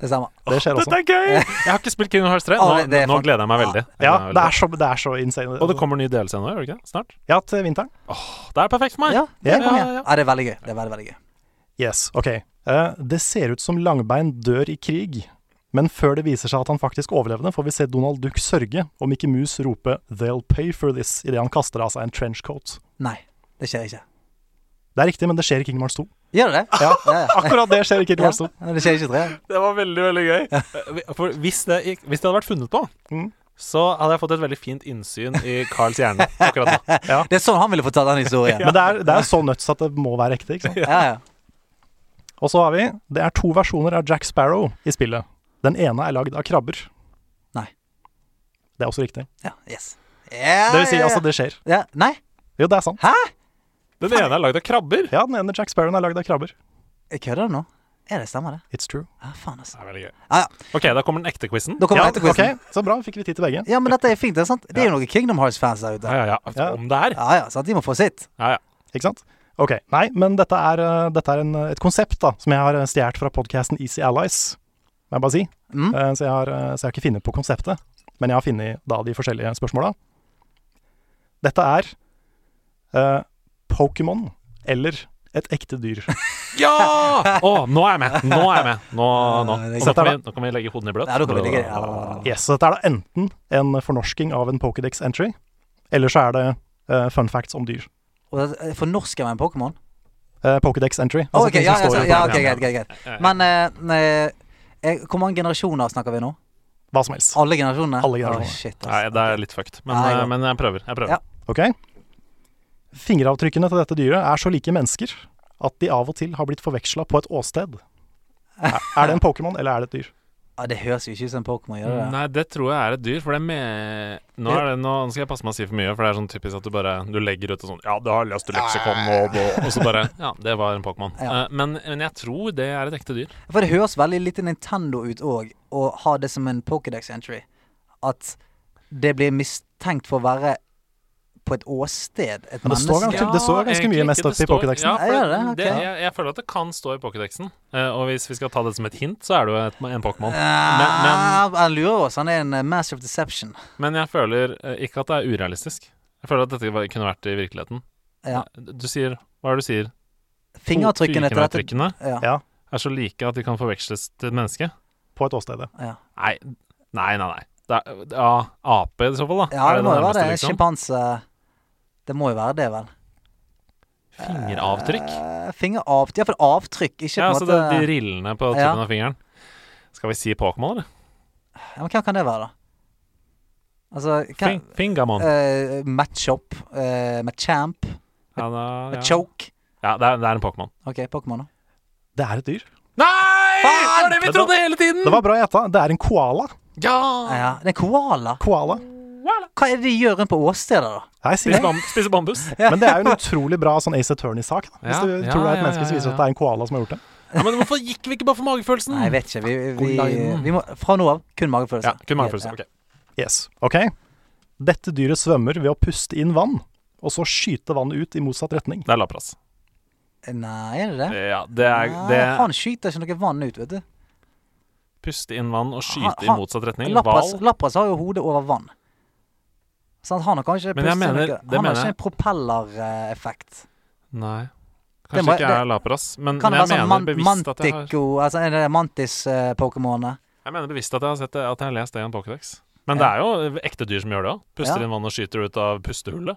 C: Det stemmer.
A: Det skjer også.
D: Dette er gøy! Jeg har ikke spilt Kingdom Hearts 3. Nå,
C: Å, det- det er Ah,
D: nå
C: fan-
D: gleder jeg meg veldig. Jeg
A: Ja,
D: gleder meg
A: det
D: veldig.
A: er så, det er så insane.
D: Og det kommer ny DLC nå, gjør det ikke? det? Snart?
A: Ja, til vinteren.
D: Det er perfekt for meg.
C: Ja, det,
A: Ja,
C: kom igjen.
D: ja, ja.
C: Ja, det er veldig gøy. Det er veldig, veldig gøy.
A: Yes, ok. Eh, det ser ut som Langbein dør i krig, men før det viser seg at han faktisk overlevde, får vi se Donald Duck sørge om ikke Mus roper 'They'll pay for this' idet han kaster av seg en trenchcoat.
C: Nei, det skjer ikke.
A: Det er riktig, men det skjer i Kingdom Hearts 2.
C: Gjør det det? Ja, ja, ja.
A: Akkurat det skjer i Kingdom Hearts 2.
C: Ja, det skjer ikke i tre.
D: Det var veldig, veldig gøy. Eh, For hvis det, gikk- hvis det hadde vært funnet på,
A: Mm.
D: så hadde jeg fått et veldig fint innsyn i Carls hjerne akkurat nå.
C: Det er sånn han ville fortalt den historien.
A: Men det er, det er så nuts at det må være ekte. ikke sant?
C: Ja, ja.
A: Og så har vi Det er to versjoner av Jack Sparrow i spillet. Den ene er lagd av krabber.
C: Nei.
A: Det er også riktig.
C: ja. Yes. Ja,
A: Det vil si,
C: ja, ja.
A: altså, det skjer.
C: ja. Nei?
A: Jo, det er sant.
D: Den ene er lagd av krabber.
A: Ja, den ene Jack Sparrowen er lagd av krabber.
C: Jeg Kødder du nå? Er det stemmer, det?
A: It's true.
C: Ja, faen, altså.
D: Det er veldig gøy.
C: Ja, ja.
D: Ok, da kommer den ekte quizen.
C: Da kommer
A: Ja,
C: ja, etterquizen.
A: ok, så bra. Fikk vi tid til begge.
C: Ja, men dette er fint. Det er sant Det er jo noen Kingdom Hearts-fans der ute.
D: Ja, ja, ja.
A: Ja.
D: Om det er.
C: Ja, ja, sant? De må få sitt.
D: Ja, ja.
A: Ikke sant? Ok. Nei, men dette er, eh, dette er en, eh, et konsept da, som jeg har eh, stjålet fra podkasten Easy Allies, må jeg bare si.
C: Mm.
A: Eh, Så, jeg har, eh, så jeg har ikke funnet på konseptet, men jeg har funnet da de forskjellige spørsmåla. Dette er eh, Pokémon eller et ekte dyr.
D: Ja! Å, nå er jeg med! Nå er jeg med. Nå, nå.
C: Ja, det er greit.
D: Og nå, kan vi, nå kan vi legge hodene i bløt.
C: Ja, da kan vi ligge ja, ja, ja, ja.
A: Yes, så dette er da enten en fornorsking av en Pokédex entry, eller så er det eh, fun facts om dyr.
C: Og det- Fornorsker med en Pokémon?
A: Eh, Pokédex entry.
C: Å,
A: altså
C: ok,
A: ting som
C: ja, ja,
A: står i
C: så- ja,
A: Pokédex.
C: ok, greit, greit, greit. Men eh, eh, eh, hvor mange generasjoner snakker vi nå?
A: Hva som helst.
C: Alle generasjonene?
A: Alle generasjoner.
C: Å, shit, altså.
D: Nei, det er litt fucked. Men,
C: Nei,
D: eh,
C: ja.
D: men jeg prøver. Jeg prøver.
C: Ja.
A: Ok? Fingeravtrykkene til dette dyret er så like mennesker at de av og til har blitt forveksla på et åsted. Er er det en Pokémon, eller er det et dyr?
C: Ah, det høres jo ikke ut som en Pokémon gjør
A: Mm.
C: det.
D: Mm, Nei, det tror jeg er et dyr, for det er med Nå, er det, nå skal jeg passe meg å si for mye, for det er sånn typisk at du bare Du legger ut og sånn Ja, det har løst leksikon, og, og, og så bare Ja, det var en Pokémon.
C: Ja.
D: Eh, men, men jeg tror det er et ekte dyr.
C: For det høres veldig lite Nintendo ut òg, å ha det som en Pokédex entry. At det blir mistenkt for å være på et åsted, et
A: Men det står
C: menneske.
A: ganske- det står ganske mye
D: egentlig
A: mest
D: ikke,
A: opp
D: det
A: i
D: står-
A: Pokédexen.
D: Ja,
C: Nei,
D: for
C: gjør det? Ok.
D: det, jeg, jeg føler at det kan stå i Pokédexen. Eh, og hvis vi skal ta det som et hint, så er det jo et, en Pokémon. Men, men,
C: Ah,
D: Oh,
C: Han lurer oss. Han er en eh, master of deception.
D: men jeg føler eh, ikke at det er urealistisk. Jeg føler at dette var- kunne vært i virkeligheten.
C: Ja.
D: Du sier Hva er det du sier?
C: Fingeravtrykkene til dette
D: Fingeravtrykkene
C: ja.
A: Ja,
D: er så like at de kan forveksles til et menneske.
A: på et åsted.
C: Ja.
D: Nei, nei, nei. nei. Det er, ja, ape i så fall, da.
C: ja,
D: Er
C: det må jo være det.
D: nærmeste, liksom?
C: Sjimpanse Det må jo være det, vel.
D: Fingeravtrykk?
C: Eh, Fingeravtrykk Iallfall avtrykk, ikke
D: Ja,
C: på
D: altså
C: en
D: det,
C: måte
D: de rillene på tuppen
C: Ja.
D: av fingeren. Skal vi si Pokémon, eller?
C: ja, Men hva kan det være, da? Altså hva,
D: Fing Fingamon.
C: eh, Match-up eh, med champ,
D: Ja, da,
C: med
D: ja.
C: choke.
D: ja det, er, det er en Pokémon.
C: OK, Pokémon, da.
A: Det er et dyr.
D: Nei! Det var det vi
A: Men da-
D: trodde hele tiden!
A: Det var bra gjetta. Det er en koala.
D: Ja!
C: Ja, det er koala.
A: Koala.
C: Hva er det de gjør rundt på åstedet, da?
A: Nei, sier
D: Spise,
A: jeg.
D: bam spise bambus.
A: Men det er jo en utrolig bra sånn Ace Attorney-sak. da. Hvis
D: Ja,
A: du
D: ja,
A: tror det er et
D: ja,
A: menneske, så
D: ja, ja.
A: viser det at det er en koala som har gjort det.
D: Ja, men hvorfor gikk vi ikke bare for magefølelsen?
C: Nei, jeg vet ikke. Vi, vi, vi,
D: Fuckolinen.
C: må fra nå av kun
D: ja,
C: magefølelse.
D: kun magefølelse. Ok.
A: Yes, ok. Dette dyret svømmer ved å puste inn vann, og så skyte vannet ut i motsatt retning.
D: Det er Lapras.
C: Nei, er det det?
D: Ja, det er det
C: Nei, han skyter ikke noe vann ut, vet du.
D: Puste inn vann
C: Han-
D: og skyte i
C: han-
D: motsatt retning.
C: Ah, Lapras,
D: Hval.
C: Lapras har jo hodet over vann. Sant, han har kanskje
D: Men jeg
C: pustet
D: mener-
C: noe-
D: det
C: Han har
D: mener
C: ikke
D: jeg.
C: en propellereffekt.
D: Nei.
C: Det
D: Kanskje
C: må-
D: ikke
C: det-
D: er Lapras, men,
C: Kan
D: Mm,
C: det være
D: men
C: sånn
D: jeg mener
C: man
D: bevisst at jeg har
C: Mantico Altså er det Mantis-pokémonene?
D: Jeg mener bevisst at jeg har sett det, at jeg har lest det i en Pokédex. Men det er jo ekte dyr som gjør det òg. Puster
C: Ja.
D: inn vann og skyter ut av pustehullet.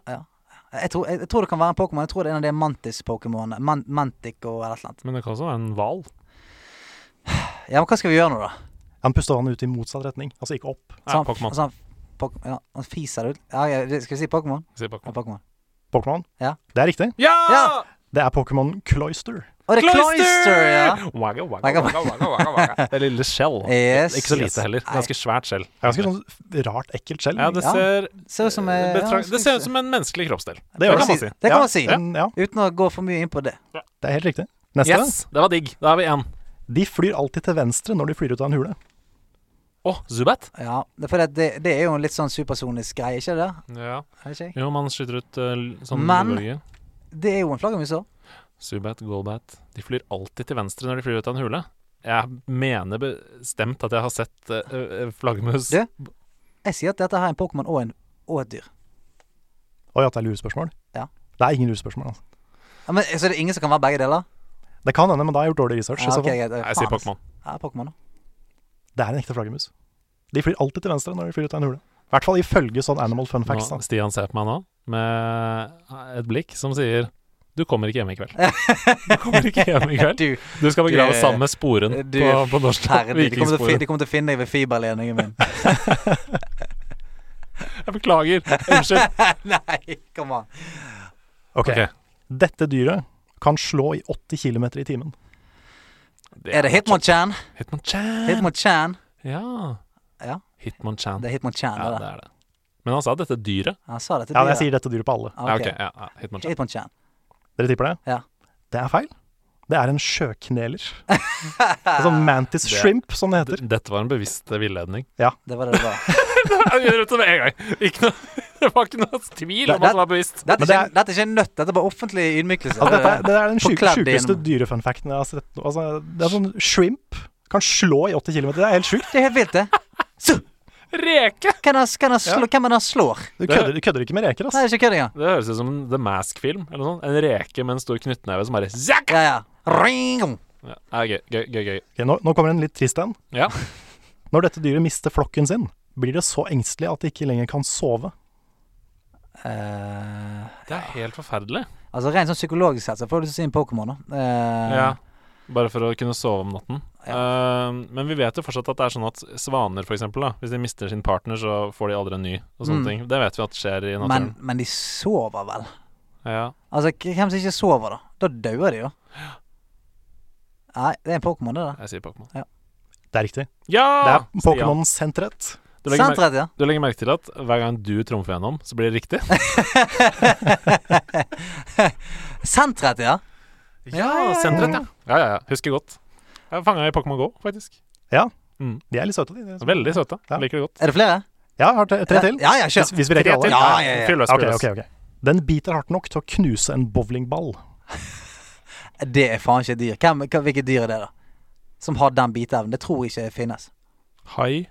C: Jeg, tror- jeg, jeg tror det kan være en Pokémon. Jeg tror det er en av de Mantis-pokémonene. Man, Mantico eller et eller annet.
D: Men det kan også være en hval.
C: Ja, men hva skal vi gjøre nå, da?
A: Han puster vannet ut i motsatt retning, altså ikke opp.
D: Nei,
C: Så han-
D: Pokémon.
C: så han- Pok- ja, han fiser det ut. Ja, ja, det- skal vi si Pokémon?
D: Sier
C: Ja,
D: Pokémon.
C: Pokémon.
A: Pokémon?
C: Ja.
A: Det er riktig.
D: Ja!
C: Ja!
A: Det er Pokémon Cloyster.
C: Å, det er Cloister, ja!
D: Wagga,
C: Wagga,
D: wagga, wagga, wagga, wagga, wagga. Det lille skjell.
C: Yes.
D: Ikke så
C: Yes.
D: lite heller. Ganske svært skjell.
A: Det er ganske sånn f- rart ekkelt skjell.
D: Ja,
C: sånn-
D: det
C: Ja.
D: ser,
C: Ser ut som eh, ja, skal
D: betrakt,
C: vi
D: det ser ut
C: se.
D: som en menneskelig kroppsdel.
A: Det gjør
D: kan
A: det.
D: man si.
C: Det kan man si.
A: Ja, men Mm, ja,
C: Uten å gå for mye inn på det.
A: det er helt riktig. Neste.
D: Yes, det var digg. Da er vi én.
A: De flyr alltid til venstre når de flyr ut av en hule.
D: Å, Zubat.
C: Ja, det er fordi at det, det er jo en litt sånn supersonisk greie, ikke det?
D: Ja.
C: Er det, ikke?
D: Jo, man skyter ut eh, l- sånn
C: Men-
D: bølger.
C: det er jo en flaggermus òg.
D: Zubat, Golbat. De flyr alltid til venstre når de flyr ut av en hule. Jeg mener bestemt at jeg har sett uh, flaggermus
C: Du? Jeg sier at dette her er en Pokémon og, en- og et dyr.
A: Oi, at det er lurespørsmål?
C: Ja.
A: Det er ingen lurespørsmål, altså.
C: Ja, men, så det er ingen som kan være begge deler?
A: Det kan hende, men da har jeg gjort dårlig research. i
C: Ja,
A: så
C: ok,
A: fall.
C: greit.
D: Nei,
C: Faen,
D: Jeg sier
C: altså.
D: Pokémon.
C: Ja, Pokémon. da.
A: Det er en ekte flaggermus. De flyr alltid til venstre når de flyr ut av en hule. I hvert fall ifølge sånn Animal Fun Facts. Da.
D: Nå- Stian ser på meg nå med et blikk som sier Du kommer ikke hjem i kveld. Du kommer ikke hjem i kveld.
C: Du,
D: Du skal begraves
C: Du-
D: sammen med sporen
C: du-
D: på, på norsk.
C: herre, de, kommer til å fi-
D: Vikingsporen.
C: de kommer til å finne deg ved fiberledningen min.
D: Jeg beklager. Unnskyld.
C: Nei, kom an.
A: Ok.
D: Ok.
A: Dette dyret kan slå i 80 km i timen.
C: Er det Hitmonchan?
D: Hitmonchan?
C: Hitmonchan?
D: Ja.
C: Ja.
D: Hitmonchan.
C: Det er Hitmonchan,
D: Ja,
C: det
D: det
C: der.
D: er det. Men han sa dette dyret.
C: Han sa det til
A: Ja, jeg
C: dyret.
A: sier dette dyret på alle.
D: Ja,
C: Ah, ok.
D: ok. Ja, ja, Hitmonchan.
C: Hitmonchan.
A: Dere tipper det?
C: Ja.
A: Det er feil. Det er en sjøkneler. En sånn mantis
D: Det-
A: shrimp, som det heter.
D: D- Dette var en bevisst villedning.
C: Det var det det var.
D: Jeg gjør det med en gang. Ikke noe, det var ikke noe tvil om
C: Det-
D: at det var bevisst.
C: Dette,
A: Men
C: er
A: det
C: ikke-
A: er-
C: dette er ikke en nøtt, dette er bare offentlig ydmykelse.
A: Altså, dette, er- det er den sjuke-
C: Forkledd
A: sjukeste
C: gjennom.
A: dyrefunfacten jeg har sett. nå. Altså, det er sånn shrimp kan slå i 80 km. Det er helt sjukt.
C: Det er helt vilt, det.
D: Reke!
C: Hvem er det han slår? Hvem er det han slår?
A: Du kødder, du kødder ikke med reker,
C: Nei,
A: ass.
C: det er ikke kødd engang.
D: Det høres ut som en The Mask-film. eller noe sånt. En reke med en stor knyttneve som bare Zack!
C: Ja, ja. Ring!
D: Ja, det er gøy, gøy, gøy, gøy.
A: Ok, nå, nå kommer en litt trist en.
D: Ja.
A: Når dette dyret mister flokken sin, blir det så engstelig at det ikke lenger kan sove.
C: Eh,
D: Det er helt forferdelig.
C: altså Rent sånn psykologisk sett så får du lyst til å si en Pokémon, da. Eh,
D: Ja. Bare for å kunne sove om natten. Eh, men vi vet jo fortsatt at det er sånn at svaner, for eksempel, da, hvis de mister sin partner, så får de aldri en ny, og sånne
C: Mm.
D: ting. Det vet vi at skjer i naturen.
C: men, men de sover vel?
D: Ja.
C: Altså, k- hvem som ikke sover, da? Da dauer de jo. Nei, det er en Pokémon, det der.
D: Jeg sier Pokémon.
A: Det Det er riktig. Det
C: Ah,
D: Ja!
A: er Pokémon Sentret.
D: Du legger, merke,
C: Sentret, ja.
D: du legger merke til at hver gang du trumfer gjennom, så blir det riktig?
C: Sentret, ja.
D: Ja, Sentret, ja. Ja, ja, ja. Husker godt. Jeg fanga i Pokémon Go, faktisk.
A: De er litt søte, de. de. som-
D: Veldig søte.
A: Ja.
D: Liker det godt.
C: Er det flere?
A: Ja, jeg har tre, tre til.
C: Ja, ja, kjør.
A: Hvis, hvis vi rekker alle.
C: Ja, ja, ja.
D: Fyr løs,
A: Ok,
D: fyr løs.
A: ok, ok. Den biter hardt nok til å knuse en bowlingball.
C: Det er faen ikke et dyr. Hvem, hva- hvilket dyr er det, da? Som har den biteevnen. Det tror jeg ikke finnes.
D: Hai.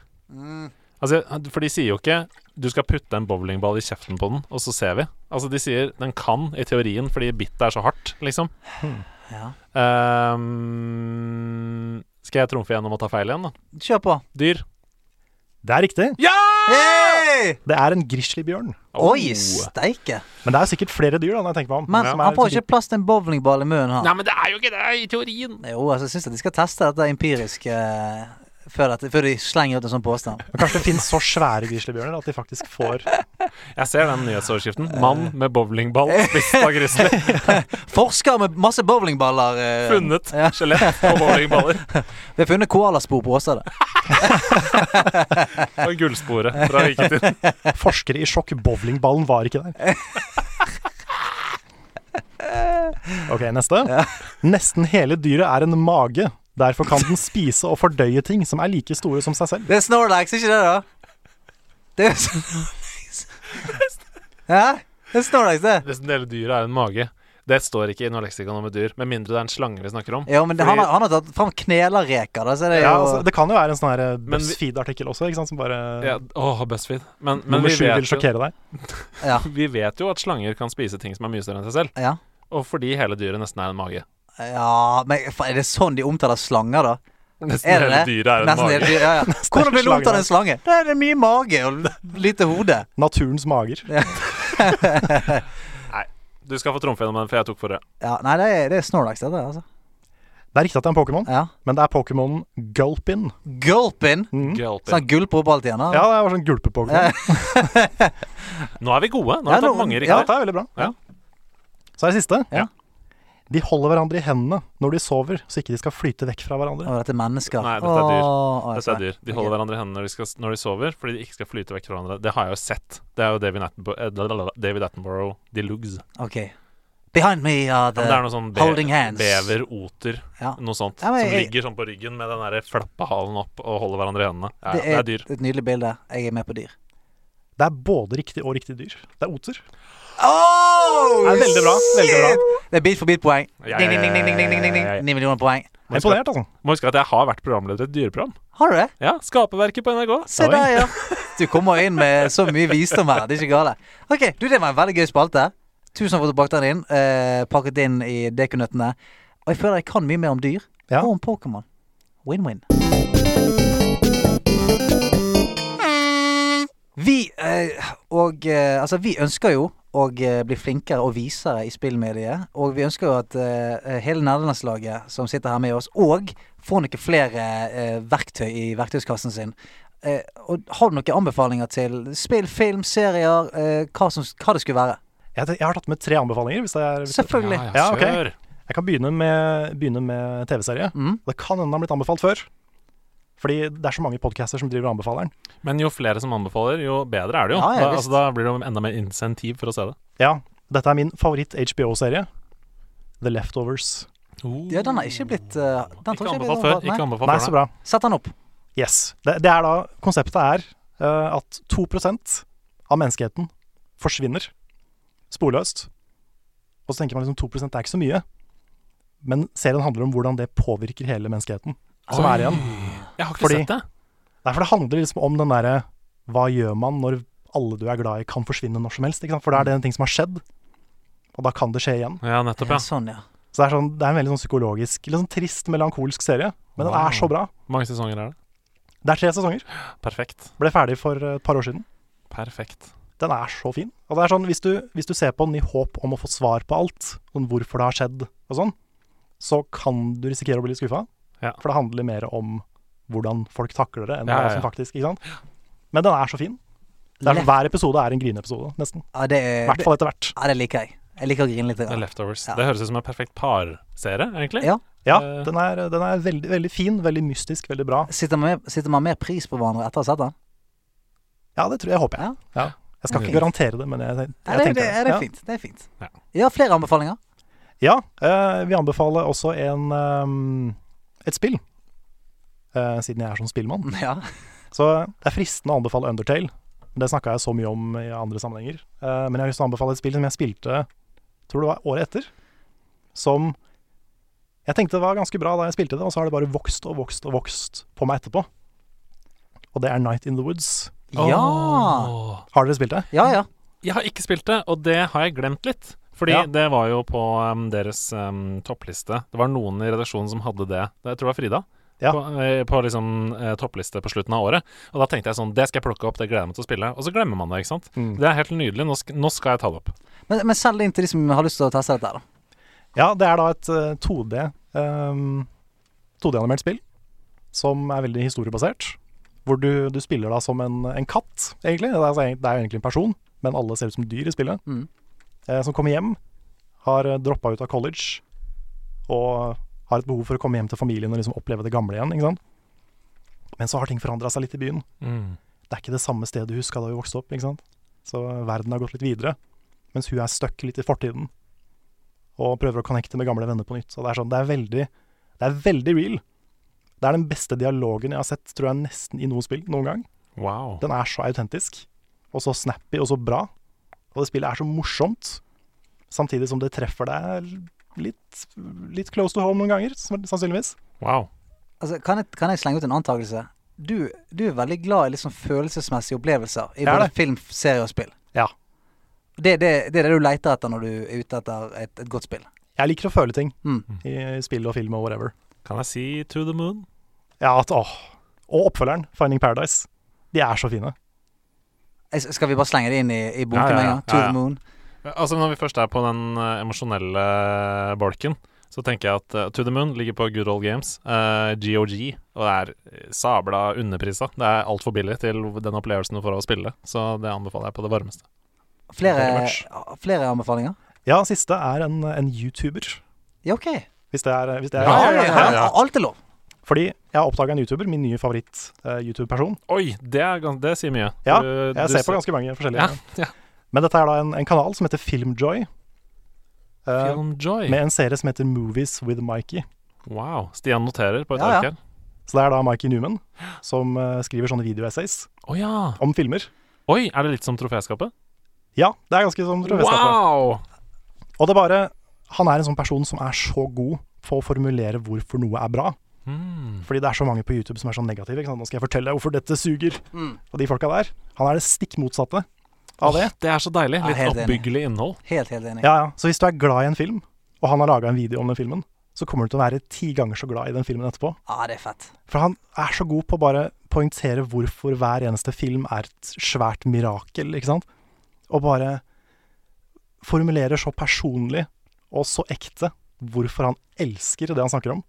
D: Altså, for de sier jo ikke 'du skal putte en bowlingball i kjeften på den, og så ser vi'. Altså, de sier 'den kan', i teorien, fordi bittet er så hardt, liksom.
C: Ja.
D: Ehm, skal jeg trumfe gjennom og ta feil igjen, da?
C: Kjør på.
D: Dyr.
A: Det er riktig.
C: Hey!
A: Det er en grizzlybjørn.
C: Oi,
D: Oh.
C: steike.
A: Men det er sikkert flere dyr, da, når jeg tenker meg om.
C: Men
A: som er
C: han får
A: liksom-
C: ikke plass til en bowlingball i munnen, han.
D: Nei, men det er jo ikke det, i teorien.
C: Jo, altså, jeg syns de skal teste dette empirisk eh, før, dette, før de slenger ut en sånn påstand.
A: Men Kanskje det finnes så svære grizzlybjørner at de faktisk får
D: Jeg ser den nyhetsoverskriften. 'Mann med bowlingball spist av grizzly'.
C: Forsker med masse bowlingballer. eh,
D: Funnet
C: Ja.
D: skjelett på bowlingballer.
C: Vi har funnet koalaspor på Åsa. da.
D: Og gullsporet fra vikingtiden.
A: Forskere i sjokk. Bowlingballen var ikke der. OK, neste. Nesten hele dyret er en mage. Derfor kan den spise og fordøye ting som er like store som seg selv.
C: Det er Snorlax, ikke det, da? Det er Snorlax. Hæ? Det er Snorlax, det.
D: Nesten hele dyret er en mage. Det står ikke i noe leksikon om et dyr, med mindre det er en slange vi snakker om.
C: Jo, men
D: Fordi-
C: han, har, han har tatt fram knelerreker, da, så det er jo
A: Ja, altså, det kan jo være en sånn her
D: Men vi-
A: BuzzFeed-artikkel også, ikke sant, som bare
D: Ja, åh, BuzzFeed. Men, men
A: Nummer
D: vi,
A: sju vil
D: vet jo,
A: sjokkere deg.
C: ja.
D: vi vet jo at slanger kan spise ting som er mye større enn seg selv.
C: Ja.
D: Og fordi hele dyret nesten er en mage.
C: ja, men faen, er det sånn de omtaler slanger, da?
D: Nesten
C: Er det
D: hele
C: det?
D: dyret er en
C: Nesten hele
D: mage.
C: dyret, ja, ja. Hvordan blir det
A: slanger,
C: omtalt en slange? Da er det mye mage og lite hode.
A: Naturens mager.
D: Du skal få trumfe gjennom den, for jeg tok forrige.
C: Ja, nei, det er, det er Snorlax, dette, altså.
A: Det er riktig at det er en Pokémon,
C: Ja.
A: men det er Pokémonen Gulpin.
C: Gulpin.
A: Mm.
D: Gulpin.
C: Sånn gulper opp alt igjen. da.
A: Ja, det var sånn gulpe-Pokémon.
D: Nå er vi gode. Nå
C: Ja,
D: har vi tatt
C: nå-
D: mange
C: ja.
D: riktig.
A: Dette er veldig bra.
D: Ja.
A: Så er det siste.
C: Ja.
A: De holder hverandre i hendene når de sover, så ikke de skal flyte vekk fra hverandre.
C: Å, dette er mennesker.
D: Nei, dette er dyr.
C: Å, å, jeg
D: Dette er
C: ser.
D: dyr. De holder hverandre i hendene når de, skal, når de sover, fordi de ikke skal flyte vekk fra hverandre. Det har jeg jo sett. Det er jo David Attenborough, eh, lalalala, David Attenborough de Lugs.
C: Ok. Behind me are the
D: Men det er noe sånn be
C: holding hands.
D: bever, oter,
C: Ja.
D: noe sånt.
C: Ja, men
D: som
C: jeg-
D: ligger sånn på ryggen med den derre flappa halen opp og holder hverandre i hendene. Ja,
C: Det er,
D: det er dyr.
C: et nydelig bilde. Jeg er med på dyr.
A: Det er både riktig og riktig dyr. Det er oter.
C: Oh,
A: Det er veldig bra, veldig bra.
C: Det er bit for bit-poeng.
D: Ja, ja,
C: Ding, ding, ding, ding, ding, ding, ding, ding,
D: ja, ja, ja.
C: ding. Ni millioner poeng.
A: Jeg er Imponert, altså.
D: Må huske at jeg har vært programleder i et dyreprogram.
C: Har du det?
D: Ja, Skaperverket på NRK.
C: Se
A: Oi.
C: der, ja. Du kommer inn med så mye visdom her. Det er ikke gale. Ok, du, det var en veldig gøy spalte. Tusen takk for at du bakte den inn. Eh, pakket inn i dekonøttene. Og jeg føler jeg kan mye mer om dyr
A: Ja.
C: og om Pokémon. Win-win. Vi, eh, og, eh, altså, vi ønsker jo å eh, bli flinkere og visere i spillmediet. Og vi ønsker jo at eh, hele nerdelandslaget som sitter her med oss, og får noen flere eh, verktøy i verktøyskassen sin. Eh, og har du noen anbefalinger til spill, film, serier, eh, hva, som, hva det skulle være?
A: Jeg, jeg har tatt med tre anbefalinger. Hvis det er, hvis det-
C: Selvfølgelig.
D: Ja,
A: Ja,
D: ja,
A: ok.
D: kjør.
A: Jeg kan begynne med, begynne med TV-serie.
C: Mm.
A: Det kan hende den har blitt anbefalt før. Fordi det er så mange podcaster som driver og anbefaler den.
D: Men jo flere som anbefaler, jo bedre er det jo.
C: Ja, ja,
D: da,
C: visst.
D: altså, da blir det jo enda mer insentiv for å se det.
A: Ja, dette er min favoritt-HBO-serie. The Leftovers.
D: Oh.
C: Ja, den har ikke blitt eh, den
D: Ikke
C: tror jeg blitt
D: anbefalt før.
C: anbefalt, nei.
D: Ikke anbefalt
A: Nei,
D: før,
A: så
D: nei.
A: bra.
C: Sett den opp.
A: Yes. Det, det er da Konseptet er eh, at 2 av menneskeheten forsvinner sporløst. Og så tenker man liksom 2 er ikke så mye. Men serien handler om hvordan det påvirker hele menneskeheten som er igjen.
D: Jeg har ikke
A: Fordi-
D: sett det.
A: Nei, for det handler liksom om den derre Hva gjør man når alle du er glad i, kan forsvinne når som helst? Ikke sant? For da er det en ting som har skjedd, og da kan det skje igjen.
D: Ja,
C: Ja,
D: nettopp, ja.
C: sånn, ja.
A: Så det er, sånn, det er en veldig sånn psykologisk, litt sånn trist, melankolsk serie. Men den
D: Wow.
A: er så bra.
D: Mange sesonger er det.
A: Det er tre sesonger.
D: Perfekt.
A: Ble ferdig for eh, et par år siden.
D: Perfekt.
A: den er så fin. Og det er sånn, hvis du, hvis du ser på den i håp om å få svar på alt, sånn hvorfor det har skjedd og sånn, så kan du risikere å bli litt skuffa.
D: Ja.
A: For det handler mer om hvordan folk takler det, enn
D: Ja, ja,
A: hva som
D: ja.
A: faktisk ikke sant? Men den er så fin. Det er, sånn, hver episode er en grineepisode, nesten.
C: ja det,
A: I
C: er,
A: hvert
C: det,
A: fall etter hvert.
C: ja, det liker jeg. Jeg liker å grine litt.
D: Det er Leftovers.
C: Ja.
D: Det høres ut som en perfekt parserie, egentlig.
C: Ja.
A: Ja,
D: Eh.
A: den er, den er veldig, veldig fin, veldig mystisk, veldig bra.
C: Sitter man, mer- sitter man mer pris på hverandre etter å ha sett den?
A: Ja, det tror jeg, håper jeg.
C: Ja.
A: Ja. Jeg skal
D: Ok.
A: ikke garantere det, men jeg, jeg,
C: Ja, det,
A: tenker
C: det, ja, det
A: Ja.
C: er fint. Det er fint.
D: Ja.
C: Ja, flere anbefalinger.
A: Ja, eh, vi anbefaler også en, ehm, et spill. Eh, siden jeg er sånn spillmann.
C: Ja.
A: Så det er fristende å anbefale Undertale. Det snakka jeg så mye om i andre sammenhenger. Eh, men jeg har lyst til å anbefale et spill som jeg spilte tror det var året etter. Som jeg tenkte var ganske bra da jeg spilte det, og så har det bare vokst og vokst og vokst på meg etterpå. Og det er Night in the Woods.
C: Ja.
D: Åh.
A: Har dere spilt det?
C: ja, ja.
D: Jeg har ikke spilt det, og det har jeg glemt litt. Fordi
A: Ja.
D: det var jo på um, deres um, toppliste. Det var noen i redaksjonen som hadde det. Det jeg tror jeg var Frida.
A: Ja.
D: På, eh, på liksom eh, toppliste på slutten av året. Og da tenkte jeg sånn Det skal jeg plukke opp, det gleder jeg meg til å spille. Og så glemmer man det, ikke sant.
A: Mm.
D: Det er helt nydelig. Nå, sk nå skal jeg ta det opp.
C: Men, men selg det inn til de som har lyst til å teste dette. her, da.
A: Ja, det er da et eh, 2D ehm, 2D-animert spill som er veldig historiebasert. Hvor du, du spiller da som en, en katt, egentlig. Det er, altså egent- det er jo egentlig en person, men alle ser ut som dyr i spillet.
C: Mm.
A: Eh, som kommer hjem, har droppa ut av college og har et behov for å komme hjem til familien og liksom oppleve det gamle igjen. ikke sant? Men så har ting forandra seg litt i byen det er ikke det samme stedet hun huska da hun vokste opp. ikke sant? Så verden har gått litt videre, mens hun er stuck litt i fortiden. Og prøver å connecte med gamle venner på nytt. Så det er sånn, det er veldig det er veldig real. Det er den beste dialogen jeg har sett tror jeg nesten i noe spill noen gang.
D: Wow.
A: Den er så autentisk, og så snappy, og så bra. Og det spillet er så morsomt, samtidig som det treffer deg litt, litt close to home noen ganger, sannsynligvis.
D: wow.
C: Altså, kan, jeg, kan jeg slenge ut en antakelse? Du, du er veldig glad i liksom følelsesmessige opplevelser i
A: Jeg er
C: både
A: det.
C: film, serie og spill.
A: Ja.
C: Det, det, det er det du leter etter når du er ute etter et, et godt spill.
A: Jeg liker å føle ting
C: Mm.
A: i spill og film og whatever.
D: Kan jeg si To the Moon?
A: Ja, at, åh. Og oppfølgeren, 'Finding Paradise'. De er så fine.
C: Jeg s- Skal vi bare slenge det inn i, i bunken
D: Ja, ja,
C: med en
D: ja.
C: gang? To
D: Ja, ja.
C: the moon.
D: Altså Når vi først er på den eh, emosjonelle bolken, så tenker jeg at eh, To The Moon ligger på Good Old Games, eh, GOG, og det er eh, sabla underprisa. Det er altfor billig til den opplevelsen du får av å spille, så det anbefaler jeg på det varmeste.
A: Very
C: Flere,
A: much.
C: flere anbefalinger?
A: Ja, siste er en, en YouTuber.
C: Ja, OK.
A: Hvis det er, hvis det er
D: Ja, ja, ja, ja.
C: Alt er lov.
A: Fordi jeg har oppdaga en YouTuber, min nye favoritt-YouTube-person.
D: Oi, det, er, gans- det sier mye.
A: Ja,
D: Du-
A: jeg
D: du
A: ser
D: ser-
A: på ganske mange forskjellige.
D: ja, ja.
A: Men dette er da en, en kanal som heter Filmjoy. eh,
D: Filmjoy.
A: med en serie som heter Movies with Mikey.
D: Wow. Stian noterer på et
C: Ja, ja.
D: ark her.
A: Så det er da Mikey Newman som eh, skriver sånne videoessays
D: Å ja.
A: om filmer.
D: Oi, er det litt som troféskapet?
A: Ja, det er ganske sånn troféskapet.
D: Wow!
A: Og det er bare Han er en sånn person som er så god på å formulere hvorfor noe er bra.
D: Mm.
A: Fordi det er så mange på YouTube som er sånn negative. Ikke sant? Nå skal jeg fortelle deg hvorfor dette suger.
C: Mm.
A: Og de folka der. Han er det stikk motsatte av det.
D: Åh, det er så deilig.
C: Ja,
D: Litt
C: helt enig.
D: oppbyggelig innhold.
C: Helt, helt enig.
A: Ja, ja. Så hvis du er glad i en film, og han har laga en video om den filmen, så kommer du til å være ti ganger så glad i den filmen etterpå.
C: Ja, det er fett.
A: For han er så god på å bare poengtere hvorfor hver eneste film er et svært mirakel, ikke sant? Og bare formulerer så personlig og så ekte hvorfor han elsker det han snakker om.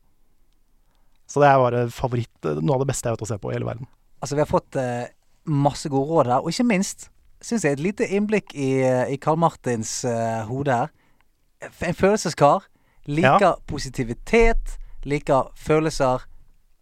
A: Så det er bare favoritt, noe av det beste jeg vet å se på i hele verden.
C: Altså, vi har fått eh, masse gode råd her, og ikke minst syns jeg et lite innblikk i, eh, i Carl Martins eh, hode her. F- En følelseskar. Liker positivitet, liker følelser.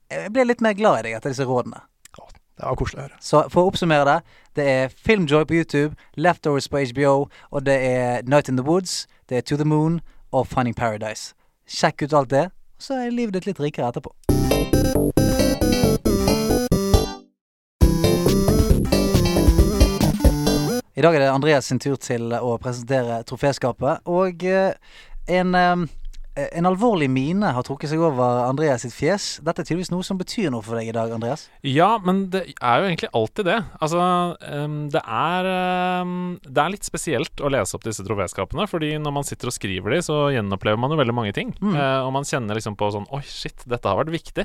C: Jeg ble litt mer glad i deg etter disse rådene.
A: Ja, Det var koselig å høre.
C: Så for å oppsummere det, det er Filmjoy på YouTube, Leftovers på HBO, og det er Night in the Woods, det er To the Moon og Finding Paradise. Sjekk ut alt det, så er livet ditt litt rikere etterpå. I dag er det Andreas sin tur til å presentere troféskapet, og eh, en eh, en alvorlig mine har trukket seg over Andreas sitt fjes. Dette er tydeligvis noe som betyr noe for deg i dag, Andreas.
D: Ja, men det er jo egentlig alltid det. Altså, ehm, det er ehm, Det er litt spesielt å lese opp disse troféskapene, fordi når man sitter og skriver de, så gjenopplever man jo veldig mange ting.
C: Mm.
D: Eh, og man kjenner liksom på sånn Oi, shit, dette har vært viktig.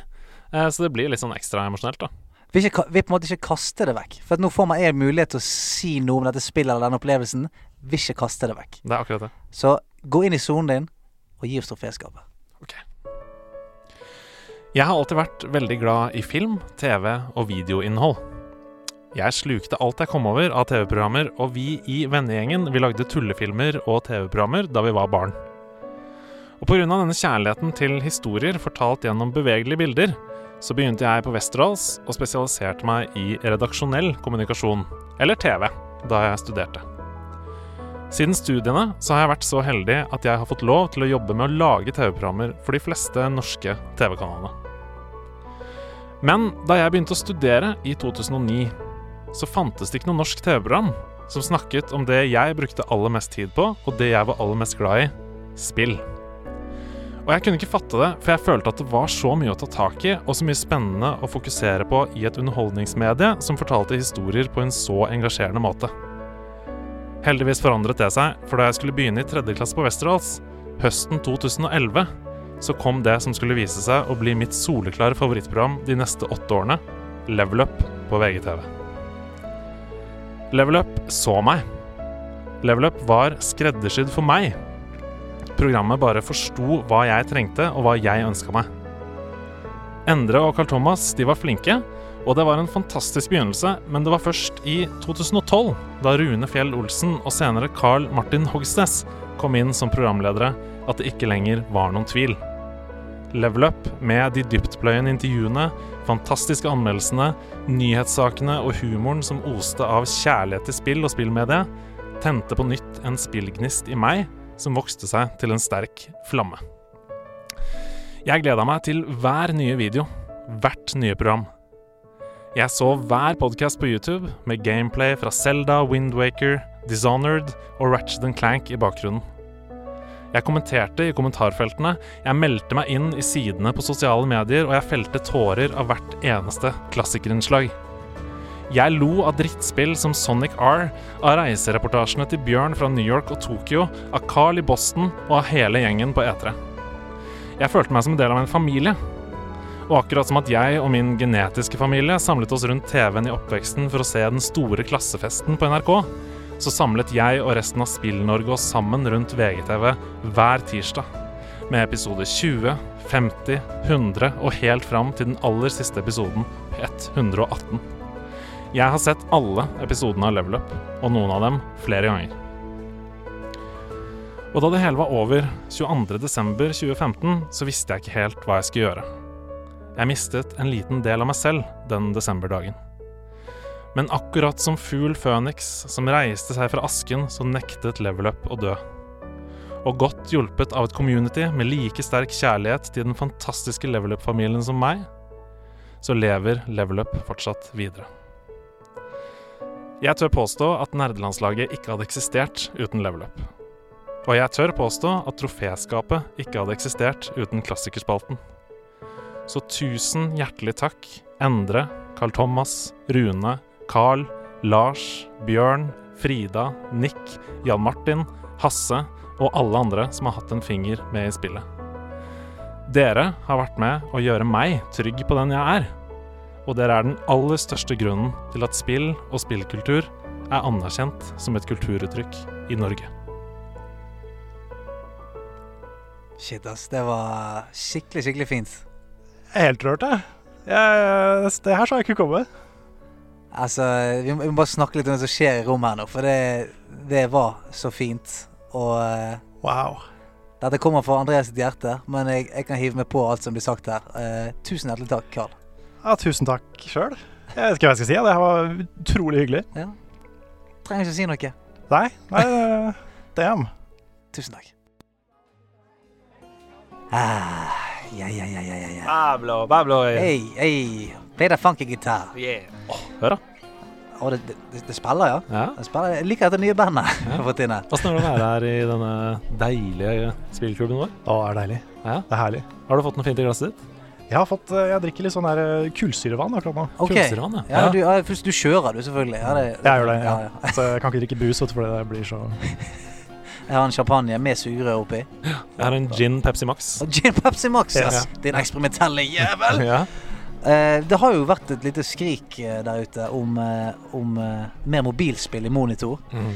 D: Eh, så det blir litt sånn ekstra emosjonelt, da.
C: vil, ikke, vil på en måte ikke kaste det vekk. For at nå får man en mulighet til å si noe om dette spillet eller den opplevelsen. Vil ikke kaste det vekk.
D: Det er akkurat det.
C: Så gå inn i sonen din, og gi oss troféskapet.
D: Jeg har alltid vært veldig glad i film, TV og videoinnhold. Jeg slukte alt jeg kom over av TV-programmer, og vi i vennegjengen vi lagde tullefilmer og TV-programmer da vi var barn. Og pga. denne kjærligheten til historier fortalt gjennom bevegelige bilder, så begynte jeg på Westerdals og spesialiserte meg i redaksjonell kommunikasjon, eller TV, da jeg studerte. Siden studiene så har jeg vært så heldig at jeg har fått lov til å jobbe med å lage TV-programmer for de fleste norske TV-kanalene. Men da jeg begynte å studere i 2009, så fantes det ikke noe norsk TV-program som snakket om det jeg brukte aller mest tid på, og det jeg var aller mest glad i spill. Og jeg kunne ikke fatte det, for jeg følte at det var så mye å ta tak i, og så mye spennende å fokusere på i et underholdningsmedie som fortalte historier på en så engasjerende måte. Heldigvis forandret det seg, for da jeg skulle begynne i tredje klasse på Westerdals høsten 2011, så kom det som skulle vise seg å bli mitt soleklare favorittprogram de neste åtte årene, Level Up på VGTV. Level Up så meg. Level Up var skreddersydd for meg. Programmet bare forsto hva jeg trengte, og hva jeg ønska meg. Endre og Carl Thomas de var flinke, og det var en fantastisk begynnelse, men det var først i 2012, da Rune Fjell Olsen og senere Carl Martin Hogsnes kom inn som programledere, at det ikke lenger var noen tvil. Level Up, med de dyptpløyende intervjuene, fantastiske anmeldelsene, nyhetssakene og humoren som oste av kjærlighet til spill og spillmedie, tente på nytt en spillgnist i meg som vokste seg til en sterk flamme. Jeg gleda meg til hver nye video, hvert nye program. Jeg så hver podkast på YouTube med gameplay fra Selda, Windwaker, Dishonored og Ratchet Clank i bakgrunnen. Jeg kommenterte i kommentarfeltene, jeg meldte meg inn i sidene på sosiale medier, og jeg felte tårer av hvert eneste klassikerinnslag. Jeg lo av drittspill som Sonic R, av reisereportasjene til Bjørn fra New York og Tokyo, av Carl i Boston og av hele gjengen på E3. Jeg følte meg som en del av en familie. Og akkurat som at jeg og min genetiske familie samlet oss rundt TV-en i oppveksten for å se den store klassefesten på NRK, så samlet jeg og resten av Spill-Norge oss sammen rundt VGTV hver tirsdag. Med episode 20, 50, 100 og helt fram til den aller siste episoden, 118. Jeg har sett alle episodene av Level Up, og noen av dem flere ganger. Og da det hele var over 22.12.2015, så visste jeg ikke helt hva jeg skulle gjøre. Jeg mistet en liten del av meg selv den desemberdagen. Men akkurat som fugl Føniks som reiste seg fra asken, så nektet Level Up å dø. Og godt hjulpet av et community med like sterk kjærlighet til den fantastiske Level Up-familien som meg, så lever Level Up fortsatt videre. Jeg tør påstå at nerdelandslaget ikke hadde eksistert uten Level Up. Og jeg tør påstå at troféskapet ikke hadde eksistert uten klassikerspalten. Så tusen hjertelig takk, Endre, Carl Thomas, Rune, Carl, Lars, Bjørn, Frida, Nick, Jan Martin, Hasse og alle andre som har hatt en finger med i spillet. Dere har vært med å gjøre meg trygg på den jeg er, og dere er den aller største grunnen til at spill og spillkultur er anerkjent som et kulturuttrykk i Norge.
C: Shit, ass. Det var skikkelig, skikkelig fint.
A: Jeg er helt rørt, jeg. jeg. Det her så jeg ikke komme.
C: Altså, vi må, vi må bare snakke litt om det som skjer i rommet her nå, for det, det var så fint. Og eh,
A: Wow.
C: dette kommer fra Andreas sitt hjerte, men jeg, jeg kan hive meg på alt som blir sagt her. Eh, tusen hjertelig takk, Carl.
A: Ja, tusen takk sjøl. Jeg vet ikke hva jeg skal si. ja. Det her var utrolig hyggelig.
C: Trenger ikke å si noe.
A: Nei, nei eh, damn.
C: Tusen takk. Ah, ja, ja, ja, ja, ja, ja.
D: Bablo, bablo.
C: Hei, hei. Play the funky gitar.
B: Yeah.
D: Hør, da.
C: Å, det, det, det spiller, ja.
D: Ja.
C: Det spiller. Jeg liker dette nye bandet jeg har fått inn her.
D: Åssen er det å være her i denne deilige spillklubben vår?
A: Å, det er deilig.
D: Ja.
A: Det er herlig.
D: Har du fått noe fint i glasset ditt?
A: Jeg har fått, eh, jeg drikker litt sånn her eh, kullsyrevann akkurat nå.
C: Ok.
D: Kunstnervann, ja.
C: Ja,
D: Ja.
C: du, ja, først, du kjører, du, selvfølgelig. Ja, det,
A: Jeg gjør det, ja.
C: Ja, ja.
A: Så jeg kan ikke drikke brus, vet du, fordi det blir så
C: Jeg har en champagne med sugerør oppi.
D: Jeg har en gin Pepsi Max.
C: Og gin Pepsi Max!
A: Ja.
C: ass. Din eksperimentelle jævel!
D: Ja.
C: Eh, det har jo vært et lite skrik eh, der ute om, eh, om eh, mer mobilspill i monitor.
D: Mm.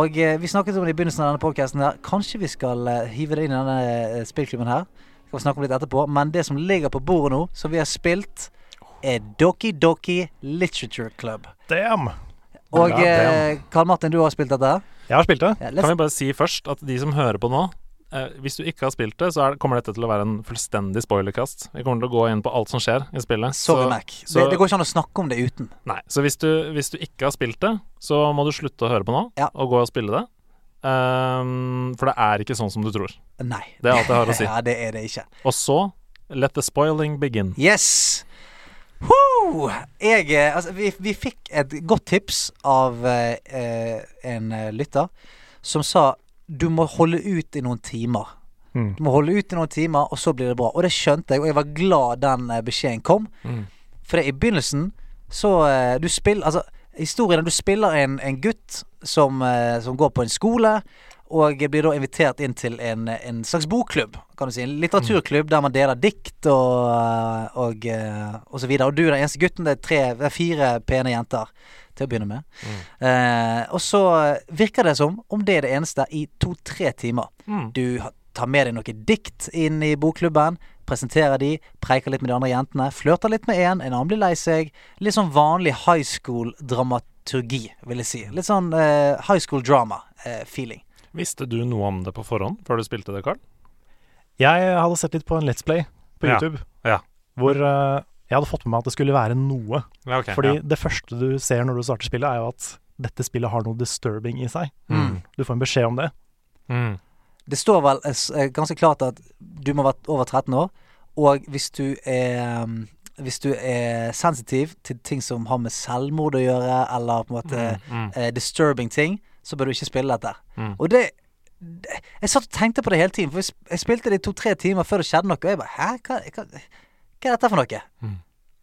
C: Og eh, vi snakket om det i begynnelsen av denne podcasten her. Kanskje vi skal eh, hive det inn i denne eh, spillklubben her. Vi skal snakke om det litt etterpå. Men det som ligger på bordet nå, som vi har spilt er Doki Doki Literature Club.
A: Damn!
C: Og
A: Ja,
C: eh, Karl Martin, du har spilt dette? her.
A: Jeg har spilt det.
C: Ja,
D: Kan
C: let's,
D: vi bare si først at de som hører på nå eh, Hvis du ikke har spilt det, så er, kommer dette til å være en fullstendig spoilerkast. Vi kommer til å gå inn på alt som skjer i spillet.
C: sorry,
D: så,
C: Mac.
D: så-
C: det, det går ikke an å snakke om det uten.
D: Nei, så hvis du, hvis du ikke har spilt det, så må du slutte å høre på nå
C: Ja.
D: og gå og spille det. Ehm, for det er ikke sånn som du tror.
C: Nei.
D: Det er alt jeg har å si.
C: ja, det er det ikke.
D: Og så let the spoiling begin.
C: Yes! Woo! Jeg, eh, altså, vi, vi fikk et godt tips av eh, eh, en eh, lytter som sa du må holde ut i noen timer.
A: Mm.
C: Du må holde ut i noen timer, og så blir det bra. Og det skjønte jeg, og jeg var glad den eh, beskjeden kom.
D: Mm.
C: For det, i begynnelsen så eh, Du spiller Altså, historien er du spiller en, en gutt som, eh, som går på en skole, og blir da invitert inn til en, en slags bokklubb, kan du si. En litteraturklubb der man deler dikt og, og, eh, og så videre. Og du er den eneste gutten. Det er, tre, det er fire pene jenter til å begynne med. Eh, og så virker det som om det er det eneste i to-tre timer.
D: Mm.
C: Du ha- tar med deg noe dikt inn i bokklubben, presenterer de, preiker litt med de andre jentene, flørter litt med en, en annen blir lei seg. Litt sånn vanlig high school-dramaturgi, vil jeg si. Litt sånn eh, high school eh, drama-feeling.
D: Visste du noe om det på forhånd før du spilte det, Carl?
A: Jeg hadde sett litt på en Let's Play på
D: Ja.
A: YouTube,
D: Ja.
A: hvor eh, jeg hadde fått med meg at det skulle være noe.
D: Ja, ok,
A: Fordi
D: ja.
A: det første du ser når du starter spillet, er jo at dette spillet har noe disturbing i seg.
D: Mm.
A: Du får en beskjed om det.
D: Mm.
C: Det står vel eh, s- eh, ganske klart at du må være over 13 år, og hvis du er mm, hvis du er sensitiv til ting som har med selvmord å gjøre, eller på en måte
D: Mm.
C: eh, disturbing ting, så bør du ikke spille dette.
D: Mm.
C: Og det, det Jeg satt og tenkte på det hele tiden, for jeg sp- jeg spilte det i to-tre timer før det skjedde noe, og jeg bare Hæ, hva, hva, hva er dette for noe?
D: Mm.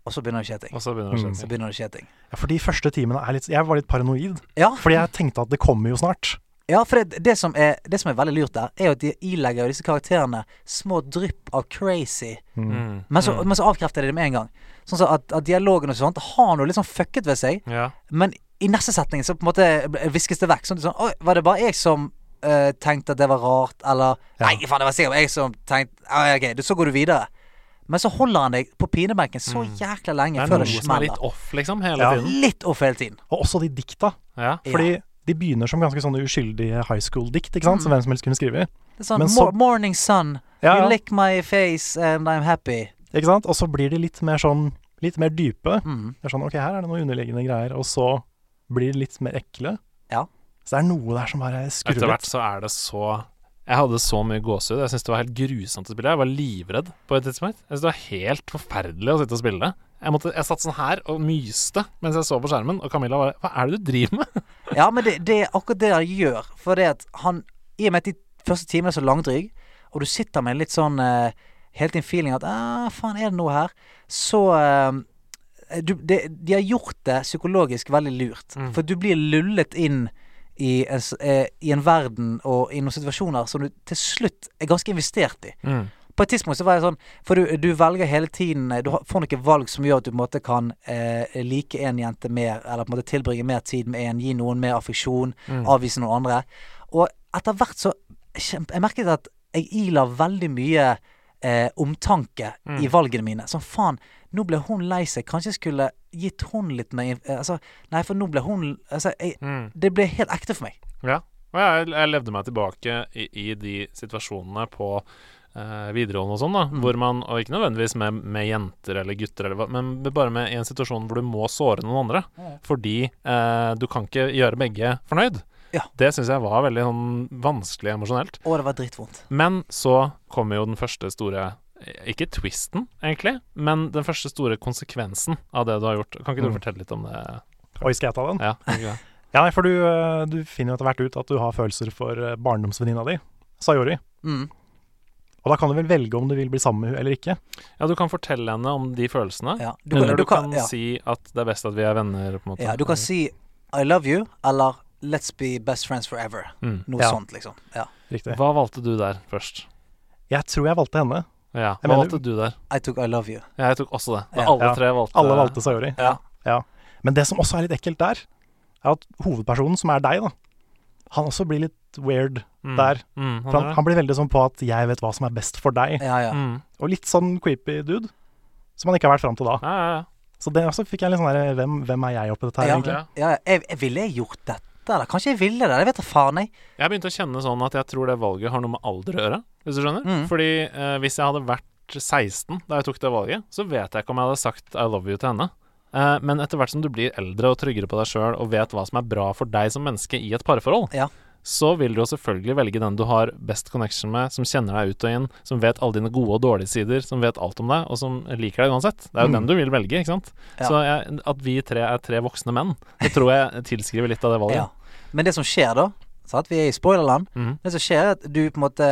C: Og så begynner det å skje ting.
D: Og så begynner det å
A: Mm.
D: skje
C: Så
D: ting.
C: begynner det å skje ting.
A: Ja, for de første timene er litt Jeg var litt paranoid,
C: Ja,
A: fordi jeg tenkte at det kommer jo snart.
C: ja for det, det, som er, det som er veldig lurt der, er jo at de ilegger jo disse karakterene små drypp av crazy.
D: Mm.
C: Men så,
D: Mm.
C: men så avkrefter de det med en gang. Sånn så at, at dialogen og sånt har noe litt sånn fucket ved seg.
D: Ja.
C: Men i neste setning så på en måte ble- viskes det vekk. Sånn, sånn Oi, var det bare jeg som eh, tenkte at det var rart, eller
A: Ja.
C: Nei, faen, det var sikkert jeg som tenkte «Ah, Ok, du- så går du videre. Men så holder han deg på pinebenken så jækla
D: Mm. Det
C: lenge
D: er
C: før
D: noe
C: det
D: som er litt
C: smeller.
D: off, liksom, hele
A: Ja.
D: tiden.
C: Litt off hele tiden.
A: Og også de dikta.
D: Ja.
A: Fordi de begynner som ganske sånne uskyldige high school-dikt, ikke sant? Som hvem som helst kunne skrive.
C: Det er sånn
A: Men så-
C: "Mor- Morning sun,
A: Ja,
C: you
A: ja.
C: lick my face and I'm happy.
A: Ikke sant? Og så blir de litt mer sånn Litt mer dype.
C: Mm.
A: Det er sånn, ok, her er det noen underliggende greier, og så blir det litt mer ekle.
C: Ja.
A: Så det er noe der som bare skurrer
D: Etter hvert
A: litt.
D: så er det så Jeg hadde så mye gåsehud. Jeg syntes det var helt grusomt å spille. Jeg var livredd på et tidspunkt. Jeg syntes det var helt forferdelig å sitte og spille. Jeg, måtte, jeg satt sånn her og myste mens jeg så på skjermen, og Camilla var Hva er det du driver med?
C: Ja, men det, det er akkurat det han gjør. For det at han I og med at de første timene er så langdryg, og du sitter med en litt sånn eh, Helt en feeling at «Ah, faen, er det noe her? Så eh, du, det, De har gjort det psykologisk veldig lurt.
D: Mm.
C: For du blir lullet inn i en, s- eh, i en verden og i noen situasjoner som du til slutt er ganske investert i. På et tidspunkt så var jeg sånn For du, du velger hele tiden eh, Du har- får noen valg som gjør at du på en måte kan eh, like en jente mer, eller på en måte tilbringe mer tid med en, gi noen mer affeksjon,
D: Mm.
C: avvise noen andre. Og etter hvert så kjem- Jeg merket at jeg ila veldig mye eh, omtanke
D: Mm.
C: i valgene mine. Sånn faen, nå ble hun lei seg. Kanskje jeg skulle gitt hun litt mer inf- eh, Altså, nei, for nå ble hun altså, jeg,
D: Mm.
C: Det ble helt ekte for meg.
D: Ja. Og jeg, jeg levde meg tilbake i, i de situasjonene på eh, videregående og sånn, da,
C: Mm.
D: hvor man Og ikke nødvendigvis med, med jenter eller gutter, eller hva, men bare med i en situasjon hvor du må såre noen andre. Fordi eh, du kan ikke gjøre begge fornøyd.
C: Ja.
D: Det syns jeg var veldig sånn, vanskelig emosjonelt.
C: Og det var dritvondt.
D: Men så kommer jo den første store Ikke twisten, egentlig, men den første store konsekvensen av det du har gjort. Kan ikke du
A: Mm.
D: fortelle litt om det?
A: Oi, skal jeg ta den?
D: Ja, kan ikke det?
A: Ja, nei, for du, eh, du finner jo etter hvert ut at du har følelser for eh, barndomsvenninna di, Sayori.
C: Mm.
A: Og da kan du vel velge om du vil bli sammen med henne eller ikke.
D: ja du kan fortelle henne om de følelsene.
C: Ja. Du,
D: Eller du, kan,
C: ja.
D: si at det er best at vi er venner, på en måte.
C: Ja, du kan si I love you, eller Let's be best friends forever.
D: Mm.
C: Noe
A: Ja.
C: sånt, liksom. Ja.
A: Riktig.
D: Hva valgte du der først?
A: Jeg tror jeg valgte henne.
D: Ja,
A: Jeg
D: hva
A: mener-
D: valgte du der?
C: I took I love you.
D: Ja, jeg tok også det. Da
C: Ja.
D: alle
A: Ja.
D: tre valgte
A: Alle valgte Sayori.
C: Ja.
A: Ja. Men det som også er litt ekkelt der, er at hovedpersonen, som er deg, da, han også blir litt weird.
D: Mm.
A: der.
D: Mm,
A: For han,
D: han,
A: han blir veldig sånn på at 'jeg vet hva som er best for deg',
C: Ja, ja.
D: mm.
A: og litt sånn creepy dude. Som han ikke har vært fram til da.
D: ja, ja, ja.
A: Så det også fikk jeg litt sånn der Hvem, hvem er jeg oppi dette her,
C: Ja.
A: egentlig?
D: Ja.
C: Ja, jeg, jeg ville jeg gjort dette, eller kanskje jeg ville det? Jeg vet da faen, jeg.
D: Jeg begynte å kjenne sånn at jeg tror det valget har noe med alder å gjøre. Hvis du skjønner?
C: Mm.
D: Fordi eh, hvis jeg hadde vært 16 da jeg tok det valget, så vet jeg ikke om jeg hadde sagt I love you til henne. Eh, men etter hvert som du blir eldre og tryggere på deg sjøl og vet hva som er bra for deg som menneske i et parforhold,
C: Ja.
D: så vil du jo selvfølgelig velge den du har best connection med, som kjenner deg ut og inn, som vet alle dine gode og dårlige sider, som vet alt om deg, og som liker deg uansett. Det er jo
A: Mm.
D: den du vil velge, ikke sant.
C: Ja.
D: Så jeg, at vi tre er tre voksne menn, det tror jeg tilskriver litt av det valget.
C: Ja. Men det som skjer da sant? Vi er i spoilerland.
D: Mhm.
C: Det som skjer, er at du på en måte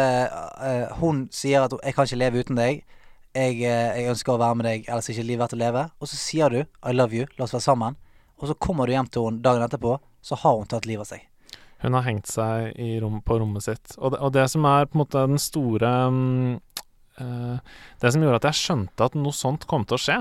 C: eh, Hun sier at 'jeg kan ikke leve uten deg'. Jeg, eh, 'Jeg ønsker å være med deg, ellers er ikke livet verdt å leve'. Og så sier du 'I love you, la oss være sammen'. Og så kommer du hjem til henne dagen etterpå, så har hun tatt livet av seg.
D: Hun har hengt seg i rom, på rommet sitt. Og det, og det som er på en måte den store mm, eh, Det som gjorde at jeg skjønte at noe sånt kom til å skje,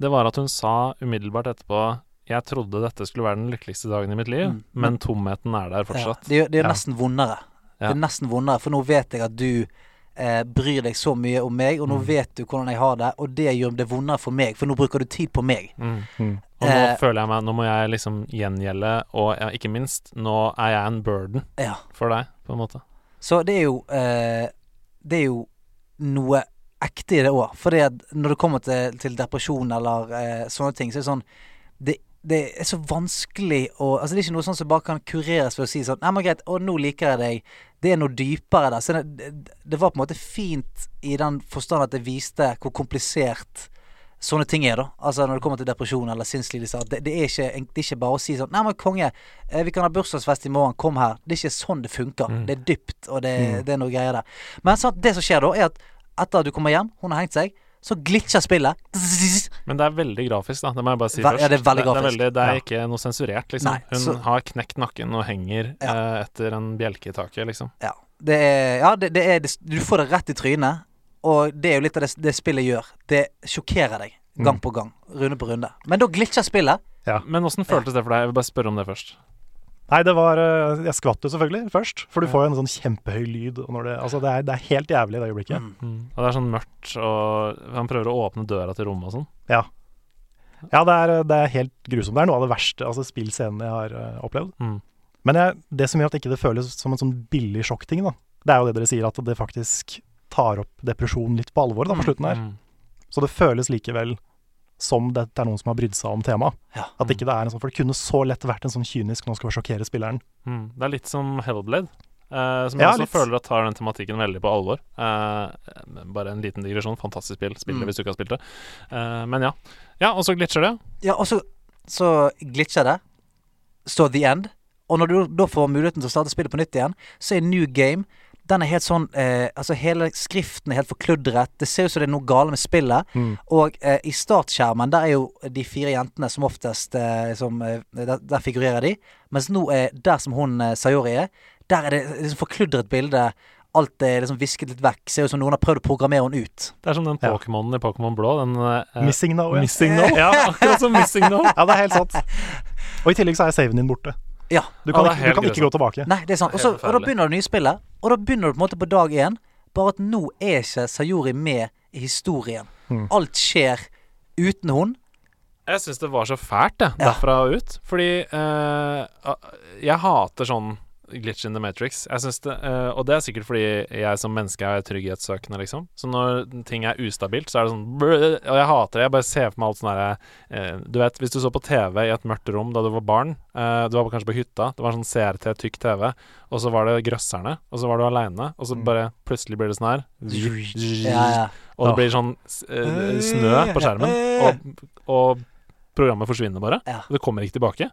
D: det var at hun sa umiddelbart etterpå Jeg trodde dette skulle være den lykkeligste dagen i mitt liv,
C: Mm.
D: men tomheten er der fortsatt.
C: Ja. Det er jo- det er jo
D: Ja.
C: nesten vondere. Det
D: Ja.
C: er nesten vondere, for nå vet jeg at du eh, bryr deg så mye om meg,
D: Mm.
C: og nå vet du hvordan jeg har det, og det gjør det vondere for meg, for nå bruker du tid på meg.
D: Mm.
A: Mm.
D: Og nå
C: Eh.
D: føler jeg meg Nå må jeg liksom gjengjelde, og ja, ikke minst, nå er jeg en burden
C: Ja.
D: for deg, på en måte.
C: Så det er jo eh, Det er jo noe ekte i det òg. For når det kommer til, til depresjon eller eh, sånne ting, så er det sånn det, det er så vanskelig å Altså Det er ikke noe sånn som bare kan kureres ved å si sånn Nei, men greit, å, nå liker jeg deg. Det er noe dypere der. Så det, det var på en måte fint i den forstand at det viste hvor komplisert sånne ting er, da. Altså når det kommer til depresjon eller sinnslidelser. at Det, det, er ikke, det er ikke bare å si sånn Nei, men konge, eh, vi kan ha bursdagsfest i morgen, kom her. Det er ikke sånn det funker. Det er dypt, og det, det er noe greier der. Men sant, det som skjer da, er at etter at du kommer hjem, hun har hengt seg, så glitcher spillet. Zzz,
D: Men det er veldig grafisk, da. Det må jeg bare si
C: Ve-
D: først.
C: ja, det er veldig
D: det,
C: grafisk.
D: veldig, det er
C: Ja.
D: ikke noe sensurert, liksom.
C: Nei,
D: Hun
C: så-
D: har knekt nakken og henger
C: Ja.
D: eh, etter en bjelke i taket, liksom.
C: Ja. Det er, ja, det, det er Du får det rett i trynet, og det er jo litt av det, det spillet gjør. Det sjokkerer deg gang på gang, runde på runde. Men da glitcher spillet.
D: Men åssen føltes det for deg? Jeg vil bare spørre om det først.
A: Nei, det var eh, Jeg skvatt jo selvfølgelig først, for du får jo en sånn kjempehøy lyd. Og når det, altså, det, er, det er helt jævlig i det øyeblikket.
D: Og det er sånn mørkt, og han prøver å åpne døra til rommet og sånn.
A: Ja. Ja, det er, det er helt grusomt. Det er noe av det verste altså spillscenen jeg har eh, opplevd.
D: Mm.
A: Men jeg, det som gjør at ikke det føles som en sånn billig sjokkting, da, det er jo det dere sier, at det faktisk tar opp depresjonen litt på alvor da, på slutten her.
D: Mm.
A: Så det føles likevel som det er noen som har brydd seg om temaet.
C: Ja.
A: At ikke det er en sånn, for det kunne så lett vært en sånn kynisk 'nå skal vi sjokkere spilleren'.
D: Mm. Det er litt som Hellblade, eh, som jeg
A: Ja,
D: også
A: litt.
D: føler at tar den tematikken veldig på alvor. Eh, bare en liten digresjon. Fantastisk spill. Spill det
C: Mm.
D: hvis du ikke har spilt det. Eh, men ja. Ja, og så glitcher det.
C: Ja, og så, så glitcher det. Står the end. Og når du da får muligheten til å starte spillet på nytt igjen, så er new game Den er helt sånn eh, Altså, hele skriften er helt forkludret. Det ser ut som det er noe gale med spillet.
D: Mm.
C: Og eh, i startskjermen, der er jo de fire jentene som oftest eh, som, eh, der, der figurerer de. Mens nå er der som hun eh, Sayori er, der er det liksom forkludret bilde. Alt er liksom visket litt vekk. Ser ut som noen har prøvd å programmere henne ut.
D: Det er som den
A: Ja.
D: Pokémonen i Pokémon blå. Den eh,
A: Missing now. Ja.
D: Missing No. Ja, akkurat som Missing No.
A: ja, det er helt sant. Og i tillegg så er saven din borte.
C: Ja.
A: Du kan,
D: Ja, det er
A: ikke,
D: helt
A: du kan ikke gå tilbake.
C: Nei, det er sant. Og, så, og
D: helt
C: da
D: forferdelig.
C: begynner det nye spillet. Og da begynner du på en måte på dag én, bare at nå er ikke Sayori med i historien. Alt skjer uten hun.
D: Jeg syns det var så fælt, det,
C: Ja.
D: derfra og ut. Fordi eh, jeg hater sånn glitch in the matrix. Jeg synes det, eh, og det er sikkert fordi jeg som menneske er trygghetssøkende, liksom. Så når ting er ustabilt, så er det sånn brrr, Og jeg hater det. Jeg bare ser for meg alt sånn derre eh, Du vet, hvis du så på TV i et mørkt rom da du var barn, eh, du var kanskje på hytta, det var sånn CRT, tykk TV, og så var det grøsserne, og så var du aleine, og så bare plutselig blir det sånn her.
C: Ja, ja. eh.
D: Og det
A: Åh.
D: blir sånn s- eh, snø på skjermen, og, og programmet forsvinner bare.
C: Ja.
D: Det kommer ikke tilbake.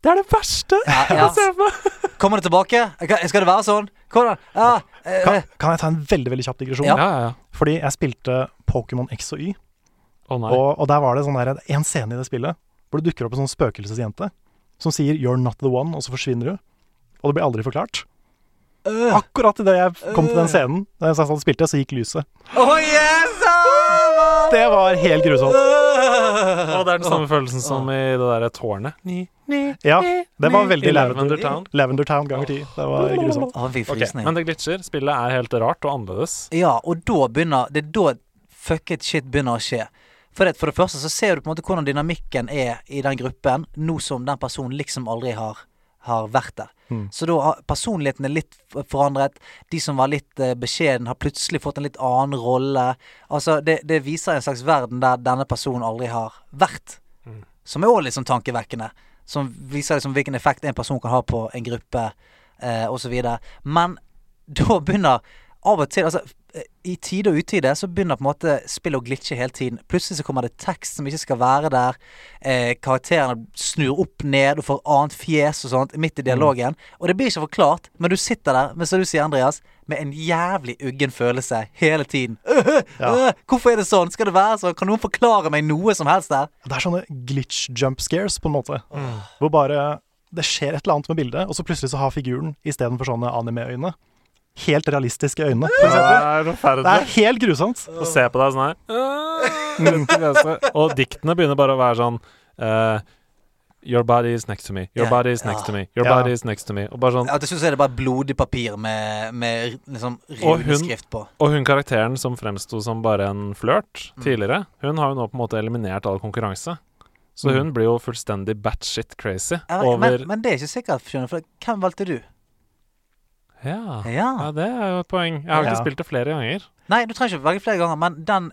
D: Det er det verste!
C: ja,
D: jeg
C: ja.
D: ser for meg.
C: Kommer det tilbake? Skal skal det være sånn? Hvordan? Ja, eh,
A: Kan, kan jeg ta en veldig veldig kjapp digresjon?
C: Ja.
D: Ja, ja, ja.
A: Fordi jeg spilte Pokémon X og Y,
D: Å nei.
A: og, og der var det sånn der, en scene i det spillet hvor det dukker opp en sånn spøkelsesjente som sier 'you're not the one', og så forsvinner hun. Og det blir aldri forklart.
C: øh.
A: Akkurat idet jeg kom til
D: Eh.
A: den scenen, da jeg satt og spilte, så gikk lyset.
C: Oh, yes! ah,
A: Det var helt grusomt.
C: øh.
D: Å, det er den samme følelsen som i det derre tårnet. Ni, ni,
A: Ja,
D: ni,
A: det var
D: ni.
A: veldig
D: I
A: Lavender
D: Lavender Town.
A: Lavender Town ganger ti. Det var grusomt.
C: Å, han fikk frysning.
D: Men det glitcher. Spillet er helt rart og annerledes.
C: Ja, og da begynner Det er da fucket shit begynner å skje. For det, for det første så ser du på en måte hvordan dynamikken er i den gruppen, nå som den personen liksom aldri har, har vært der. Så da har personligheten er litt f- forandret. De som var litt eh, beskjeden, har plutselig fått en litt annen rolle. Altså, det, det viser en slags verden der denne personen aldri har vært. Som er òg litt sånn tankevekkende. Som viser liksom hvilken effekt en person kan ha på en gruppe, eh, osv. Men da begynner av og til altså, eh, I tide og utide så begynner på en måte spillet å glitche hele tiden. Plutselig så kommer det tekst som ikke skal være der. Eh, karakterene snur opp ned og får annet fjes og sånt midt i dialogen. Og det blir ikke forklart, men du sitter der men som du sier, Andreas, med en jævlig uggen følelse hele tiden. Øh, øh,
A: Ja.
C: øh, Hvorfor er det sånn? Skal det være sånn? Kan noen forklare meg noe som helst der?
A: Det er sånne glitch jump scares, på en måte.
D: Mm.
A: Hvor bare det skjer et eller annet med bildet, og så plutselig så har figuren istedenfor sånne anime-øyne helt realistiske øyne.
D: Det
A: for eksempel.
D: er
A: Det er
D: forferdelig
A: helt grusomt.
D: å se på deg sånn her. Vet ikke hva jeg skal- Og diktene begynner bare å være sånn eh, Your body is next to me. Your
C: Ja.
D: body is next to me. Your
A: Ja.
D: body is next to me. Og bare sånn
C: Ja, Til slutt så er det bare blodig papir med, med liksom
D: Og hun-
C: runeskrift på.
D: Og hun karakteren som fremsto som bare en flørt
C: Mm.
D: tidligere, hun har jo nå på en måte eliminert all konkurranse. Så hun blir jo fullstendig batshit crazy
C: Mm. Ja,
D: over
C: men, men det er ikke sikkert, skjønner du. For hvem valgte du?
D: Ja.
C: Ja.
D: ja, det er jo et poeng. Jeg har ikke
A: Ja.
D: spilt det flere ganger.
C: Nei, du trenger ikke velge flere ganger, men den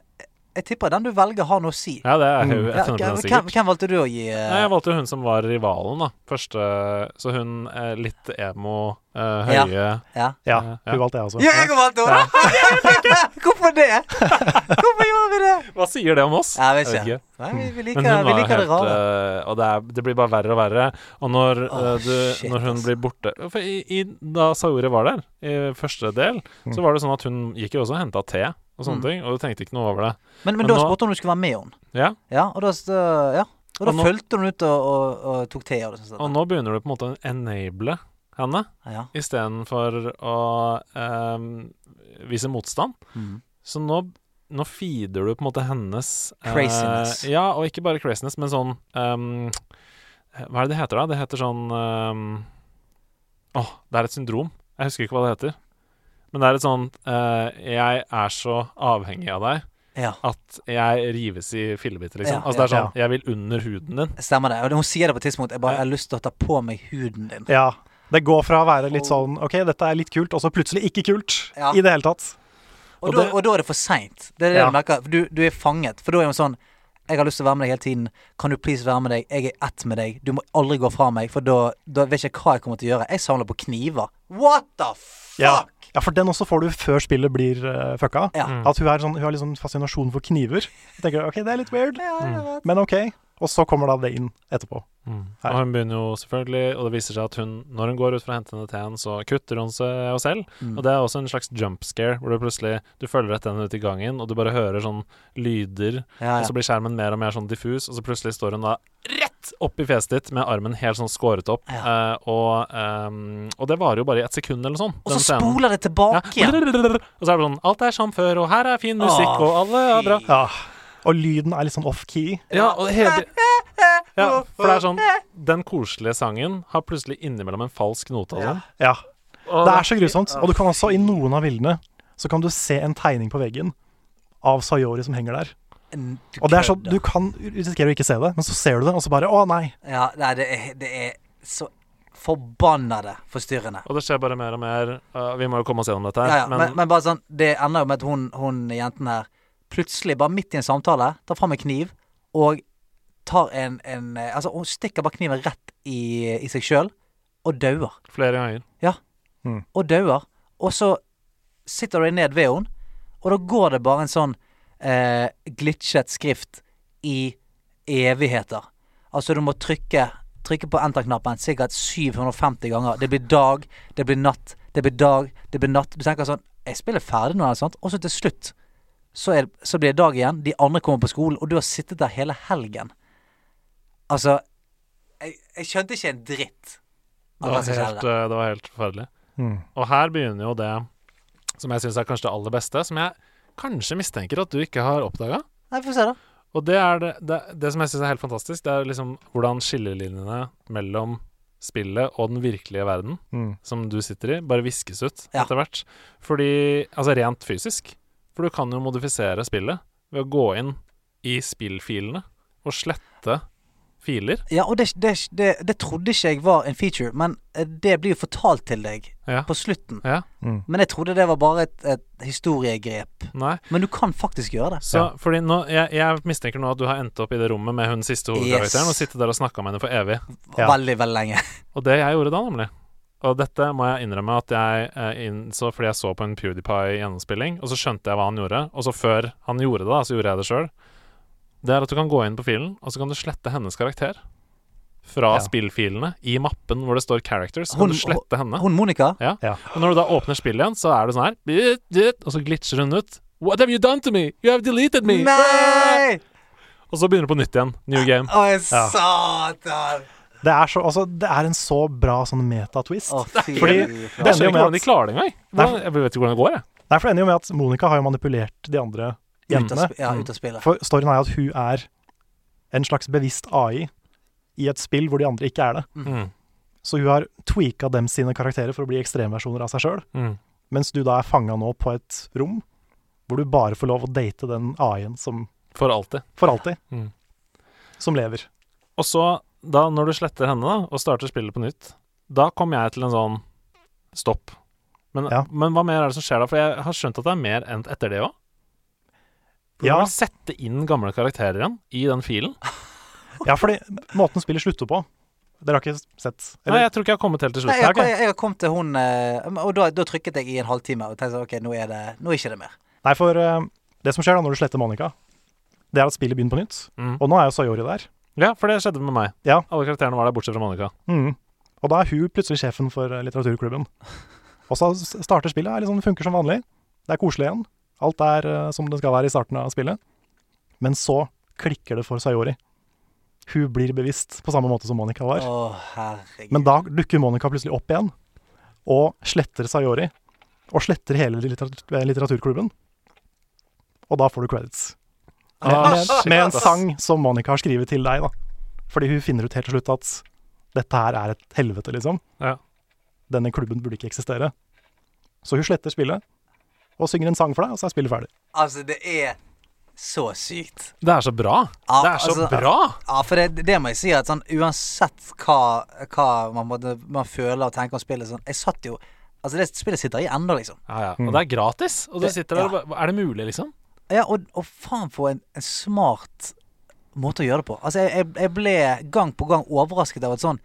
C: Jeg tipper den du velger, har noe å si.
D: Ja, det er jo
C: Mm. Ja,
D: 100
C: hvem,
D: sikkert.
C: hvem valgte du å gi? eh,
D: Nei, jeg valgte hun som var rivalen, da. Første Så hun eh, litt emo, eh,
C: Ja.
D: høye
C: ja.
A: Ja,
D: Ja.
A: hun valgte jeg også.
C: ja, jeg valgte henne! Hvorfor det? Hvorfor gjorde vi det?
D: Hva sier det om oss?
C: Jeg vet
D: Jeg vet
C: ikke. Nei, vi, vi
D: Men
C: liker,
D: hun
C: vi
D: var
C: liker det
D: helt
C: rare.
D: eh, Og det, er, det blir bare verre og verre. Og når,
C: Åh,
D: eh, du,
C: shit, altså.
D: når hun
C: ass.
D: blir borte for i, i, Da Sayori var der, i første del, så var det sånn at hun gikk jo også og henta te og sånne
C: Mm.
D: ting, og du tenkte ikke noe over det.
C: Men, men
D: Men
C: da
D: nå-
C: spurte hun om du skulle være med henne.
D: Ja,
C: Ja, og da, s- ja. Og da
D: Og nå-
C: fulgte hun ut og, og, og tok te og det
D: Og
C: sånn.
D: nå begynner du på en måte å enable henne
C: Ja.
D: istedenfor å eh, vise motstand.
C: Mm.
D: Så nå, nå feeder du på en måte hennes eh,
C: Craziness.
D: ja, og ikke bare craziness, men sånn ehm, Hva er det det heter, da? Det heter sånn ehm, Åh, det er et syndrom. Jeg husker ikke hva det heter. Men det er et sånn eh, Jeg er så avhengig av deg
C: ja.
D: at jeg rives i fillebiter, liksom.
C: Ja,
D: altså det er
A: ja,
D: sånn Jeg vil under huden din.
C: Stemmer det. Og hun sier det på et tidspunkt. Jeg bare
D: Ja.
C: jeg har lyst til å ta på meg huden din.
A: Ja. Det går fra å være litt sånn OK, dette er litt kult, og så plutselig ikke kult
C: Ja.
A: i det hele tatt.
C: Og,
D: Og
C: da,
D: det-
C: og da er det for seint. Det er det
A: Ja.
C: du merker. For Du, du er fanget. For da er hun sånn Jeg har lyst til å være med deg hele tiden. Kan du please være med deg? Jeg er ett med deg. Du må aldri gå fra meg, for da, da vet jeg ikke hva jeg kommer til å gjøre. Jeg samler på kniver. What the fuck?
A: Ja. ja, for den også får du før spillet blir eh, fucka.
C: Ja.
D: Mm.
A: At hun, er sånn, hun har litt sånn fascinasjon for kniver. Jeg tenker OK, det er litt weird, men OK. Og så kommer da det inn etterpå. Her.
D: Mm. Og hun begynner jo selvfølgelig, og det viser seg at hun, når hun går ut for å hente henne teen, så kutter hun seg selv.
C: Mm.
D: Og det er også en slags jump scare, hvor du plutselig du følger etter henne ut i gangen, og du bare hører sånn lyder,
C: Ja, ja.
D: og så blir skjermen mer og mer sånn diffus, og så plutselig står hun da rett opp i fjeset ditt med armen helt sånn skåret opp, eh, og, ehm, og det varer jo bare i et sekund eller sånn.
C: Og så spoler det tilbake
D: ja.
C: igjen.
D: Og så er det sånn Alt er som før, og her er fin musikk,
C: Åh,
D: og alle er bra.
A: Ja. Og lyden er litt sånn off-key.
D: Ja, og hele ja, for det er sånn Den koselige sangen har plutselig innimellom en falsk note og sånn.
A: Ja. Det er så grusomt. Og du kan også, i noen av bildene, så kan du se en tegning på veggen av Sayori som henger der.
C: N- du
A: Og det er sånn,
C: kødder.
A: du kan risikere å ikke se det, men så ser du det, og så bare Å, nei.
C: Ja, nei, det er, det er så forbannede forstyrrende.
D: Og det skjer bare mer og mer. Uh, vi må jo komme oss gjennom dette her.
C: Ja, ja. Men,
D: men,
C: men, bare sånn, det ender jo med at hun, hun jenten her plutselig, bare midt i en samtale, tar fram en kniv og tar en, en eh, Altså, hun stikker bare kniven rett i, i seg sjøl og dauer.
D: flere ganger.
C: Ja.
A: Mm.
C: Og dauer. Og så sitter du ned ved henne, og da går det bare en sånn eh, glitchet skrift i evigheter. Altså, du må trykke Trykke på enter-knappen sikkert 750 ganger. Det blir dag, det blir natt, det blir dag, det blir natt. Du tenker sånn Jeg spiller ferdig nå, eller sånt. Og så til slutt så, er, så blir det dag igjen. De andre kommer på skolen, og du har sittet der hele helgen. Altså Jeg, jeg skjønte ikke en dritt.
D: Det var helt, uh, det var helt forferdelig.
A: Mm.
D: Og her begynner jo det som jeg syns er kanskje det aller beste, som jeg kanskje mistenker at du ikke har oppdaga.
C: Nei, få se, da.
D: Og det er det, det, det som jeg syns er helt fantastisk, det er liksom hvordan skillelinjene mellom spillet og den virkelige verden
A: Mm.
D: som du sitter i, bare viskes ut
C: Ja.
D: etter hvert. Fordi Altså rent fysisk. For du kan jo modifisere spillet ved å gå inn i spillfilene å slette filer.
C: Ja, og det, det, det, det trodde ikke jeg var en feature, men eh, det blir jo fortalt til deg
D: Ja.
C: på slutten.
D: ja.
C: Men jeg trodde det var bare et, et historiegrep.
D: Nei.
C: Men du kan faktisk gjøre det.
D: Så fordi nå jeg, jeg mistenker nå at du har endt opp i det rommet med hun siste hovedkarakteren
C: Yes.
D: og sittet der og snakka med henne for evig.
A: Ja.
C: Veldig, veldig lenge.
D: Og det jeg gjorde da, nemlig Og dette må jeg innrømme at jeg eh, innså fordi jeg så på en PewDiePie gjennomspilling, og så skjønte jeg hva han gjorde. Og så før han gjorde det, da, så gjorde jeg det sjøl. Det er at du kan gå inn på filen, og så kan du slette hennes karakter. Fra
A: Ja.
D: spillfilene i mappen hvor det står 'characters'. Så kan
C: Hun-
D: du slette henne.
C: Hun Monica
D: Ja.
A: Ja.
D: Og når du da åpner spillet igjen, så er det sånn her bit, bit, Og så glitcher hun ut. What have you done to me? You have deleted me!
C: Nei!
D: Og så begynner du på nytt igjen. New game.
C: Å, satan!
A: Det er, så, altså, det er en så bra sånn metatwist.
C: Å, fy
A: Fordi
D: Jeg
A: det
D: skjønner
A: ender jo
D: ikke
A: med
D: hvordan de
A: at,
D: klarer det engang. Hvordan- Jeg vet ikke hvordan det går, jeg.
A: Nei, for det ender jo med at Monica har jo manipulert de andre
C: Ut av
A: jentene.
C: sp- Ja, ut av spillet.
A: Mm. For storyen er jo at hun er en slags bevisst AI i et spill hvor de andre ikke er det.
D: Mm.
A: Så hun har tweaka dem sine karakterer for å bli ekstremversjoner av seg sjøl,
D: Mm.
A: mens du da er fanga nå på et rom hvor du bare får lov å date den AI-en som
D: For alltid.
A: for alltid.
D: Mm.
A: Som lever.
D: Og så, da når du sletter henne da, og starter spillet på nytt, da kom jeg til en sånn stopp. Men,
A: Ja.
D: men hva mer er det som skjer da? For jeg har skjønt at det er mer enn etter det òg. Du
A: Ja.
D: må sette inn gamle karakterer igjen i den filen.
A: Ja, fordi måten spillet slutter på Dere har ikke sett?
D: Nei,
A: Eller,
D: jeg tror ikke jeg har kommet helt til
C: Nei, jeg,
D: slutt.
C: jeg, jeg kom til hun eh, Og da, da trykket jeg i en halvtime og tenkte sånn, OK, nå er det Nå er ikke det mer.
A: nei, for eh, det som skjer da når du sletter Monica, det er at spillet begynner på nytt.
D: Mm.
A: Og nå er jo Sayori der.
D: Ja, for det skjedde med meg.
A: Ja.
D: Alle karakterene var der, bortsett fra Monica.
A: Mm. Og da er hun plutselig sjefen for eh, litteraturklubben. Og så s- starter spillet, er liksom, funker som vanlig. Det er koselig igjen. Alt er eh, som det skal være i starten av spillet. Men så klikker det for Sayori. Hun blir bevisst på samme måte som Monica var.
C: Å, herregud.
A: Men da dukker Monica plutselig opp igjen og sletter Sayori. Og sletter hele litteratur, eh, litteraturklubben. Og da får du credits. Med,
D: Ah,
A: med,
D: shit,
A: med en
D: ass.
A: sang som Monica har skrevet til deg, da. Fordi hun finner ut helt til slutt at dette her er et helvete, liksom.
D: Ja.
A: Denne klubben burde ikke eksistere. Så hun sletter spillet og synger en sang for deg, og så er spillet ferdig.
C: Altså, det er så sykt.
D: Det er så bra!
C: Ja,
D: det er så
C: altså-
D: bra!
C: Ja, for det, det må jeg si at sånn uansett hva, hva man, måtte, man føler og tenker om spillet sånn Jeg satt jo Altså, det spillet sitter i ennå, liksom.
D: Ja, ja. Og det er gratis. Og du
C: Det-
D: sitter der og bare Er det mulig, liksom?
C: Ja, og, og faen for en, en smart måte å gjøre det på. Altså, jeg, jeg, jeg ble gang på gang overrasket av at sånn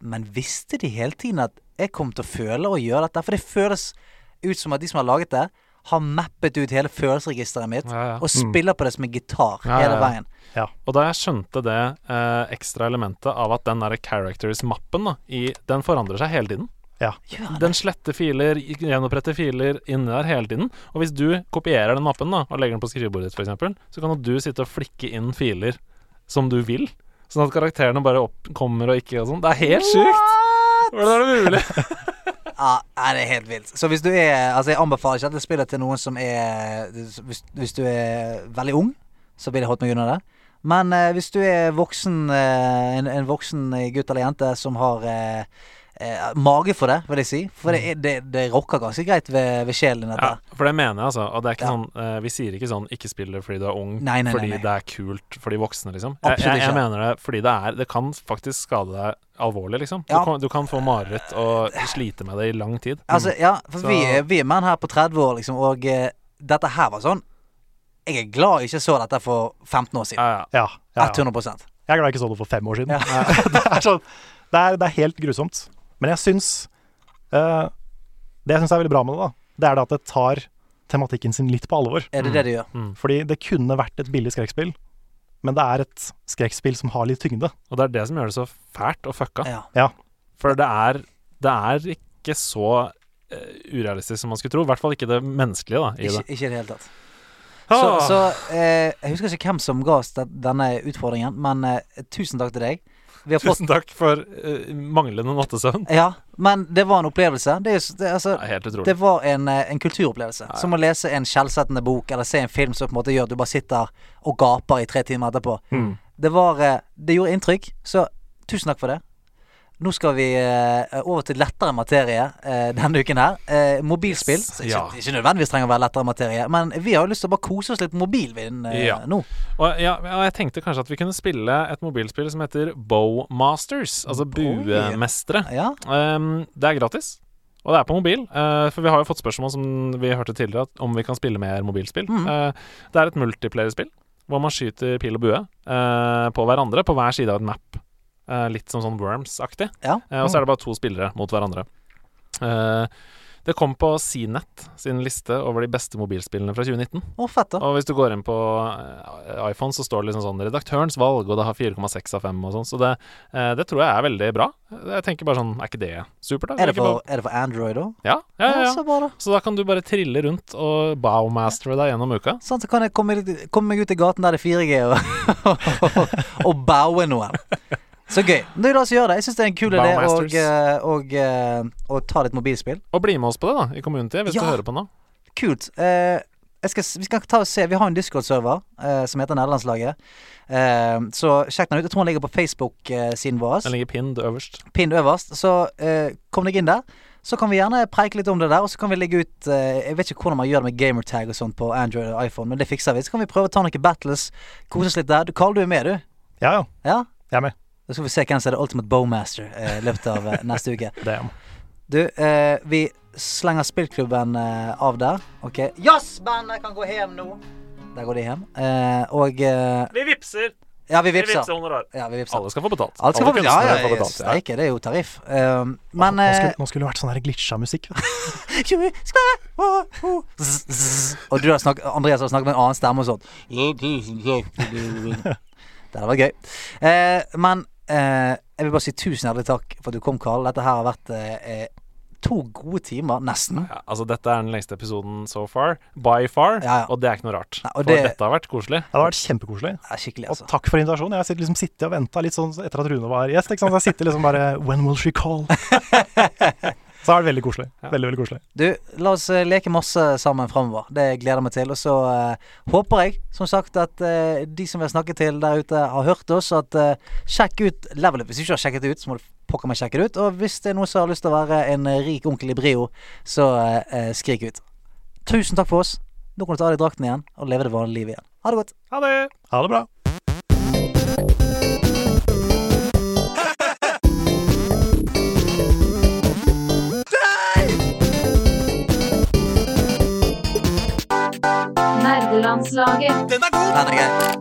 C: Men visste de hele tiden at jeg kom til å føle og gjøre dette? For det føles ut som at de som har laget det, har mappet ut hele følelsesregisteret mitt
D: Ja, ja.
C: og spiller på det som en gitar
D: Ja, ja,
C: hele
D: ja.
C: veien.
A: Ja.
D: Og da jeg skjønte det eh, ekstra elementet av at den der characters-mappen da, i, den forandrer seg hele tiden.
A: Ja.
C: Gjør det.
D: Den sletter filer, gjenoppretter filer inni der hele tiden. Og hvis du kopierer den mappen da, og legger den på skrivebordet ditt, for eksempel, så kan jo du sitte og flikke inn filer som du vil. Sånn at karakterene bare opp kommer og ikke og sånn. Det er helt sjukt! Hvordan er det mulig?
C: Ja, nei, det er helt vilt. Så hvis du er Altså, jeg anbefaler ikke dette spillet til noen som er hvis, hvis du er veldig ung, så vil jeg holdt meg unna det. Men eh, hvis du er voksen eh, en, en voksen gutt eller jente som har eh, eh, mage for det, vil jeg si. For det, er- det, det rocker ganske greit ved, ved sjelen din,
D: Ja,
C: dette.
D: for det mener jeg, altså. Og det er ikke
C: Ja.
D: sånn eh, Vi sier ikke sånn 'ikke spill det fordi du er ung',
C: Nei, nei, nei,
D: fordi
C: nei.
D: det er kult for de voksne, liksom. Jeg,
C: Absolutt
D: jeg, jeg
C: ikke.
D: mener det fordi det er Det kan faktisk skade deg alvorlig, liksom.
C: Ja.
D: Du, kan, du kan få mareritt og slite med det i lang tid.
C: Altså, ja, for
D: Mm. Så-
C: vi, er- vi er menn her på 30 år, liksom, og eh, dette her var sånn Jeg er glad jeg ikke så dette for 15 år siden.
D: Ja, ja.
A: Ja, ja, ja.
C: 100
A: Jeg er glad jeg ikke så det for fem år siden.
C: Ja.
A: det, er sånn, det, er, det er helt grusomt. Men jeg syns eh, Det jeg syns er veldig bra med det, da, det er det at det tar tematikken sin litt på alvor.
C: Er det det du gjør?
A: Fordi det kunne vært et billig skrekkspill, men det er et skrekkspill som har litt tyngde.
D: Og det er det som gjør det så fælt og fucka.
C: Ja.
A: Ja.
D: For det er, det er ikke så eh, urealistisk som man skulle tro. I hvert fall ikke det menneskelige da, i
C: Ikke,
D: det.
C: ikke i det hele tatt. Så,
D: Ah!
C: så eh, jeg husker ikke hvem som ga oss de- denne utfordringen, men eh, tusen takk til deg. Vi har fått
D: Tusen takk for eh, manglende nattesøvn.
C: Ja, men det var en opplevelse. Det, er jo s- det, altså,
D: Det er helt utrolig.
C: Eh, det var en, eh, en kulturopplevelse. Som å lese en skjellsettende bok eller se en film som på en måte gjør at du bare sitter og
D: Hmm.
C: gaper i tre timer etterpå. Det var eh, Det gjorde inntrykk, så tusen takk for det. Nå skal vi eh, over til lettere materie eh, denne uken her. Eh, mobilspill.
D: Yes.
C: Så ikke,
D: Ja.
C: ikke nødvendigvis trenger å være lettere materie, men vi har jo lyst til å bare kose oss litt på mobilen eh,
D: Ja.
C: nå.
D: Og, ja, og jeg tenkte kanskje at vi kunne spille et mobilspill som heter Bowmasters, altså buemestere.
C: Ja.
D: Um, det er gratis, og det er på mobil. eh, for vi har jo fått spørsmål som vi hørte tidligere, at om vi kan spille mer mobilspill. Eh, det er et multiplayerspill hvor man skyter pil og bue eh, på hverandre på hver side av et map. Eh, litt som sånn Worms-aktig.
C: ja.
D: Eh, og så er det bare to spillere mot hverandre. Eh, det kom på CNET sin liste over de beste mobilspillene fra 2019.
C: Å, fett, da.
D: Og hvis du går inn på eh, iPhone, så står det liksom sånn 'Redaktørens valg', og det har 4,6 av 5 og sånn, så det, eh, det tror jeg er veldig bra. Jeg tenker bare sånn Er ikke det supert, da?
C: Er det,
D: Vil ikke
C: for, er det for Android òg?
D: bare- Ja, ja, ja. ja.
C: Så bra, da.
D: Så da kan du bare trille rundt og bowmastere deg gjennom uka.
C: Sånn, så kan jeg komme, litt- komme meg ut i gaten der det er 4G, og, og, og baue noen. Så gøy. Det er la oss gjøre det. Jeg syns det er en kul idé å og,
D: Bowmasters.
C: og, eh, å ta litt mobilspill.
D: Og bli med oss på det, da, i community, hvis
C: Ja.
D: du hører på nå.
C: Kult. Eh, jeg skal, s- vi skal ta og se Vi har en Discord-server eh, som heter Nederlandslaget. Eh, så sjekk den ut. Jeg tror den ligger på Facebook-siden vår.
D: Den ligger pinned øverst.
C: Pinn øverst. Så eh, kom deg inn der. Så kan vi gjerne preike litt om det der, og så kan vi legge ut eh, Jeg vet ikke hvordan man gjør det med gamertag og sånt på Android og iPhone, men det fikser vi. Så kan vi prøve å ta noen battles, kose oss litt der. Du, Karl, du er med, du?
A: Ja, ja.
C: Ja?
A: Jeg er med.
C: Da skal vi se hvem som er det Ultimate Bowmaster eh, i løpet av eh, neste uke.
A: Det er jeg.
C: Du, eh, vi slenger spillklubben eh, av der. OK. Jazzbandet kan gå hjem nå. Der går de hjem. Eh, og eh,
B: Vi vipser.
C: Ja, vi
B: Vi vipser
C: vipser.
B: honorar.
C: Ja, vi vipser.
D: Alle skal få betalt.
C: Alt skal få betalt.
D: kunstnere
C: Ja, ja,
D: får
C: ja,
D: betalt, ja.
C: steike, det er jo tariff. Eh, men
A: Nå
C: eh,
A: skulle, nå skulle det vært sånn her glitcha musikk.
C: Tjue, skvæ, å, å. Zzz, zzz. Og du har snakket, Andreas har snakket med en annen stemme og sånn. Det hadde vært gøy. Eh, men eh, jeg vil bare si tusen hjertelig takk for at du kom, Karl. Dette her har vært eh, eh, to gode timer, nesten.
D: Ja, altså, dette er den lengste episoden so far. By far.
C: Ja, ja.
D: Og det er ikke noe rart.
C: Nei, og
D: For
C: det-
D: dette har vært koselig.
A: Det hadde vært kjempekoselig.
C: Det er skikkelig,
A: Og
C: altså.
A: takk for invitasjonen. Jeg har sitt- liksom sittet og venta litt sånn etter at Rune var gjest. Ikke sant? Så jeg sitter liksom bare When will she call? Så er det veldig koselig. Veldig, veldig koselig.
C: Du, la oss eh, leke masse sammen framover. Det gleder jeg meg til. Og så eh, håper jeg, som sagt, at eh, de som vi har snakket til der ute, har hørt oss. At eh, sjekk ut Level Up. Hvis du ikke har sjekket det ut, så må du pokker meg sjekke det ut. Og hvis det er noen som har lyst til å være en eh, rik onkel i brio, så eh, eh, skrik ut. Tusen takk for oss. Nå kan du ta av deg drakten igjen og leve det vanlige livet igjen. Ha det godt.
D: Ha det!
A: Ha det bra.
E: Nerdelandslaget.
C: Den er grei.